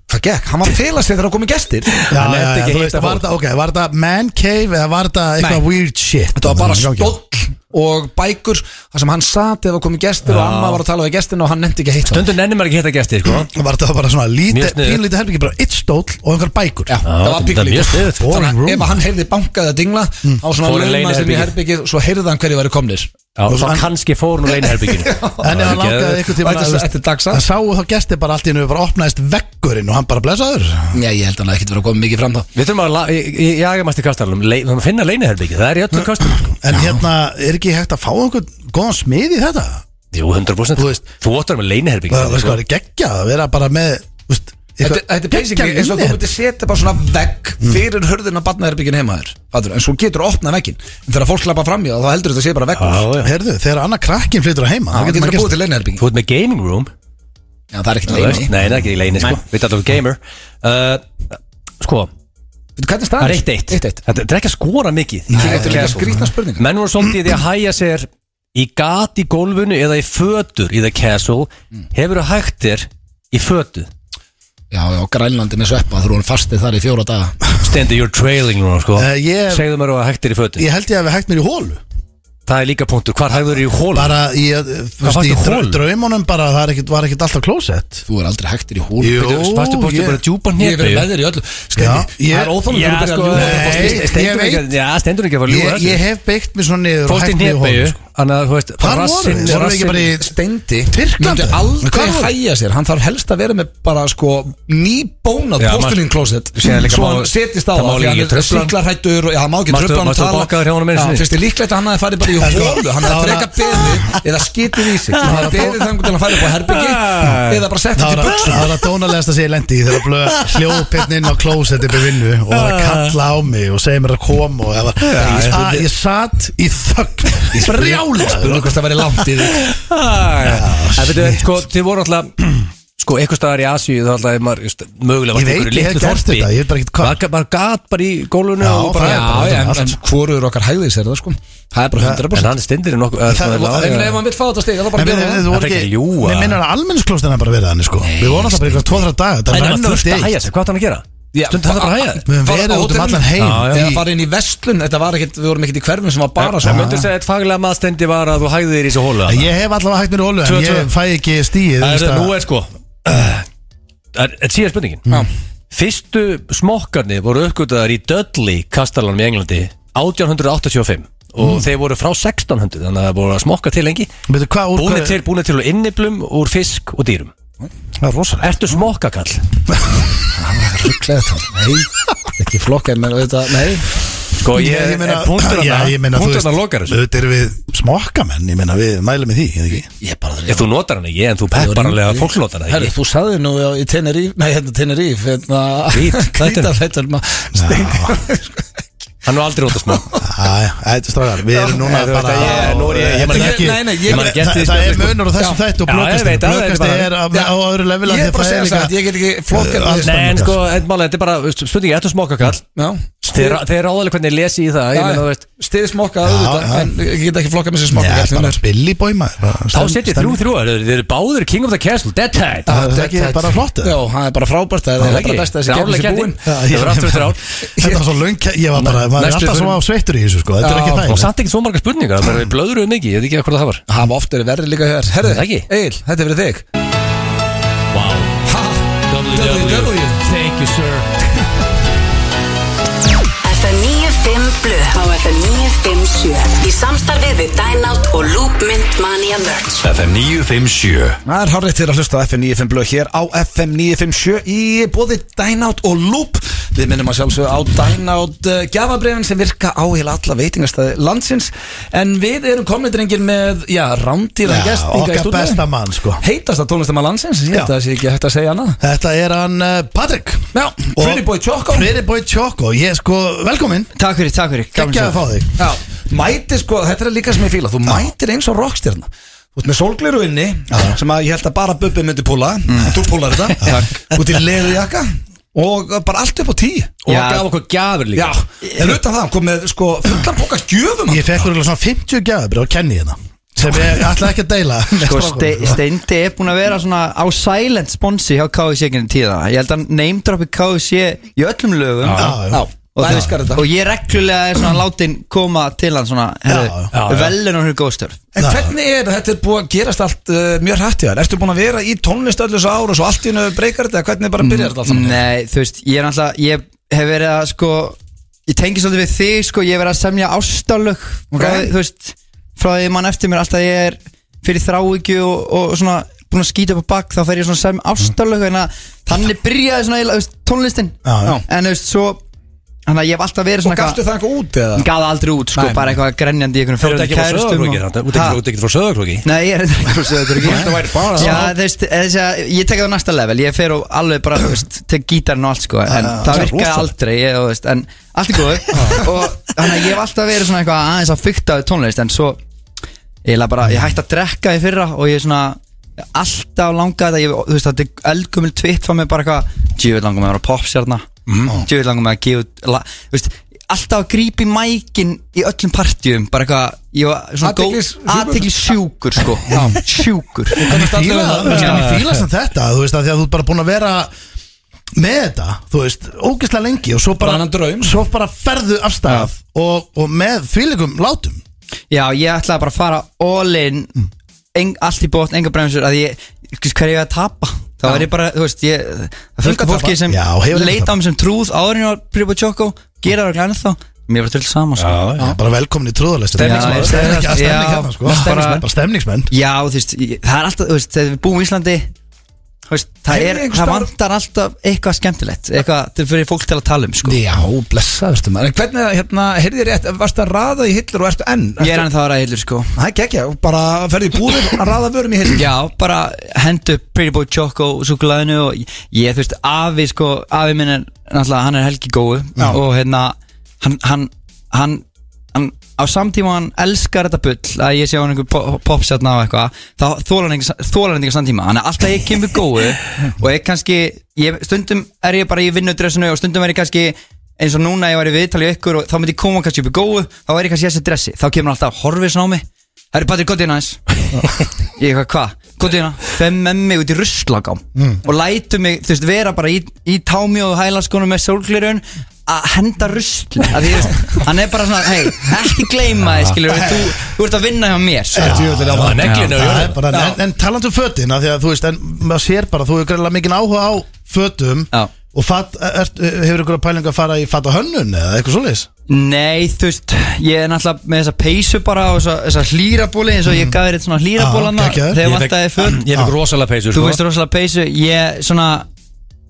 hvað gekk? hann var að fela sig þegar það komið gestir
Já,
Hann
já,
nennti
já,
ekki
þú
að
veist,
hitta
var
fólk.
þetta, ok, var þetta man cave eða var þetta eitthvað
Nei.
weird shit?
þetta var bara
Í gangi?
stóll og bækur þar sem hann sat þegar það komið gestir og amma var að tala við gestin og hann nefndi ekki að hitta
Stundum nennir maður ekki hitta gesti, sko
Var þetta bara svona
Mjög
lítið,
sniðugt.
pínlítið herbyggi, bara eitt stóll og einhver bækur?
Já, það var
þetta er mjög
píkulítið
sniðugt.
Þannig að
Boring
ef
room. Hmm.
hann heyrði bankað að dingla þá svona
Fór í
lögma sem í
leyniherbergið.
herbyggið svo heyrði hann hverju væri komnir
Já, og svo
hann-
kannski fór hún úr leiniherbygginu
En ef hann langaði eitthvað tíma
Þetta er- þetta er dagsatt.
Það sáu þá gesti bara allt í hennu bara opnaðist veggurinn og hann bara blessaður
Já, ég held að hann hafi ekkert verið að koma mikið fram þá
Við þurfum að la- í- í- í jagamæsti kastarlum Við þurfum að finna leiniherbyggið, það er í öllu kastarlum
En hérna, er ekki hægt að fá einhvern góðan smið í þetta?
Jú, 100%
Þú veist-
Þú óttar með leiniherbyggið
Það sko, það er geggjað að vera bara með, þú veist,
Þetta þetta er basically eins og þú myndir setja bara svona vegg fyrir hörðin á barnaherbyggin heima þér Fattur, en svo getur þú opnað veggin en þegar fólk lappa fram í það þá heldur þetta sé bara vegg
Já, já.
Herðu, þegar annar krakkin flyttur að heima
það
þá
getur
Ah, maður
verið að búið
gert-
til leinaherbyggin
Þú ert með gaming room
já, það er ekkert
þú veist.
leini
Nei, það er ekki í leini, sko
Nei.
Við erum gamer Uh, Sko,
hvernig
það er
staðar?
eitt eitt
1-1
Þetta þetta er ekki að skora mikið
Nei, þetta er líka skrýtna spurningar.
Menn voru svolítið í því að hæja sér í gat í gólfinu eða í fötur í the castle Hefur þú hægt þér í fötu
já, já, grænlandi með sveppa þú erum fastið þar í fjóra daga
Stendi, you're trailing núna, sko
Eh, ég-
Segðu mér að þú hægt þér í fötu
Ég held ég að við hægt mér í hólu
Það er líka punktur, hvar hægður í hólu?
Bara í, eh, þú veist,
fannst
í
þér
dra-
hol?
draumunum bara það er ekkit- var ekkit alltaf klósett
þú er aldrei hægtir í hól
Jú,
Fastu bóttu
ég-
bara djúpa
ég er
hnefið
verið með þér í öllu
Já,
Steini, það
ég-
er óþólum
Já, sko
þú byrjar að
Nei,
ljúga
ég
Stendur ekki
veit.
Já, stendur ekki að fara að ljúga
Ég, ég
þessu
hef beikt mér svona niður og
Fóst í
hægt mér í
hnefeyju
hólu sko.
Þannig að, þú veist
Hvar voru
rassinn-
þið? Voru þið ekki
rassinn-
bara í-
Steindi
Tyrklandi?
myndi
Hvar
aldrei
var-
hæja sér hann þarf helst að vera með bara sko nýbónað
Já,
postulín klósett
Þú séð líka
svo
má-
hann setist á
það má
því
líka
hann
ekki
er
trufla hann.
síklarhættur og já, hann má ekki
Manstu-
tröfla hann
manstu bokkaður hjá honum einu
Já,
sinni?
finnst þið líklegt að hann hafi farið bara í hólu hann hefði frekar beðið eða skitið í sig hann hefði beðið þangur til að fara upp á herbyggi eða bara sett
Það
þetta
var
í
að-
buksum
það var að dónalegast að segja lendi í þegar blöð hljóðbyrn inn á klósett upp í vinnu og
Ah.
var að kalla á mig og segja mér að koma og ég var, að ég satt í þögn, brjálæður
spurðu hvort það væri langt í því
Ah,
Það veitu, sko, þið voru alltaf Sko, eitthvað staðar í Asíu þá alltaf er maður just, mögulega var
Ég veit, ég hef
litlu
gert
þorpi.
þetta, ég veit bara ekkert hvað.
Maður- Maður gat bara í gólunni
Já,
og
það
bara
er bara-
já, já, en-
allt.
en hvorur okkar hægði sér það sko það er bara
En
100%
hann stindir í nokkuð
Það-
ef ef
Það
hann vil fá þetta stig þá bara
En við,
byrja
við,
það
þú
Það
voru
er ekki að
ekki,
ljúga.
mér minnar að almennsklóstin er bara verið þannig sko Við vorum alltaf bara ykkur tvo-þrjá daga, það
er
er
maður
ennur
þurft að hæja
steg
sig, hvað ætti hann að gera?
Já,
Stund það bara að hæja
Við höfum
Fara á
verið út um
hótelin.
allan
Já,
eða
heim í-
fara inn í vestlun þetta var ekkert, við vorum ekkert í hverfum sem var bara
Það
svona
myndur segja að eitt faglega maðstendi var að þú hægði þér í þessu hólu
Ég hef allavega hægt mér í ólu
Tvö,
en
tvö.
ég fæ ekki stíð
Það er nú er sko Þetta síðar spurningin
Já.
Fyrstu smokkarnir voru uppgötaðar í Dudley kastalanum í Englandi 1885 og þeir voru frá 1600 þannig að það voru að smokka til lengi
Veitu hvað úr
búinir
hvað-
til, búinir til úr inniblum úr fisk og dýrum
Það er rosalega
Ertu smokkakall?
rugglega þetta Nei, ekki flokka en þetta, nei
Sko ég,
Ég, ég meina,
er punktur
já, ég
hana
meina
punktur hana lokar þessu
Þetta eru við smokkamenn, ég meina við mælum í því eða ekki?
Ég bara
Ef þú notar hana ekki, en þú pepparanlega fólk notar hana
Herri,
ekki
þú saði nú á- í Teneríf, nei, hérna Teneríf hérna,
Krít,
Krítar, þetta er maður steindi
Hann var aldrei út að smokka
Æ, Þetta er stráðar, við erum núna
Nei, þú veist
bara
að ég- nú er ég- ég man
Þetta er
ekki-
Nei, nei, ég
ég man
bara-
ekki
Þa,
eftir því
það er
spjallið, sko.
munur á þessum
Já.
þættu og
Já, ég
blökast
veit að það er
Blökast
bara-
er á á öðru level
Ég
af því
er bara að hérna
það er
segja
líka-
það, ég get ekki flokka
Alls
Nei, en
staðar.
sko, en málega, þetta er bara spurningi, ertu smokkakall?
Já,
Þeir þeir ráða alveg hvernig ég lesi í það, ég meina, þú veist
Stið smokka, auðvitað,
já.
en ég get ekki flokka með sér
Nei, það
smokka
er
hérna,
bara
er-
spilli bóima
Þá setjið þrjú þrjú, þeir þeir eru báður King of the Castle, Dead Tide
Ah, Það er ekki
Þetta-
bara flott, eða?
Já, það er bara frábært, það er bara best að þessi kemur sér búin
Já, ég var aftur eftir ár
Þetta var svo löng, ég var bara, maður er
Næstu
alltaf svo á
fyrir-
sveittur í þessu sko, þetta er
Já,
ekki
Og
þægilegt
samt ekki svo marga spurningar, það er blöðruð mikið, ég veit ekki hvað það var
Það var oft verið verri líka hér Herðu,
Það ekki?
Egil, þetta er verið þig
Wow,
Ha? E.
Thank you sir
FM 95 Blöð á FM 957 Í samstarfið við Dynout og Loop Mint Mania Merch
FM 957
Það er hárið til að hlusta á FM 95 blöð hér á FM 957 í bóði Dynout og Loop Við minnum að sjálfsögðu á Dynout uh, gjafabrefin sem virka á heila alla veitingastæði landsins En við erum komnið drengir með, já, rándýra
Já,
gest hingað í
okkar
stúdíu.
besta mann sko
Heitasta tónlistamann landsins, ég
Já.
held að það sé ekki hægt að segja annað
Þetta er hann uh, Patrik
Já, Pretty Boy Choco
Pretty Boy Choco, ég sko, velkomin
Takk fyrir, takk fyrir Gaman
Ekki að
sjá.
fá þig
Já, mætir sko, þetta er líka sem ég fíla Þú mætir eins og rockstjarna Þú ert með sólgleru inni Sem að ég held að bara Bubbi myndi púla en Þú púlar þetta Þú ert í leðujakka Og bara allt upp á tí
Og
Já.
hann gaf okkur gjafir
Já,
líka
en utan það, hann kom með sko fullan boka gjöfum
Ég fekk úrlega svona 50 gjafir og kenni hérna sem ég ætla ekki að deila
Sko, ste, Steindi er búin að vera svona á silent sponsi hjá KFC genið tíða Ég held að hann neymdroppi KFC E í öllum lögum
Já, já.
og,
það elskar þetta.
og ég reglulega er svona látin koma til hann svona
Já,
herru,
já,
velun og hér góðstörf
En hvernig er þetta er búið að gerast allt uh, mjög hrætt í þær? Ertu búin að vera í tónlist öllu svo ár og svo allt í hennu breykar þetta? Hvernig bara byrjar þetta allt saman?
Nei, þú veist, ég er náttúrulega Ég hef verið að sko Ég tengi svolítið við þig sko Ég hef verið að semja ástalög
Ok.
okay. Þú veist, frá því mann eftir mér Alltaf ég er fyrir þráhyggju og, og svona búin að skýta upp á bakk Þá fer ég svona að semja ástalög mm. Þannig byrjaði svona eiginlega, þú veist, tónlistin
Já, já.
En þú veist, svo Þannig að ég hef alltaf verið
Og
svona
Sko, gafstu það eitthvað út eða?
Ég gaði aldrei út sko,
Nei.
bara eitthvað grenjandi í einhvern
Þú ert ekki frá söðaklokki Þú ert ekki-
og...
þú ert ekki frá söðaklokki
Ha? Nei, ég er ekki frá söðakröki
Þetta væri bara
Já, þú veist, þessi að ég tek það á næsta level Ég fer og alveg bara, þú veist, tek gítarinn og allt sko En það
Ah, það er
virkaði
rosalegt. Ah.
aldrei, ég, þú veist En allt er góð Og þannig að ég hef alltaf verið svona eitthvað aðeins að fykta við tónlist En svo, ég bara, ég hætti að drekka í fyrra Og ég er svona, alltaf langað þetta ég, Þú veist, þetta er eldgumil tvitt Fá mig bara eitthvað, djúvill langum með að vera hérna." popstjarna Djúvill langum með að gefa út la- Þú veist, alltaf að grípa í mækin Í öllum partjum, bara eitthvað Ég var svona góð,
Athyglis-
aðtekli sjúkur sko Sjúkur
Komast
Ég
allir
fíla
að-
það, en ég fíla sem þetta þú veist að því að þú ert bara búin að vera með þetta, þú veist, ógeðslega lengi og svo bara,
Brannan draum.
svo bara ferðu afstæð og, og með fylgum látum
Já, ég ætlaði bara að fara all in
Mm.
en, Allt í bótt, enga bremsur Að ég, hverju hver er ég að tapa Þá er ég bara, þú veist, ég Það fylgta
að
fólki
tapa.
sem
Já, hefur engu
leita á
tapa.
mig sem trúð Áðurinn á Pribo Choco, gera það glæðin þá Mér var til saman sko.
Já, bara velkomin í trúðarlestu
Stemningsmenn.
það er ekki að
Já,
stemning hérna sko
bara-
Stemningsmenn. bara stemningsmenn
Já, þú veist, ég, það er alltaf, þú veist, þegar við búum í Íslandi Þú veist, það,
Heyrðu
er,
einhvers
það
staðar-
vantar alltaf eitthvað skemmtilegt Eitthvað til fyrir fólk til að tala um sko.
Já, blessaðurstu maður En hvernig, hérna, heyrði rétt, varstu að raða í hillur og ertu enn?
Ég er hann það að ræðilur sko
Það er gekkja, bara ferði í búðir að raða vörum í hillur
Já, bara hendu Pretty Boy Choco súkulæðinu og ég, ég, þú veist, afi sko, afi minn er náttúrulega, hann er helgi góðu og hérna, hann, hann, hann, hann á samtíma hann elskar þetta bull að ég sé á hann einhver po- popstjarna og eitthvað þá þólar hann ekki, þólar hann ekki á samtíma hann er alltaf ég kemur góðu og ég kannski, ég, stundum er ég bara í vinnudressinu og stundum er ég kannski eins og núna ég var í viðtalið ykkur og þá myndi ég koma kannski upp í góðu, þá er ég kannski í þessu dressi þá kemur hann alltaf horfið svona á mig Herri Patrik, gott inn aðeins Ég eitthvað, hvað? Gott inn aðeins Fem með mig út í ruslagám
Mm.
Og lætu mig, þú veist, vera bara í, í támi og hælaskónum með sólglirun Að henda rusli Að því, þú veist, hann er bara svona, hei, ekki gleyma þið, skilur
Ah.
þú, þú ert að vinna hjá mér sko.
Það var neglinu á
Það er
jörðinni.
bara- en, en talandu um fötin að því að þú veist, en maður sér bara þú hefur greiðlega mikinn áhuga á fötum
Já.
og fat, er, hefur ykkur pæling að fara í fat á hönnun eða eitthvað svoleiðis
Nei, þú veist, ég er náttúrulega með þessa peysu bara og þessa, þessa hlýrabóli eins og
Mm.
ég gaf þér eitt svona hlýrabólana
Já, geggjaður.
Þegar
Ah, Ég fékk-
vantaði föt
Ég fikk rosalega peysur
Þú
sko.
veist rosalega peysu Ég svona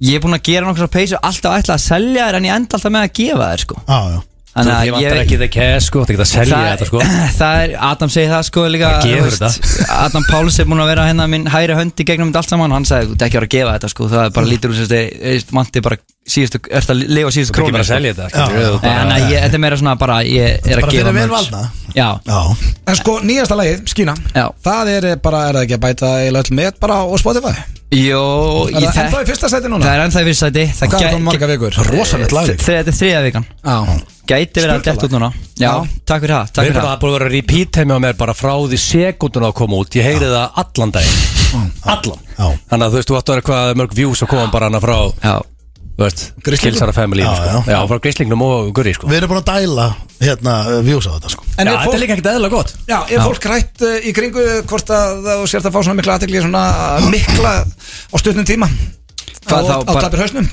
Ég er búinn að gera nokkra peysu Alltaf ætla að selja þér En ég enda alltaf með að gefa þér sko
Já, já
Þannig
Ég vantar ekki the cash sko Það geta að selja
það,
þetta sko
það er, Adam segir það sko líka
Það gefur
þú Adam Páls er búinn að vera hérna minn hæri hönd í gegnum þetta allt saman Hann sagði, þú ert ekki að vera að gefa þetta sko Það er
Mm.
bara lítur úr sérst Manti bara síðustu Ert að lifa á síðustu
Þú ekki
krónu
bara að selja þetta skilur við, þú bara-
Þannig að ég- þetta er meira svona bara Ég er að
Bara fyrir
gefa
vel
merch.
valda.
Já,
Já,
En sko, nýjasta lagið, Skína
Já.
Það er bara, er það ekki að bæta í löll með bara á Spotify
Jó,
Er
ég-
það ennþá í fyrsta seti núna?
Það er ennþá í fyrsta sæti Það
Hvað er
gæ-
það marga vikur?
rosalegt lag
Þe- Þetta er þriða vikan
Já.
Gæti verið að detta út núna Já,
Já.
takk fyrir það
Mér
Takk
er
fyrir
bara
það
að búið að vera repeat heimi á mér bara frá því sekundun að koma út Ég heyri það allan daginn Allan
Já.
Þannig að þú veist, þú ættu að vera hvað mörg views að koma bara hana frá
Já,
Þú veist, Kilsara family
Já,
sko. já, frá grislingnum og gurri sko.
Við erum búin að dæla hérna uh, views á þetta sko
En
Já,
er
þetta
fólk-
er líka ekkert eðla gott
Já, er fólk rætt uh, í kringu hvort að þú sért að fá svona mikla aðtegli svona mikla á stutnum tíma
Hvað
á,
þá,
á
bara-
tapir hausnum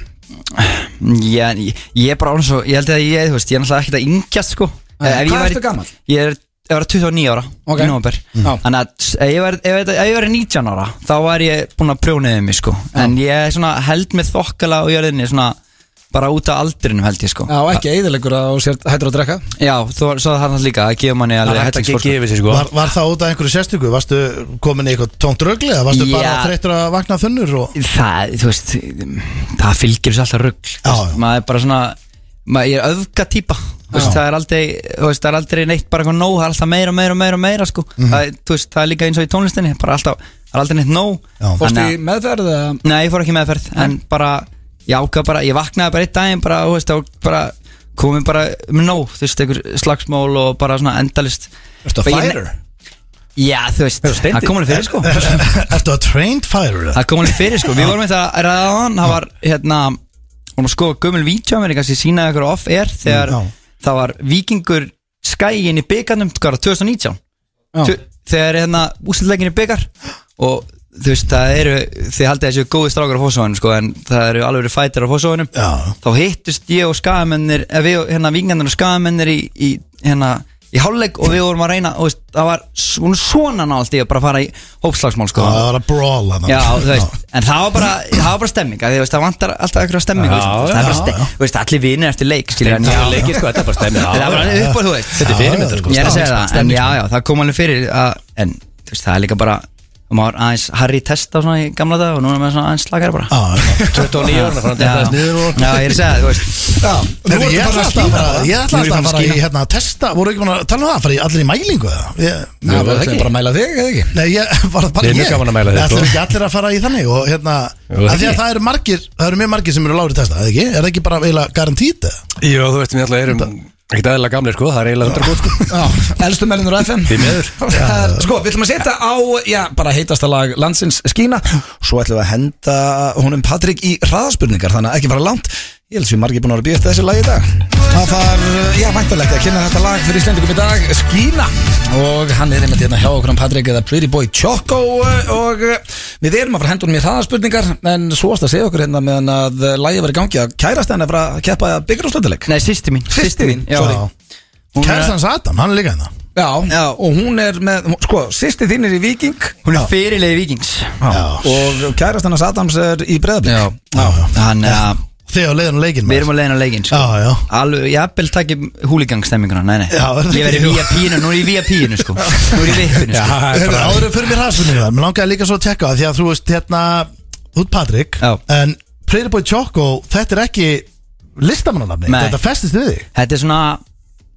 Já, en ég, ég er bara án svo, ég held að ég, þú veist, ég er náttúrulega ekkert að yngjast sko
Nei,
Ef ég
hvað
væri-
ertu gamall?
Ég er, ég var 29 ára
Ok. Mm.
í november
Já.
Þannig að s- ef ég væri- ef þetta- ef ég væri 19 ára, þá væri ég búinn að prjónaði mig sko En ég er svona held með þokkala á jörðinni, svona bara út af aldrinum held ég sko
Já, ekki eðilegur að sér hættur að drekka
Já, þú var, svo það hann líka, það gefur manni
Það
alveg
er hægt að
hellingsfór, sko.
geggi yfir sig sko
Var, var það út af einhverju sérstöku? Varstu komin í eitthvað tómt rögli eða varstu bara
Já.
þreyttur að vakna þunnur og...
það, þú veist það fylgir þessu alltaf rugg
Já, já.
maður er bara svona maður ég er öfga típa þú veist, það, er aldrei, þú veist, það er aldrei neitt bara eitthvað nóg það er alltaf meira og meira og meira, og meira sko. það, er- þú veist, það er líka eins og í tónlistinni bara alltaf, það er aldrei neitt nóg
Já.
Þannig
Fórstu
að-
í meðferð eða
Nei, ég fór ekki í meðferð En bara, ég ákvað bara Ég vaknaði bara einn daginn bara, þú veist, og bara komið bara um nóg, þú veist, einhver slagsmál og bara svona endalist
Ertu að
Bara ég-
fighter?
Já, þú veist, það kom alveg fyrir sko
Ertu að trained fire? eða?
Það kom alveg fyrir sko, við vorum eitthvað að ræða hann Það var hérna, vorum að skoða gömul vítjum En kannski sínaði ykkur off-air Þegar
Mm, já.
það var vikingur skæin í sko, byggarnum Hvað var það, 2019? Tjö- Þegar hérna úsildleikin í byggar Og þú veist, það eru Þið haldið þessu góði strákar á fósóðunum sko En það eru alveg fætir á fósóðunum
Já.
Þá hittust ég og skagamennir eh, Við og hérna vikingarnir og skagamennir í, í hérna í hálfleik og við vorum að reyna og veist, það var svona svona nált í að bara fara í hópslagsmál sko
Það var að brawl hann
Já, þú veist, en það var bara, það var bara stemming að því, þú veist, það vantar alltaf eitthvað stemming þú
Já,
veist, það er bara
já,
stemming, þú veist, allir vinir eftir leik skilur, en
Það er
já,
leikir sko, þetta er bara stemmið
það var alveg upp á, þú veist
Þetta er fyrirmyndar sko
Ég er að segja það, en já, já, það kom alveg fyrir að, en, þú veist, það er líka bara og maður aðeins Harry testa svona í gamla dag og núna er maður svona aðeins slakar bara
Já,
29 ára fór hann
Já,
þetta
já, ég er að segja það, þú veist
já.
Nú ertu
Ég
bara
ætla alltaf
að skína
að fara,
það.
ég ætla alltaf að
Nú erum við farin að
fara í
skína.
hérna að testa Voru ekki búin að tala um það, fara í allir í mælingu eða? Ég-
Já, við
það
ætlum
ekki.
bara að mæla þig, eða ekki?
Nei, ég var það bara
Ég er
ég
mjög gaman að mæla þér, sko.
Ætlum ekki allir að fara í þannig og hérna
Jú,
af Því að
ekki.
það eru margir, það eru mjög margir sem eru lári testa, eða ekki? Er það ekki bara eiginlega garantít? eða?
Jó, þú veist, við alltaf erum ekkert aðeinslega gamlega sko, það er eiginlega 100 góð
Mm.
sko
Já, elstu meðlunur á FM
Því meður
Það er- Sko, við ætlum að setja á, já, bara heitasta lag landsins skína Svo ætlum við að henda honum Patrik í hraðaspurningar Þannig að ekki fara langt Ég held sem margir búin að vera að býja eftir þessi lag í dag Það þarf, já, væntalegt að kynna þetta lag fyrir Íslendingum í dag Skína Og hann er einmitt hérna hjá okkur um Patrik eða Pretty Boy Choco Og eh, við erum að fara að henda honum í hraðaspurningar En svo ást að segja okkur hérna meðan að lagið var í gangi að kærast henni að fara að keppa byggur og slötuleik
Nei, sýsti mín,
Systir þín,
já.
sorry.
Hún er-
Kærstan Satan, hann er líka hérna
Já,
Já.
og hún er með, sko, sýsti þín er í Viking
Hún er fyrirlegi vikings
Já.
og kærast hennar Adams er í breðablik
Já, þannig að
Þegar á leiðan og leikinn
við erum að leiðin á leikinn, sko
Já, já.
Alveg, ég appil takk í húligangstemminguna, nei, nei
Já, er það
Ég verið
ekki?
í VIP-inu, nú er ég í VIP-inu, sko Nú er ég í VIP-inu, sko
Hefur áður fyrir mér hraðspunni þar Mér langaði líka svo að tekka það Því að þú veist hérna Þú ert Patrik
Já.
En Pretty Boy Choco Þetta er ekki listamannanafni
Nei.
Þetta festist við þig
Þetta er svona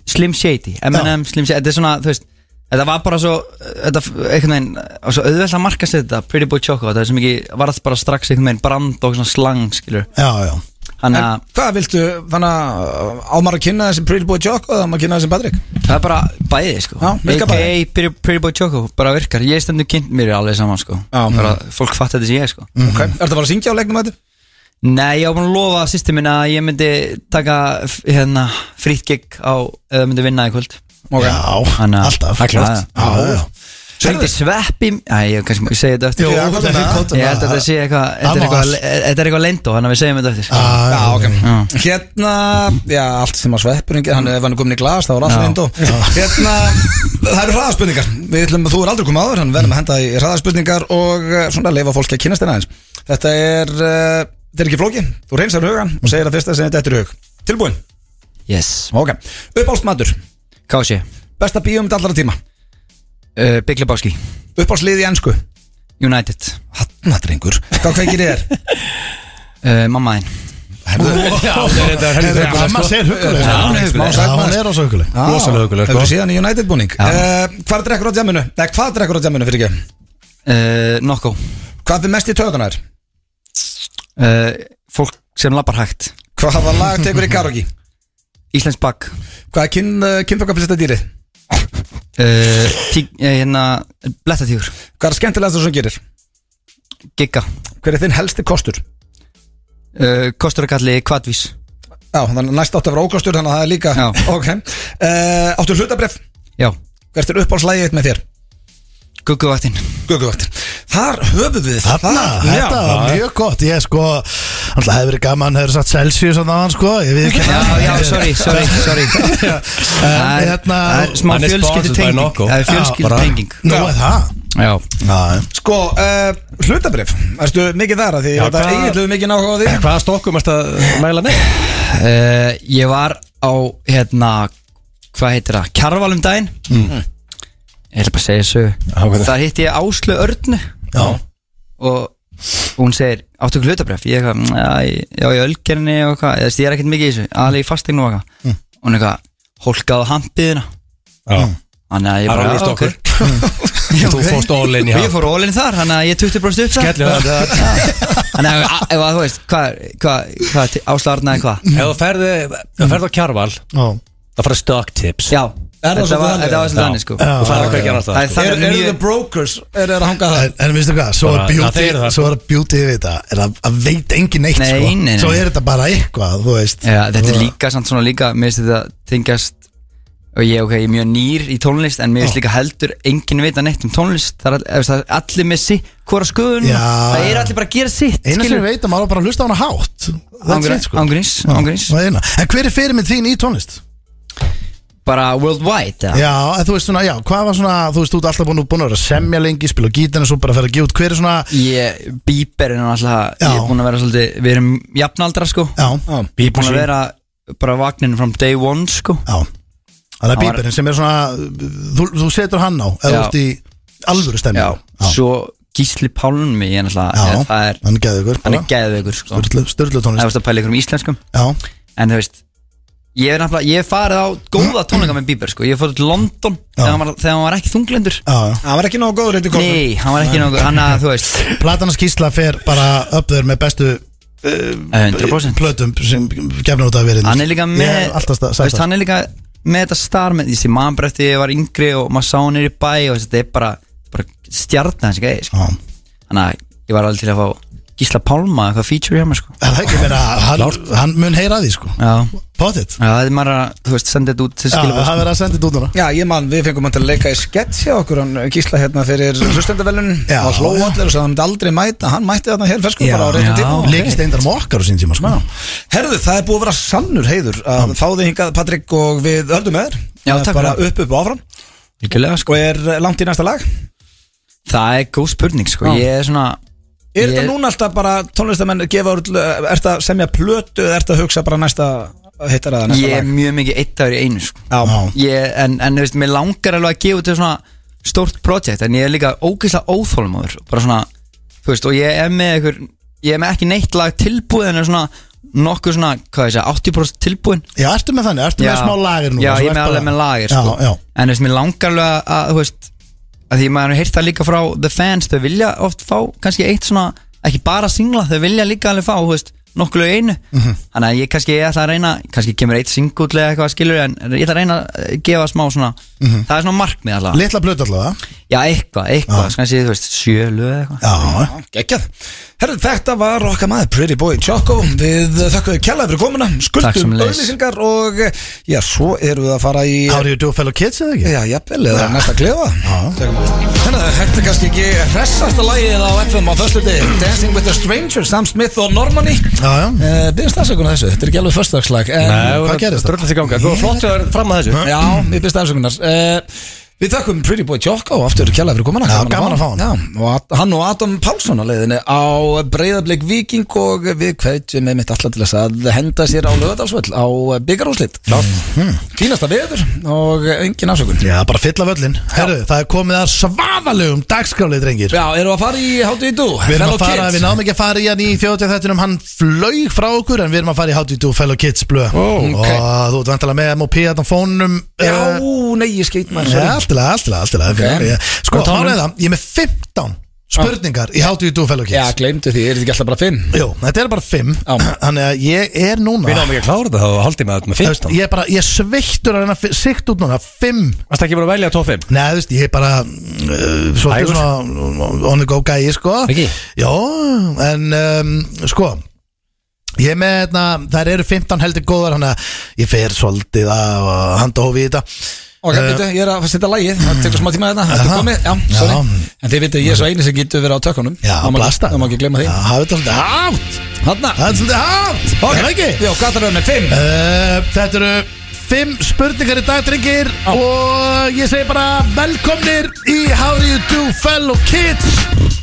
Slim Shady M&M, Slim Shady Þetta er svona, þú veist Þetta var bara svo Þetta, einhvern veginn og Svo auðvelt að markast þetta Pretty Boy Choco Þetta er sem ekki Varð bara strax einhvern veginn Brand og svona slang, skilur
Já, já
Þannig
En
að
hvað viltu, þannig að á maður að kynna þessi Pretty Boy Jock og á maður að kynna þessi Patrick?
Það er bara bæði, sko
Já, virka bæði.
AKA Pretty, Pretty Boy Choco Bara virkar Ég stendur kynnt mér alveg saman, sko
Já.
Bara fólk fatt þetta sem ég, sko
Mm. Okay. Ertu að fara að syngja á leiknum þetta?
Nei, ég var búin að lofa sýstir minna að ég myndi taka f- hérna, frýtt gig á eða myndi vinna í kvöld
Okay.
Já,
Þannig að-
alltaf
Það er klárt.
Já, já, já
Svo hengti sveppi Æ, ég kannski má ég segja þetta eftir
Jó,
Já,
þetta er
þetta-
fyrir kótuna.
Ég held að þetta sé eitthvað Þetta
Það
er
má Ah.
eitthvað, e-
allt.
þetta er eitthvað leyndó Þannig að við segjum þetta eftir
Já,
Já, ok
Já.
Hérna, já, allt sem að sveppurinn hann, ef hann er komin í glas, það var alltaf
Já.
einn og Hérna, það eru hraðaspurningar Við ætlum að þú er aldrei komið áður, hann verðum að henda í hraðaspurningar og eh, svona leifa fólki að kynast þeirna aðeins Þetta er, uh, þetta er ekki flóki Þú reynsar hugan og segir að fyrsta sem þetta er hug Tilbúin,
Yes
ok Uppálsmatur,
Kási
besta bíum allara tíma
uh, Big Lebowski
Uppálslið í ennsku
United
Hanna drengur Hvað kveikir þér?
uh, Mamma þín
Já, þetta er heldur
Þetta Amma segir hugguleg
Já, hún er hugguleg.
Já, hún er ás hugguleg
Rosalega hugguleg, sko.
Hefur síðan í United búning uh, Hvað drekkur á djamunu? Nei, hvað drekkur á djamunu fyrir ekki?
uh, Nokko
Hvað er mest í töðunar?
uh, Fólk sem labbar hægt
Hvaða lag tekur í karaoke?
Íslensk bakk
Hvað er kyn, uh, kynfokafylsta dýrið?
uh, tí- eh, Hérna Blettatígur
Hvað er skemmtilegast sem þú gerir?
Gigga
Hver er þinn helsti kostur?
uh, Kosturakalli Kvadvís
Já, þannig að næst átt að vera ókostur Þannig að það er líka
Já.
Ok uh, Áttu hlutabref
Já
Hvert er uppáhalslægið með þér?
Gugguvaktinn
Guðgjótt Þar höfum við
Þarna,
það
þetta var mjög gott Ég sko, Þannig að hefur verið gaman, hefur sagt Celsius að það sko Ég við ekki
Já, já, sorry, sorry, sorry Það
En
er-
hérna
það er smá
Hann er sponsored by
fjölskyldutenging
Nocco.
Það er fjölskyldutenging
Nú er það
Já,
Já,
Sko, uh, hlutabrif Erstu mikið þar að því
Já,
Þetta
hvað- Eh,
eiginlega mikið náhuga á því
Hvaða stokkum erst að mæla með?
Eh, ég var á hérna, hvað heitir það, Kjarvalum daginn
Mm.
ég ætla bara að segja þessu
hvað er-
þar hitti ég Áslu Örnu já. og hún segir áttu ekki hlutabref, ég eitthvað "Mm, já, ég- já, í ölgerni og eitthvað, eða þú veist, ég er ekkert mikið í þessu aðlega í fastegn og eitthvað mm. hún eitthvað, hólkaðu hampiðina
Já
þannig að ég
Það
bara,
er alveg
"Já,
stokkur
ok." Já,
Þú
ok.
fórst all in í
Og
hann.
ég fór ólinn þar, þannig að ég er 20 upp þar.
Skellir það
þannig að ef að þú veist, hvað, hvað, hvað Áslu Örnu eða hvað
Ef þú ferði, ef þú ferði á kjarval Það fara stock tips
já, þetta
svolítið
var
þannig?
þetta var
Já.
svolítið þannig sko
Þú fara hvergi annars
Það er
það
þannig
Eru
að
eru
mjög-
the brokers Eru þeir að hanga það
En, en veistu hvað, svo er
Bara- Já,
beauty
þeir eru það,
Svo er beauty við þetta er að, að veit engin neitt
Nei,
sko.
nei, nei.
Svo er þetta bara eitthvað, þú veist
Já, þetta er líka samt svona líka Mér finnst þetta tengjast Og ég, ok, ég er mjög nýr í tónlist En mér finnst líka heldur enginn vita neitt um tónlist Það er, all, ef það er allir með sitt hvora skoðun
Já.
Það er allir bara að gera sitt
Einu sem ég veit að maður á bara að hlusta á hana hátt That's it, sko.
Ángrins,
Já,
ángrins
það er eina. En hver er fyrirmynd þín í tónlist?
Bara worldwide eða?
Já, en þú veist svona, já, hvað var svona Þú veist, þú ert alltaf búin, búin að vera að semja lengi Spila á gítarinn og svo bara að fara að gefa út Hver er svona,
Ég, bíberinn og alltaf Ég
Já.
er búin að vera svolítið Við erum jafnaldra sko
já,
Ég er búin að vera bara vagninn from day one sko
já Það er
var-
bíberinn sem er svona Þú, þú setur hann á, eða þú
Já.
ert í alvöru stemmi
Já, svo Gísli Pálmi Ég er
já,
alltaf, það er,
hann geði ykkur
hann er geðveikur sko
Störlu
Það
tónlist
varst að pæla ykkur um íslenskum
Já,
En þú veist Ég er nefnilega, ég hef farið á góða tónleika með Bieber sko Ég hef fótt til London þegar hann, var, þegar hann var ekki þunglendur
já, já
Það var ekki nógu góður Þetta kom
Nei, hann var ekki nokkuð, hann að þú veist
Platanars Gísla fer bara upp þér með bestu
100%
plötum sem gefnir út af verið
Hann er líka með,
Ég hef alltaf
þú veist,
sagt það
hann er líka með þetta star með Ég sé maður bara eftir ég var yngri og maður sá hann niður í bæ og þessi, þetta er bara, bara stjarnið hans ekki sko.
Já.
Þannig að ég var alveg til að fá Gísla Pálma, eitthvað feature hjá mér sko
Það er ekki meina, hann, hann mun heyra að því sko
Já,
Pottit
já það er maður að, þú veist, senda þetta út til
Já,
skilabóð
það verður að senda þetta út núna
Já, ég man, við fengum hann til að leika í sketsi á okkur hann gísla hérna fyrir hlustendavelun
Já.
og hló allir og sagði að hann myndi aldrei mæta hann mætti þarna hér fersku bara á
já.
reyndum tíma
ok.
Leikist eindar mokkar á sín tíma sko
Herðu, það er búið að vera sannur heiður að fá þig hingað Patrik og við höldum með þér
Já,
Það er
takk
Bara
fyrir.
upp upp og áfram
Líkulega
Sko er eh, langt í næsta lag
Það er góð spurning sko,
Já.
ég er svona
Er
Ég-
þetta núna alltaf bara tónlistamenn gefa úr, er þetta að semja plötu eða er þetta að hugsa bara næsta hittar eða næsta
Ég er
lag?
mjög mikið eitt dagur í einu sko.
Já,
ég, En, en þú veist, mér langar alveg að gefa út svona stórt projekt En ég er líka ógeðslega óþólmáður Bara svona, þú veist, og ég er með einhver Ég er með ekki neitt lag tilbúið En er svona nokkuð svona, hvað ég segja, 80% tilbúin
Já, ertu með þannig, ertu með smá lagir núna
Já, ég
svo
er
ert
með alveg
bara-
með lagir sko.
Já, já,
En þú veist, mér langar alveg að, að, þú veist að Því maður heirt það líka frá The Fans Þau vilja oft fá kannski eitt svona Ekki bara singla, þau vilja líka alveg fá þú veist, Nokkuð lög í einu
Mhm.
Þannig að ég kannski ég ætla að reyna Kannski kemur eitt singullega eitthvað skilur En ég ætla að reyna að eh, gefa smá svona
Mhm.
Það er svona markmið allavega
litla blötu allavega
Já, eitthvað, eitthvað, kannski þú veist Sjö lög eða eitthvað
Já,
geggjað Herru, þetta var okkar maður Pretty Boy Choco Við þökkum við kjallaði fyrir komuna
Takk
Skuldum
sömuleiðis.
auðlýsingar og eh, Já, svo erum við að fara í
how do you do fellow kids eða ekki?
Já, jafnvel, eða næsta klefa
Já.
Tökum á. Þannig að þetta er kannski ekki hressasta lagið á FM á föstundi Dancing with a Stranger, Sam Smith og Normani
Já, já.
uh, Byrðist afsökunar þessu, þetta er ekki alveg föstudagslag
Nei,
Hvað gerðist það?
það? Dröllast í ganga, þú var flott að vera fram að þessu
Já, ég byrðist afsökunar uh, Við takkum Pretty Boy Tjóka og aftur kjallaði fyrir komuna
Já, gaman að fá hann.
Já, og Ad- hann og Adam Pálsson á leiðinni á Breiðablik Viking og við kveitjum með mitt allar til þess að henda sér á lögadalsvöll á byggarúslit Fínasta veður og engin afsökun
Já, bara fylla völlin Herru, það er komið að svaðalegum dagskrálið, drengir
Já, erum við að fara í Hátu í dú?
Við erum að fara, við náðum ekki að fara í hann í fjóðtjöð þettunum Hann flög frá okkur en við erum að fara í How to Do Fellow Kids blö
Ó, ok.
Og þú ert vantilega með MOP að það hérna fónum
Já, nei, ég skeit maður
Ja, allt í lagi, allt í lagi, allt í lagi
Ok.
Ég- Sko,
Og tónum?
málega það, ég er með 15 spurningar í How to Do Fellow
Já,
Kids
gleymdu því, er þetta ekki alltaf bara fimm?
Jú, þetta er bara 5
Já.
Þannig að ég er núna
Við náum ekki að klára þetta, þá haldi maður með
Þú veist,
15
Ég er bara, ég er sveittur að reyna að fi- sikta út núna 5
Það er ekki bara að velja top 5
Nei, þú veist, ég er bara uh, Svolítið
Hægur.
svona on the go gæi, sko
Ekki?
Jó, en um, sko Ég er með, hérna, þær eru 15 heldur góðar Þannig að ég fer svolítið að handa hófi í þetta
Ok, uh, býttu, ég er að setja lægið, það tekur smá tíma þetta, þetta
Eh. Aha.
er komið, já, sorry
Já.
En þið vitið, ég er svo eini sem getur verið á tökkunum
Já,
Það má ekki-
blasta
Það má ekki gleyma því
Já, hafa þetta svolítið hátt
Hanna
Það er svolítið hát
Ok.
Er það ekki?
Jó, gataröðum er 5
Eh, Þetta eru fimm spurningar í dag, drengir Og ég segi bara velkomnir í How Do You Do Fellow Kids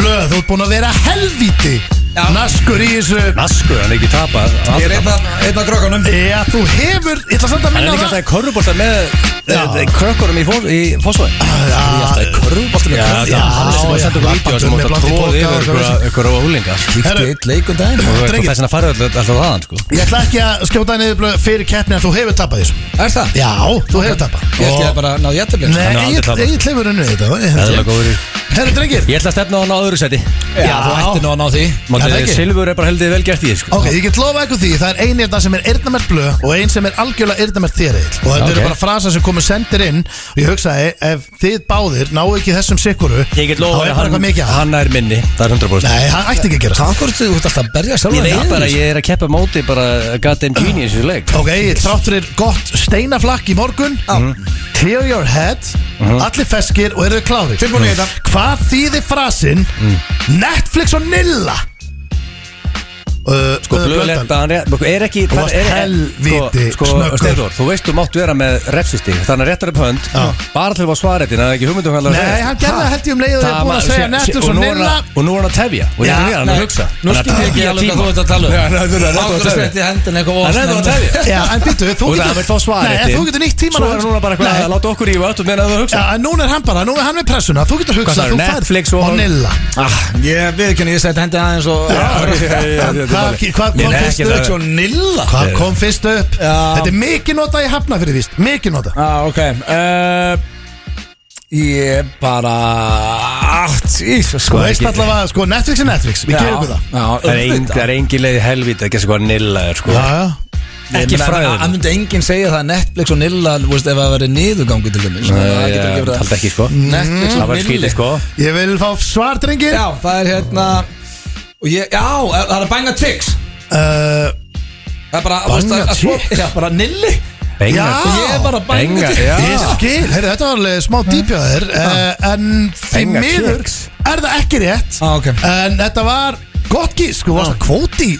Blöð, þú ert búin að vera helvíti
Já.
Naskur í þessu
Naskur, hann er ekki tapað
Ég er einn af- einn af krökkunum
Já, þú hefur, ég ætla samt að
Hann er
minna á
líka
það
alltaf í körrubolta með eh, krökkunum í fós- í fósvæði Hann er alltaf í körrubolta með
Já,
krökkunum
já,
Hann er sem að
já,
senda okkur
labbandi
vídeo sem
með
átt að
blandi
tróða
poka og
yfir
eitthvað
ykkur á húlinga
Líktu
Herru.
eitt leikum um daginn
Drengir.
Þess vegna farið öll- öll alltaf aðan sko
Ég ætla ekki að skjóta niður blöð fyrir keppni En þú hefur tapað þessu
Er það?
Já, þú hefur tapað
Ég ætti að bara ná jættabli
Hann hefur aldrei tapað.
Nei, ég tlefur hennu
Eðla
þetta
góður í
Herru, drengir
Ég ætla að stefna á hann á öðru seti
Já, þú ætti nú að ná því
Er það ekki?
Mátti Silfur er bara heldur vel gert í því sko
Ok, ég get lofa eitthvað því, það er ein hérna sem er eyrnamert blöð og ein sem er algjörlega eyrnamert þér eil og þetta
Ok.
eru bara frasa sem komu sendir inn og ég hugsaði, ef þið báðir náu ekki þessum sikkuru, þá
Ég
er
get lofa
bara eitthvað mikið að
hann er minni Það er 100%
Nei, það ætti ekki að gera
Hvað hvort þú ert alltaf að berja sjálf
Ég veit bara, ég er að keppa móti bara goddamn genius í þessu leik
Ok, ég þrátt fyrir gott steinaflakk í morgun Mm. Clear your head
Mhm.
Allir feskir og eru klári
Tilbúin í þetta.
Hvað þýðir frasin
Mm.
Netflix og Nilla uh,
Sko, blöðlegt að hann er, er ekki
Þú varst
er,
helviti
sko,
snöggur.
sko, Steinþór, þú veist þú máttu vera með refsustík Þannig að réttar upp hönd
Já.
Bara til að fá svaretin, það er ekki hugmyndum hvað
Nei, hann gerði það held ég um leið og ég er búin að segja Netflix og Nilla
Og nú er hann að tefja Og ég
Já,
er hann
nei.
að hugsa
Nú skil ég ekki alveg hvað þú ert að tala um. Ákvörðu
um
setti hendin eitthvað
Hann er það að tefja
Já, en býttu, þú
Og
getur
það er að fá svarið
Nei, en
þitt.
þú getur nýtt tíman
Svo er núna bara eitthvað að láta okkur í vatn Meðan þú
Já,
hugsa
en núna er hann bara, núna er hann með pressuna Þú getur
Hvað
hugsað,
sagði,
þú færð
Netflix og-
Nilla
Ég veit ekki, ég setti hendin aðeins og
Hvað hvað kom fyrst upp?
Netflix og Nilla
Hvað kom fyrst upp?
Já.
Þetta er mikið nota í hafna fyrir víst Mikið nota
Já, Ah, ok uh, Ég bara Átt, Jesus
Þú
sko
veist allavega, sko, Netflix er Netflix Við gerum við það
Það er ein- það er engin leið í helvítið Ekki hvað Nilla er sko
Já, já
Ekki fræður
Það myndi enginn segja það að Netflix og Nilla veist, ef það verið niðurgangu til þeim Það getur ekki verið
Taldi ekki sko
Mm,
Netflix
Það
og
var
Nilla
skýtið sko
Ég vil fá svar, drengir
Já, það er hérna og ég, Já, það er að bænga chicks
uh,
Það er bara, þú veist,
Banga
að- að svo-
chicks?
Já, bara Nilli
Benga
Já.
Ég er bara að bænga
Benga,
chicks
já.
Ég skil, heyrðu, þetta var alveg smá dýpjaðir uh, En því
Enga
miður
kjöks.
er það ekki rétt
Á, ok.
En þetta var gott gís, sko, varst að kvóti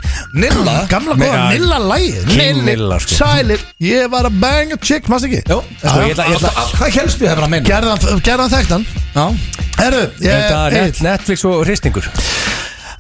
Nilla Gamla
Nei,
góða
já.
Nilla lægið
King Nilla, sko.
Sælir, ég var að banga chick, maður ekki
Jó,
Sko, ég ætla- ég ætla-
Alltaf- Hvað helst við hefur að meina?
Gerðan, gerðan þekktan
Já
Herru, ég,
Þetta er
Egill,
net- Netflix og hristingur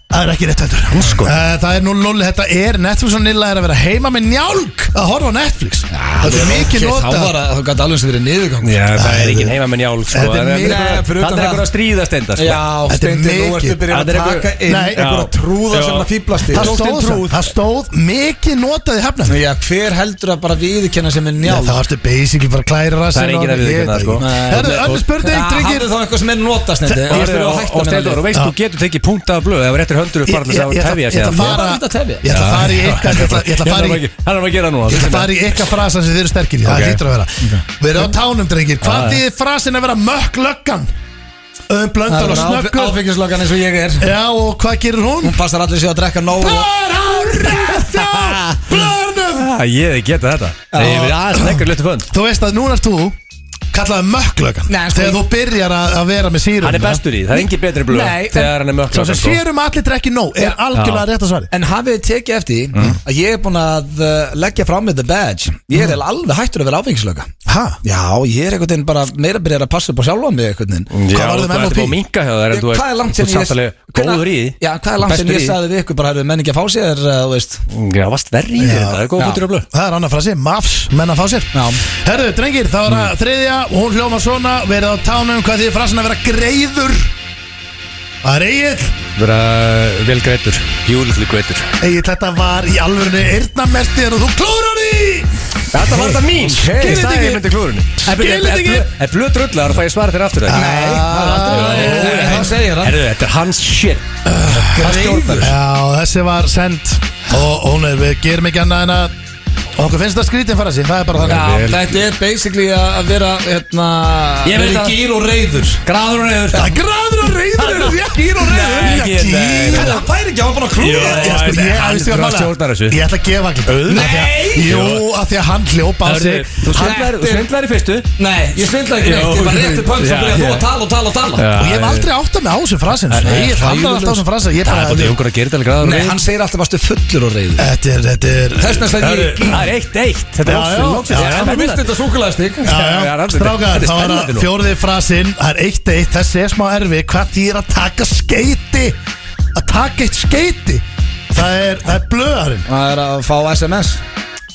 það er ekki rétt heldur
Sko.
Eh, Það er nú lolli, þetta er Netflix og Nilla er að vera heima með njálg Að horfa á Netflix Þetta er mikið
Þá
nota
var að það gæti alveg sem verið niðurgangu
Já, það er engin heima með njál sko.
Þetta er
Það er
mikið-
Nei, fyrir utan
eitthvað
það-
að stríða stenda sko.
Já,
Þetta er
Steindi, nú
mikið.
ertu byrjað
Þetta
að
er
taka
einhver-
inn
Nei,
einhverja
já.
trúða
Já.
sem að fýblast í
Það stóð, samt- það stóð mikið notað í hefnum
Já, hver heldur að bara viðkenna sem er
Já,
njál?
það varstu basically bara að klæra rassin
Það er enginn að viðurkenna það, sko.
Nei,
Herru,
og-
önnur spurning, drengir
Hafðu þá eitthvað sem er notast Steindi.
Þe-
Þú
Og
veist, þú
og- og
hættar með
Steindór,
það.
og veist, þú getur tekið punkt af blöð ef réttir höndur upp farið
Ég-
þess að
ég- ég-
tefja Hérna
ég- ég-
síðan.
ég-
Bara
bara-
þetta tefja
Ég ætla að fara í eitthvað Ég ætla- ég ætla að fara í
Ég- Hann er að gera núna
Ég ætla að fara í eitthvað frasan sem þið eru sterkir í
Ok.
Það
Ah,
hlýtur að vera Við erum á tánum, drengir Hvað
Já,
þýðir frasin að vera mökk löggan? Um blöndal og
Það er
snöggur
áfengislokkan eins og ég er
Já, og hvað gerir hún?
Hún passar allir sér að drekka nóg og-
Það er á rétt á blöndum
Ah, Ég geta þetta Nei, Ég vil aðeins nekkur löttu fönd
Þú veist að núna er þú kallaði mökk löggan
Nei, sko,
Þegar
ég-
þú byrjar að að vera með sírum
Hann er bestur sko. í, því, það er engin betri blöð
Nei, en-
Þegar hann er mökla
Svo sem sérum allir drekki nóg Er algjörlega rétt að svari
En hafið þið tekið eftir því
Mm.
að ég er búinn að uh, leggja frá mig the badge Ég er eiginlega alveg hættur að vera áfengislöka
Ha?
Já, ég er einhvern veginn bara meira byrjar að passa upp á sjálfa mig einhvern veginn
Hvað
Hvað varð um
Þú ert
MLP?
búin að minka Mm. hjá það en þú ert-
Hvað er langt
þú
sem
ert
ég
samt alveg Góður í því.
Já, hvað er
Og
langt sem
bestur
ég
í því.
sagði við ykkur bara Hefur menn ekki að fá sér, uh, þú veist
Já, varst verri í þetta, það er góð
Já.
punktur á blöð
Það er annað frasi, mafs, menn að fá sér
Já.
Herðu, drengir, þá er það þriðja Hún hljóma svona, verið á tánum Hvað því frasin að vera greiður Það er Egil
Vera vel greitur, júlifli greitur
Egil, þetta var í alvörinu Eyrnamertir og þú klúrar því
Þetta var þetta mín Skilur
Skilur þetta
þetta
ekki?
ekki myndi klúrunni
Skilur þetta ekki?
Er blöð drullar að fæ ég svara þér aftur það?
Nei, það er aldrei verið.
Nei, það segir hann.
Herru, þetta er hans shit Það stjórnar
Já, þessi var send Og hún er, við gerum ekki annað en að Og okkur finnst það skrítin fara sig, það er bara þannig
Já, þetta er basically að að vera hérna,
Ég veit það.
vera í gýr og reyður
Graður og reyður
Það græður og reyður eru rétt Gýr og reyður
Nei, ekki, nei, nei.
Það færi ekki, hann var bara að
Jú,
klúða
Ég, sko, ég,
Hann
veistu hvað
þarf að
málega?
stjórna þessu.
ég ætla að gefa allir
Nei!
Jú, af því að hann hljópa á
Hörðu,
sig
Þú svindlar- þú svindlar í fyrstu
Nei, ég svindla ekki
Jú.
neitt Ég var rétt til pönn
Já,
sem byrjaði þú
já.
að tala og tala og tala
Og ég hef aldrei átt að mig á þessum frasin
Nei,
Ég er
það er
aldrei
jú-
átt á þessum frasin Ég
Það er bara
bara,
jungur að gera þetta alveg graður og
Nei,
reyður
hann segir alltaf varstu fullur og reyður
þetta er, þetta er
Þess vegna sagði
Hörðu,
ég
Það er eitt eitt Þetta
Já,
er
já,
loksins-
já,
Þetta er
já,
Þú
spennandi.
vilt þetta súkulæðstig
Já, já,
Já,
þetta-
Strákar,
þetta er
þá er
spennandi
það
nú.
fjórði frasinn Það er eitt eitt, þessi er smá erfi Hvað þýr að taka skeiti Að taka eitt skeiti Það er, það er blöðarinn
Það er að fá SMS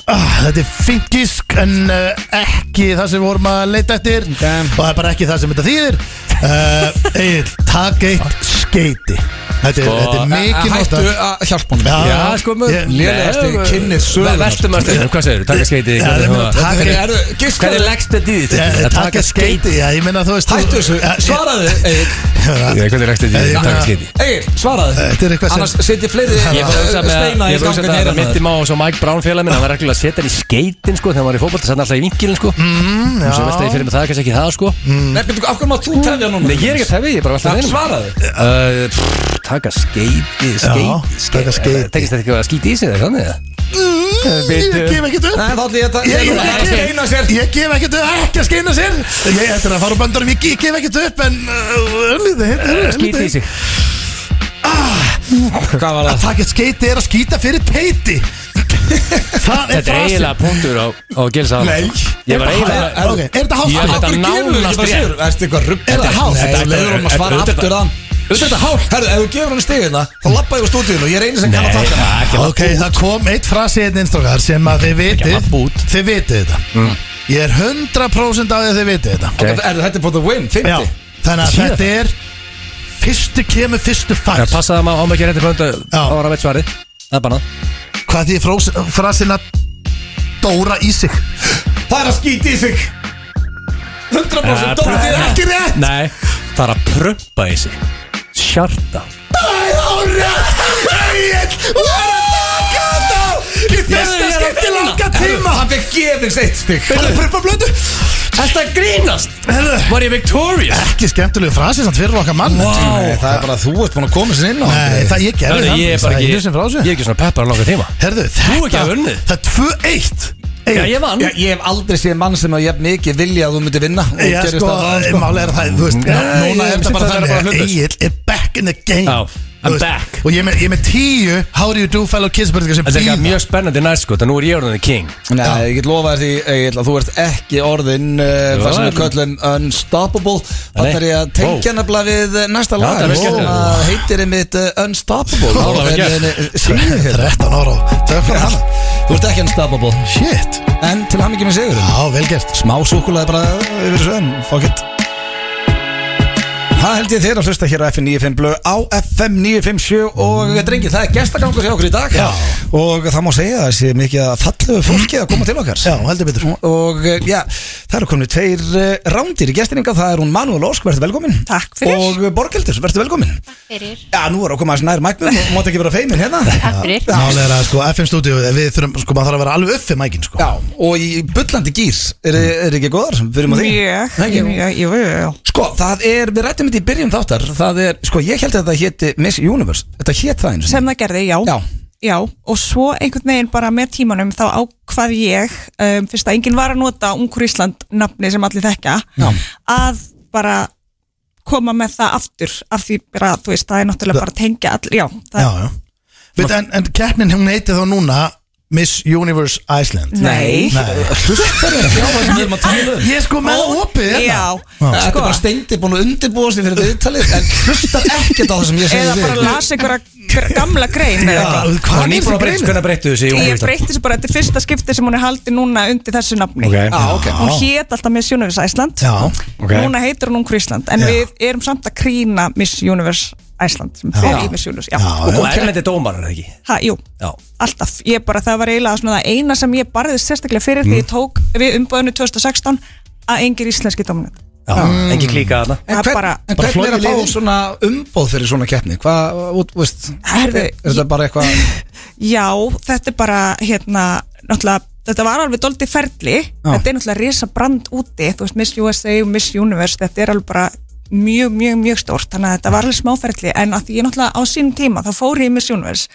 ah, Þetta er fínt gísk En uh, ekki það sem við vorum að leita eftir
Ok.
Og það er bara ekki það sem þetta þýðir uh, Egil, taka eitt skeiti Þetta er,
Sko,
þetta er mikið
eh, Hættu
nota
að hjálpa honum
Já,
Já, sko, maður-
ég-
lélegasti
Nei,
kynnir sögunnar.
Veltum að stjórna, hvað segir þú? Takk að skeiti
Já, ég meina, taka
Hvernig
eitt-
er þú, giska
hérna. Hvernig leggst þetta í því?
Eh, Taka skeiti, já, ég meina þú veist þú- Eh,
Hættu þessu,
Eh,
Ja, ég-
svaraðu Egil,
Nei, Hvernig leggst þetta í því?
Eh,
Takk að skeiti
Egil, svaraðu
Eh,
Þetta er eitthvað sem-
Annars setji fleiri eh,
Ég fór að hugsa með
steina
Ég fór
í
að hugsa
gangan
með
heyra
að mitt í hérna. má og svo Mike Brown félag minn Hann var reglulega að setja hann í skeitin sko Þegar hann var í fótbolta Sætt alltaf í vinkilin sko mm, Og svo
já.
veist að ég fyrir með það Kanski ekki það sko
Nei, betur, af hverju maður þú tefja núna?
Nei, ég er ekki að tefja Ég er bara
Það
alltaf
svaraðu
Uh, pff, taka skeiti, skeiti,
taka skeiti.
Tekist þetta ekki að skýti í sig þegar þannig það?
Ég gef ekkert upp
Nei, þá ætlum ég að
Ég- ég-
Ég
ég-
skeina sér
Ég gef ekkert upp, ekki að skeina sér Ég ættir að fara úr böndunum, ég ge- gef ekkert upp En uh, örlítið, hérna
Skýti
er
í
örlítið
sig
Hvað var
Að
það?
taka eitt skeiti er að skýta fyrir teiti Það er
Þetta er
frasi
eiginlega punktur á, á gilsa
Nei.
Ég var
Er-
eiginlega
ok, Er þetta
Ég held
hálf?
að-
Akkur gefur þú ekki bara sigur Erstu eitthvað ruggla
Þetta er hálf.
Þetta
Þetta-
er leiður um að
þetta-
svara
þetta-
aftur þann Þetta er hálf Herru, ef þú gefur hann stigina Þá lappa ég úr stúdíun og ég reynir sem kann að taka hana
Ok, það kom eitt frasi einn innstrókar sem að
Ekki
þið
að
vitið
labba út. Mm.
Þið vitið þetta Ég er 100% á því að þið vitið þetta
Ok.
Þetta- Herru, þetta er for the win,
Já,
50
þannig að
Síðan.
þetta er Fyrstu kemur, fyrstu fær
Passa það maður á maður ekki rétti pöntu
Já.
Það var að veit svarið Það er bannað
Hvað því frós- frasin að dóra í sig
Það er að skýti í sig 100% dótt Þetta er ekki rétt
Nei, það er að prumpa í sig Sjarta
Fyrsta skipti langa tíma Hann fekk gefins eitt stygg Hann er prumpa blötu
Þetta grínast Var ég victorious?
Ekki skemmtilegu frasi samt fyrir okkar mann
Nei, það er bara að þú ert búin að koma sér inn á
Nei, það ég gerði
Hörru, ég er bara
það
ekki
einu sem frasi
Ég er ekki svona peppar á langa tíma
Herðu, þetta
ekki að unnið.
Það er 2-1
Já, ég vann
Já, ég hef aldrei séð mann sem að ég hef mikið vilja að þú myndi vinna og
Já,
gerist
sko,
það ráðan, sko.
mál er það, þú veist Núna
ég
er
finnst
þetta bara
þetta
þannig
bara
að
hlutlaust.
Egil er back in the game
Já, I'm
Þú veist,
back.
Og ég er með- ég er með tíu How do you do fellow kids spurningar sem
Þetta er eitthvað
bíða
mjög spennandi næst sko Þannig nú er ég orðin the king
Nei, ég get lofa þér því Egil, að þú ert ekki orðin uh, það sem við köllum Unstoppable Þannig er ég að tengja nefnilega við eh, næsta
Já,
lag
það er
sem
skemmtilegt.
að heitir einmitt eh, Unstoppable
Ó, það er
En,
gert.
eh, Sýnir þér
13 ára Takk fyrir hann
Þú ert ekki Unstoppable
Shit
En til hann ekki með sigurinn
Já, vel gert
Smá súkulega bara yfir svön Fuck it Það held ég þér að hlusta hér á FM 95 blöð á FM 957 og drengi, það er gestagangur hjá okkur í dag
Já.
og það má segja að það sé mikið að fallegu fólki að koma til okkar
Já, heldur betur
og eh, já, það eru komin tveir eh, rándir í gestinninga, það er hún Manuel Ósk, verður velkomin
Takk fyrir.
og eh, Borghildur, verður velkomin
fyrir
Já, nú er okkur maður nær mæknum og mátt ekki vera feimin hérna
Takk fyrir
Mál er að sko, FM stúdíu Við þurfum, sko, maður þarf að vera alveg upp fyrir mækin, sko
Já, og í bullandi gýr er, er ekki góðar, byrjum á því
Mjög,
Það ekki?
mjög, jú, jú, jú
Sko, það er, við rættum þetta í byrjun þáttar Það er, sko, ég held að þetta héti Miss Universe Þetta hét það einu sinni.
Sem það gerði, já
Já.
Já, og svo einhvern veginn bara með tímanum þá ákvað ég um, fyrst að enginn var að nota Ungur Ísland nafni sem allir þekka
Já.
að bara koma með það aftur af því bara, þú veist, það er náttúrulega bara að tengja allir, já, það,
Já, já Veit, en, en keppnin hún heiti þá núna Miss Universe Iceland
Nei.
Nei.
Hlustar er ekki á það sem við erum að tala um
Ég er sko með það opið
já,
hérna
Þetta er bara steindi búin að undirbúa sig fyrir viðtalið En hlustar ekkert á það sem ég segi
eða
við
bara las einhverja gamla grein eða eitthvað
Já, Hvað er nýbúin að breyna?
Hvernig breyttu þessi
Ég breyti þessu bara, þetta er fyrsta skipti sem hún er haldið núna undir þessu nafni
Ah, Ok.
Já, ok
Hún hét alltaf Miss Universe Æsland
Já,
ok.
Núna heitir hún Ungur Ísland En
Já.
við erum samt að krýna Miss Universe Æsland sem fer í Miss Universe Já,
Já,
Og erlendi dómar er það ekki
Ha, jú,
Já.
alltaf Ég bara, það var eiginlega svona það eina sem ég barði sérstaklega fyrir því ég tók við umbúðinu 2016 að engir íslenski dóminat
Já, Engi klíka þarna
En,
Það
hvern,
bara-
en hvernig er að fá svona umbóð fyrir svona keppni? Hvað, út, veist,
Herðu,
er þetta bara eitthvað
Já, þetta er bara hérna, náttúrulega þetta var alveg doldið ferli þetta er náttúrulega risa brand úti þú veist Miss USA og Miss Universe þetta er alveg bara mjög, mjög, mjög stórt þannig að þetta var alveg smáferli en að því ég náttúrulega á sínum tíma þá fór ég í Miss Universe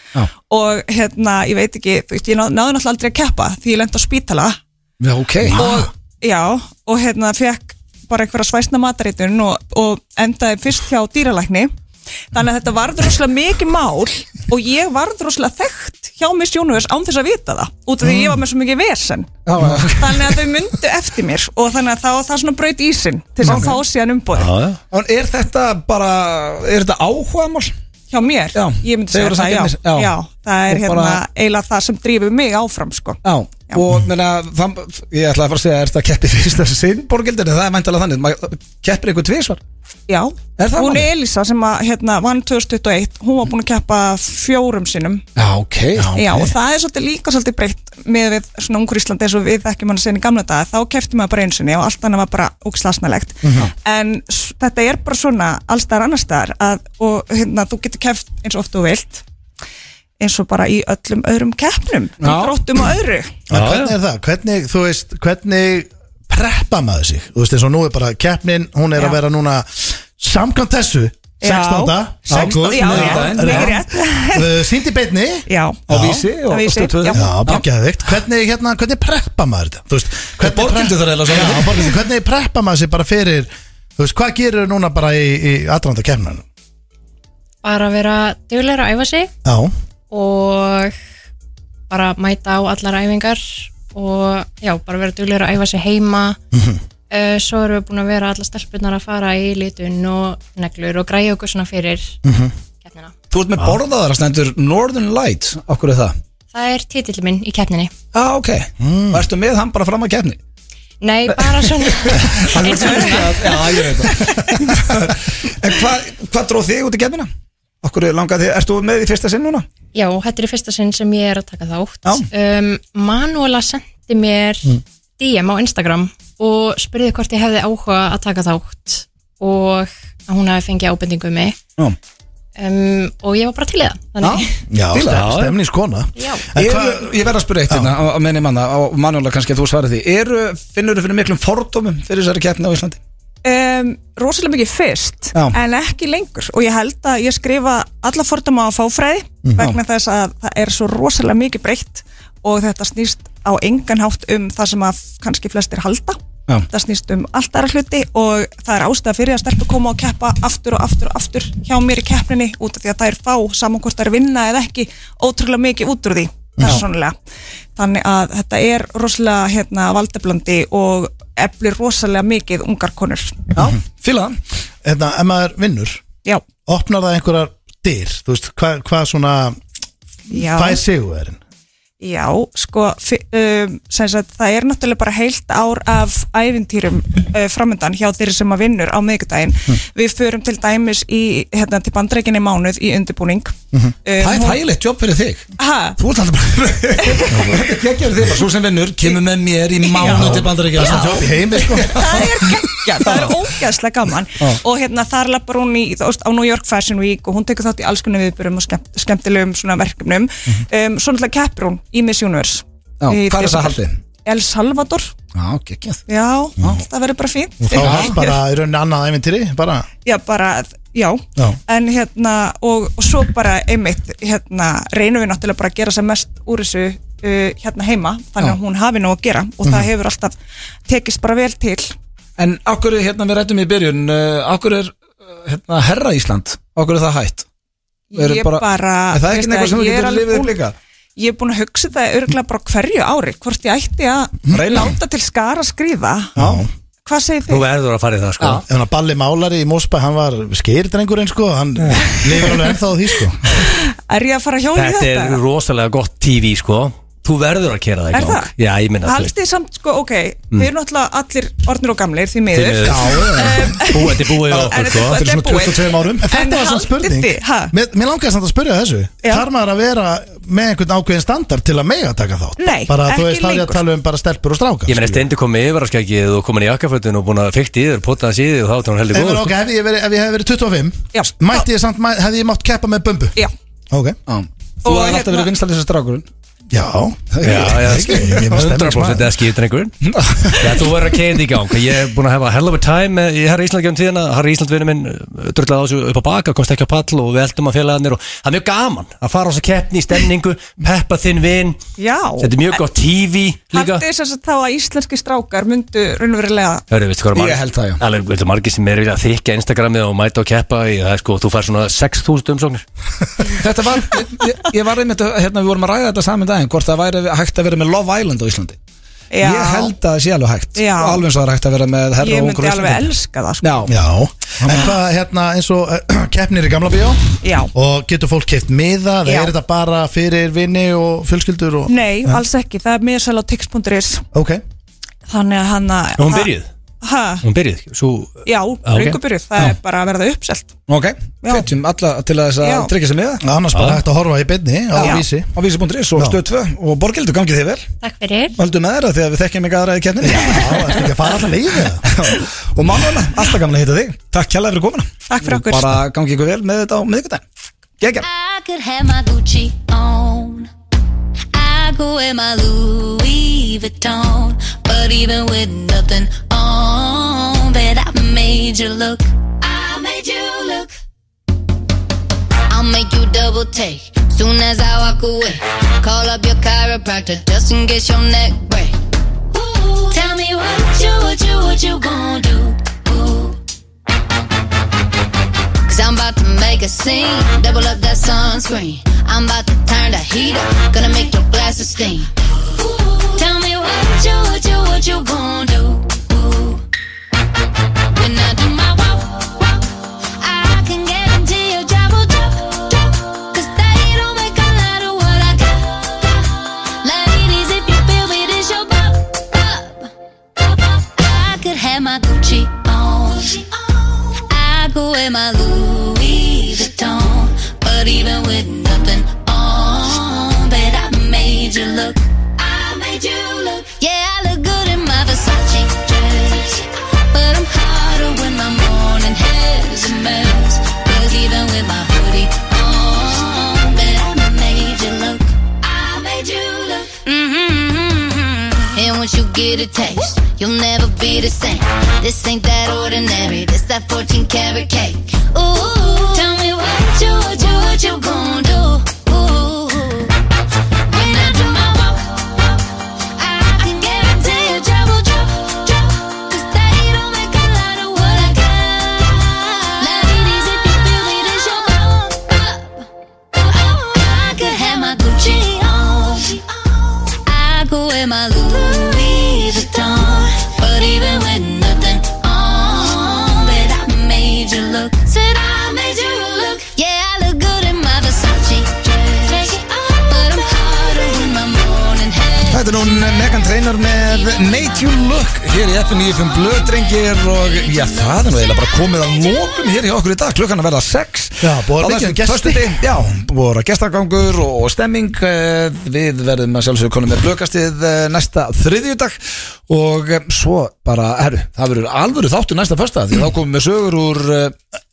og hérna, ég veit ekki þú veist, ég ná- náði náttúrulega aldrei að keppa því ég lendi á spítala
Já, ok
og, já, og hérna fekk bara einhverja svæsna mataritun og, og endaði fyrst hjá dýralækni þannig að þetta varð rosalega mikið mál og ég varð rosalega þekkt hjá Miss Universe án þess að vita það út af því ég var með svo mikið vesen þannig að þau myndu eftir mér og þannig að það, það svona braut ísin til þess að fá síðan umbúð
En er þetta bara, er þetta áhugamál?
hjá mér,
Já,
ég myndi
þau
segja
voru að
það
sækja
já.
mér,
Já.
já.
það er
Og
hérna
bara-
eiginlega það sem drýfur mig áfram sko.
Já,
Já.
og menna, það, ég ætlaði að fara að segja, er þetta keppi fyrst af sinn borgildin? Það er mæntalega þannig, maður keppir einhver tvísvar
Já,
Er það
hún
málið?
er Elisa sem að hérna, vann 2021, hún var búin að keppa fjórum sinnum
Já, ok
Já, og það er svolítið líka svolítið breytt með við svona ungur Íslandi eins og við þekkjum hann að segja í gamla daga, þá kefti maður bara einu sinni og allt annað var bara ógslasnalegt
Mhm.
en s- þetta er bara svona allstaðar annarstaðar að, og hérna, þú getur keft eins og oft og vilt eins og bara í öllum öðrum keppnum, í gróttum og öðru
En hvernig er það? Hvernig, þú veist, hvernig preppa maður sig? Þú veist, eins og nú er bara keppnin, hún er
Já.
að vera núna samkvæmt þessu, 16.
Já, 16. Já, rétt, mikið rétt.
Sýndi Eh, beinni
Já,
Á Vísi og-
Á
og
Vísi,
Stöð tvö.
já.
Já, bara geðvikt Hvernig, hérna, hvernig preppa maður þetta? Þú veist, hvernig
borgildu þar eiginlega
Já,
svona.
borgildu, hvernig preppa maður sig bara fyrir Þú veist, hvað gerir núna bara í, í aðranda kemnan?
bara vera duglegur að æfa sig
Já,
og bara mæta á allar æfingar og já, bara vera duglegur að æfa sig heima mm svo erum við búin að vera allar stelpurnar að fara í litun og neglur og græja okkur svona fyrir keppnina.
Þú ert með borðaðar að stendur Northern Light, okkur er það?
Það er titill minn í keppninni.
Já, ok, og ertu með hann bara fram að keppni?
Nei, bara svona eins og svona.
Já, ég veit það En hvað hva dróð þig út í keppnina? Okkur langaði þig, ertu með í fyrsta sinn núna?
Já, þetta er í fyrsta sinn sem ég er að taka þátt.
Já.
Um, Manuela sendi mér DM á Instagram og spurði hvort ég hefði áhuga að taka þátt og að hún hafi fengið ábendingu um mig.
Já.
Um, og ég var bara til í það. Þannig,
já
Fíla.
stem- stemningskona
Já.
En
Eru,
hvað,
ég verð að spyrja eitt hérna á, á minni manna og mannulega kannski að þú svarir því Eru, finnur þú fyrir miklum fordómum fyrir þessari keppni á Íslandi?
um, rosalega mikið fyrst
Já.
en ekki lengur og ég held að ég skrifa alla fordama á fáfræði vegna þess að það er svo rosalega mikið breytt og þetta snýst á engan hátt um það sem að kannski flestir halda
Já.
það snýst um allt aðra hluti og það er ástæða fyrir að stelpur koma og keppa aftur og aftur og aftur hjá mér í keppninni út af því að það er fá saman hvort það er vinna eða ekki ótrúlega mikið út úr því persónulega þannig að þetta er rosalega hérna, valdeblandi og eflir rosalega mikið ungar konur
Já, fíla það
hérna, ef maður vinnur
já,
opnar það einhverjar dyr þú veist, hvað hva svona
já,
fær sigurverðin
já sko, fi- um, sem sagt, það er náttúrulega bara heilt ár af ævintýrum uh, framöndan hjá þeirri sem að vinnur á miðgudaginn
Hmm.
við förum til dæmis í, hérna, til bandreikinni mánuð í undirbúning um,
Hmm. Það er
hún-
þægilegt jobb fyrir þig
Ha?
Þú ert alltaf bara Þetta er þig bara Svo sem vinnur, kemur með mér í mánu til bandaríkja
jobb í heimi sko
það er geggja, það er ógeðslega gaman og hérna þar lappar hún í þú veist, á New York Fashion Week og hún tekur þátt í alls konar viðbyrjum og skemmt, skemmtilegum svona verkefnum um, svo náttúrulega keppur hún í Miss Universe
Hmm. Já,
Í
hvað er þess að
desember.
haldi?
El Salvador,
Já, geggjað
já, það verður bara fínt
og þá hans bara í rauninni annað æventýri bara
já, bara, já,
Já.
en hérna og, og svo bara einmitt hérna, reynum við náttúrulega bara að gera sem mest úr þessu uh, hérna heima þannig að hún hafi nú að gera og
Mhm.
það hefur alltaf tekist bara vel til
En okkur, hérna, við rættum í byrjun uh, Okkur er, uh, hérna, herra Ísland Okkur er það hætt Eru
ég
bara-
bara,
Er það ekki
veist
eitthvað sem
að
þú
ég er
getur
alveg
lifið upp
búin-
líka?
ég er búin að hugsa þetta örgulega bara á hverju ári hvort ég ætti að
Reyna.
láta til skara skrifa
Já.
hvað segir
Þú
þið?
verður að fara í það sko
Ef hann að balli málari í Mósbæ, hann var skeirdrengurinn sko, hann lifir alveg ennþá á því sko
Er ég að fara hjá í
Þetta
þetta?
er rosalega gott TV sko Þú verður að kera það í
Er
gang.
það?
Já, ég minna
Haldið þið samt sko, ok,
Mm.
við erum náttúrulega allir orðnir og gamlir því miður
Búið, þetta er búið á
En þetta
okkur sko
þetta er búið
árum En
En
þetta var svona
haldið
spurning
þið- ha?
Mér, mér langaði samt að spurja þessu
Já.
Þarf maður að vera með einhvern ákveðin standard til að mega taka þátt?
Nei,
bara,
ekki
Þú veist, þá er ég
lengur.
að tala um bara stelpur og strákar
Ég meina,
skilur.
Steindi kom með yfirarskækið og komin í jakkafötun og búin að fykti yfir, potaði hans í þig og þá átti hún heldur sko.
Ef,
góð
ok, ef, ég veri, ef ég hef verið 25
Já.
Mætti ég samt, mæ- hefði ég mátt keppa með bömbu
Já,
Ok
Já. Þú
Og
hefði
Ah.
alltaf
hérna-
verið vinstalisast strákurinn
Já,
Já, já,
Ég er stemningsmaður.
100% eski drengurinn Já, þú verður að kegja þetta í gang Ég er búin að hafa hell of a time með- Ég herra Ísland gefum tíðina, herra Ísland vinnu minn Drullega á þessu upp á baka, komst ekki á pall Og við eldum að félagarnir og það er mjög gaman Að fara á þessu keppni í stemningu, peppa þinn vin
Já.
Þetta er mjög gott TV líka
Haldið þess að þá að íslenski strákar myndu raunverulega
Hörru, veistu hvað er margir?
Ég held það, já.
Alveg, veistu margir sem er vilja að þykja Instagramið og mæta og keppa í það, sko, þú fær svona 6.000 umsóknir.
Þetta var, ég, ég var einmitt að- hérna, við vorum að ræða þetta saman daginn hvort það væri hægt að vera með Love Island á Íslandi
Já.
Ég held að það sé alveg hægt
Já.
og alveg eins og það er hægt að vera með herra
Ég
og
myndi
ungur á
alveg
Íslandi
elska það sko.
Já,
Já, en hvað hérna eins og eh, keppnir í gamla bíó
Já.
og getur fólk keipt miða eða
Já.
er þetta bara fyrir vinni og fjölskyldur og
Nei, alls ekki, það er miðasæl á tix.is
Ok,
Þannig að hann að
Og hún byrjuð,
Ha,
hún byrjuð, svo,
já,
ok.
ringubyrjuð, það er bara að verða uppselt
ok,
Já.
hvetjum alla til að þess
Já.
að tryggja sig með það
annars bara hægt að horfa í beinni á
Já.
vísi
á vísi.is og
Já.
stöð 2 og borgildu gangið þig vel
Takk fyrir
Völdum með þeirra því að við þekkjum ekki aðra í keppninni
Já, ertu ekki að fara alltaf leið eða?
Og mannuna, alltaf gamla hitta þig Takk kjalla fyrir komuna
Takk fyrir okkur.
Bara gangi ykkur vel með þetta á miðvikudaginn Gekja
I could have my Gucci on. I go wear my Louis Vuitton. But even with nothing on, bet I made you look. I made you look. I'll make you double take soon as I walk away. Call up your chiropractor just in case your neck break. Ooh, tell me what you, what you, what you gonna do? Ooh. Cause I'm about to make a scene. Double up that sunscreen. I'm about to turn the heat up. Gonna make your glasses steam. Ooh, tell me what you, what you, what you gonna do. Ooh. When I do my walk, walk, I can guarantee your job will drop, drop. Cause they don't make a lot of what I got. got. Ladies, if you feel me, this your pop, pop. I could have my Gucci on. I go in my Louis Vuitton. But even with nothing on, bet I made you look. I made you look. Yeah, I look good in my Versace dress. But I'm hotter when my morning hair's a mess. Cause even with my hoodie on, bet I made you look. I made you look. Mm-hmm. And once you get a taste, you'll never be the same. This ain't that ordinary. This that 14 karat cake. Ooh, tell me what you, what you, what you gonna do? Ooh. When I do my walk, walk, I can guarantee your job will drop, drop. 'Cause they don't make a lot of what I got. Ladies, if you feel me, this your up, up. I could have my Gucci on. I go in my Louis Vuitton. But even with nothing on, bet I made you look. Said I made you look. Yeah, I look good in my Versace dress. But I'm hotter when my morning hair.
Þetta er nú Megan Trainor með Made You Look hér í FN95 Blöðdrengir og já, það er nú eiginlega bara komið að lokum hér hjá okkur í dag, klukkan að verða 6
Já, búið að vera mikið um gesti.
Já, búið að vera gestagangur og stemming eh, við verðum að sjálfsögur konum með blöðkastið eh, næsta þriðjudag og eh, svo bara, herru, það verður alvöru þáttu næsta fyrsta því þá komum við sögur úr eh,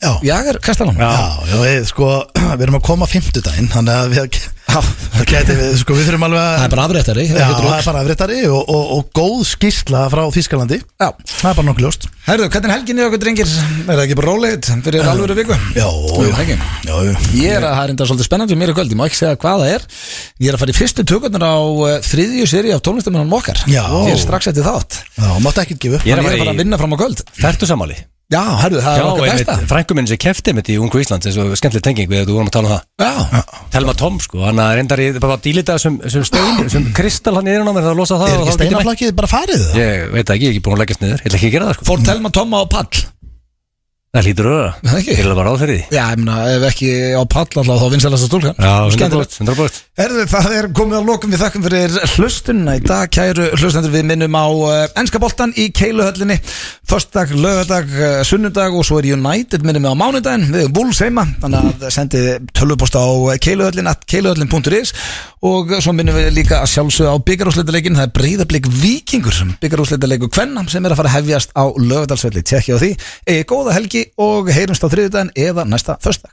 Já, já,
Jager Kastalan
já við, sko, við erum að koma fimmtudaginn þannig að við, það gæti við, sko, við þurfum alveg
Það er
að
bara afréttari
Já, það er bara afriðtari og, og, og góð skýrsla frá Þýskalandi
Já.
Það er bara nokkuð ljóst
Herðu, hvernig er helginni okkur drengir? Er það ekki bara rólegt fyrir alvöru viku?
Já,
Jú, ekki.
já, já.
Ég er að það er enda svolítið spennandi mér í kvöld, ég má ekki segja hvað það er Ég er að fara í fyrstu tökurnar á eh, þriðju seri af tónlistamennan okkar
Já.
Ég er strax eftir þátt
já máttu ekkert gefa upp
Ég
Ég
er að
er að
fara í-
fara að vinna fram á kvöld
þertu samáli
Já, herru, það
Já,
er okkar
einmitt,
besta
frænku minn sem kefti mitt í Ungu Ísland eins og skemmtileg tenging við þetta vorum að tala um það
Já,
Telma Tom sko, hann að reyndar ég bara að dýlita þessum þessum stein, þessum kristal hann yfir á mér það losa það
Er
og þá get ég
ekki
mætt.
steinaflakið bara farið það?
Ég veit það ekki, ég er ekki búin að leggjast niður, ég ætla ekki að gera það sko
fór Telma Tomma á pall
Það hlýtur öra,
Það
ég
ekki?
ætla bara ráð fyrir því
Já, ég meina, ef ekki á pall alltaf þá vinsælast að stúlkan
Já,
Skemmtilegt.
100%, 100%.
Herðu, það er komið að lokum við þakkum fyrir hlustunna í dag, kæru hlustendur við minnum á uh, ennska boltan í keiluhöllinni Föstdag, lögadag, uh, sunnudag og svo er United minnum við á mánudaginn við erum Bulls heima, þannig að sendið tölvupost á eh, keiluhöllin at keiluhöllin.is og svo minnum við líka að sjálfsögða á byggarúsleitaleikin það er breyðablík vikingur byggarúsleitaleik og kvenna sem er að fara að hefjast á lögadalsvelli, tjekkja á því, eigi góða helgi og heyrumst á þriðudaginn eða næsta föstdag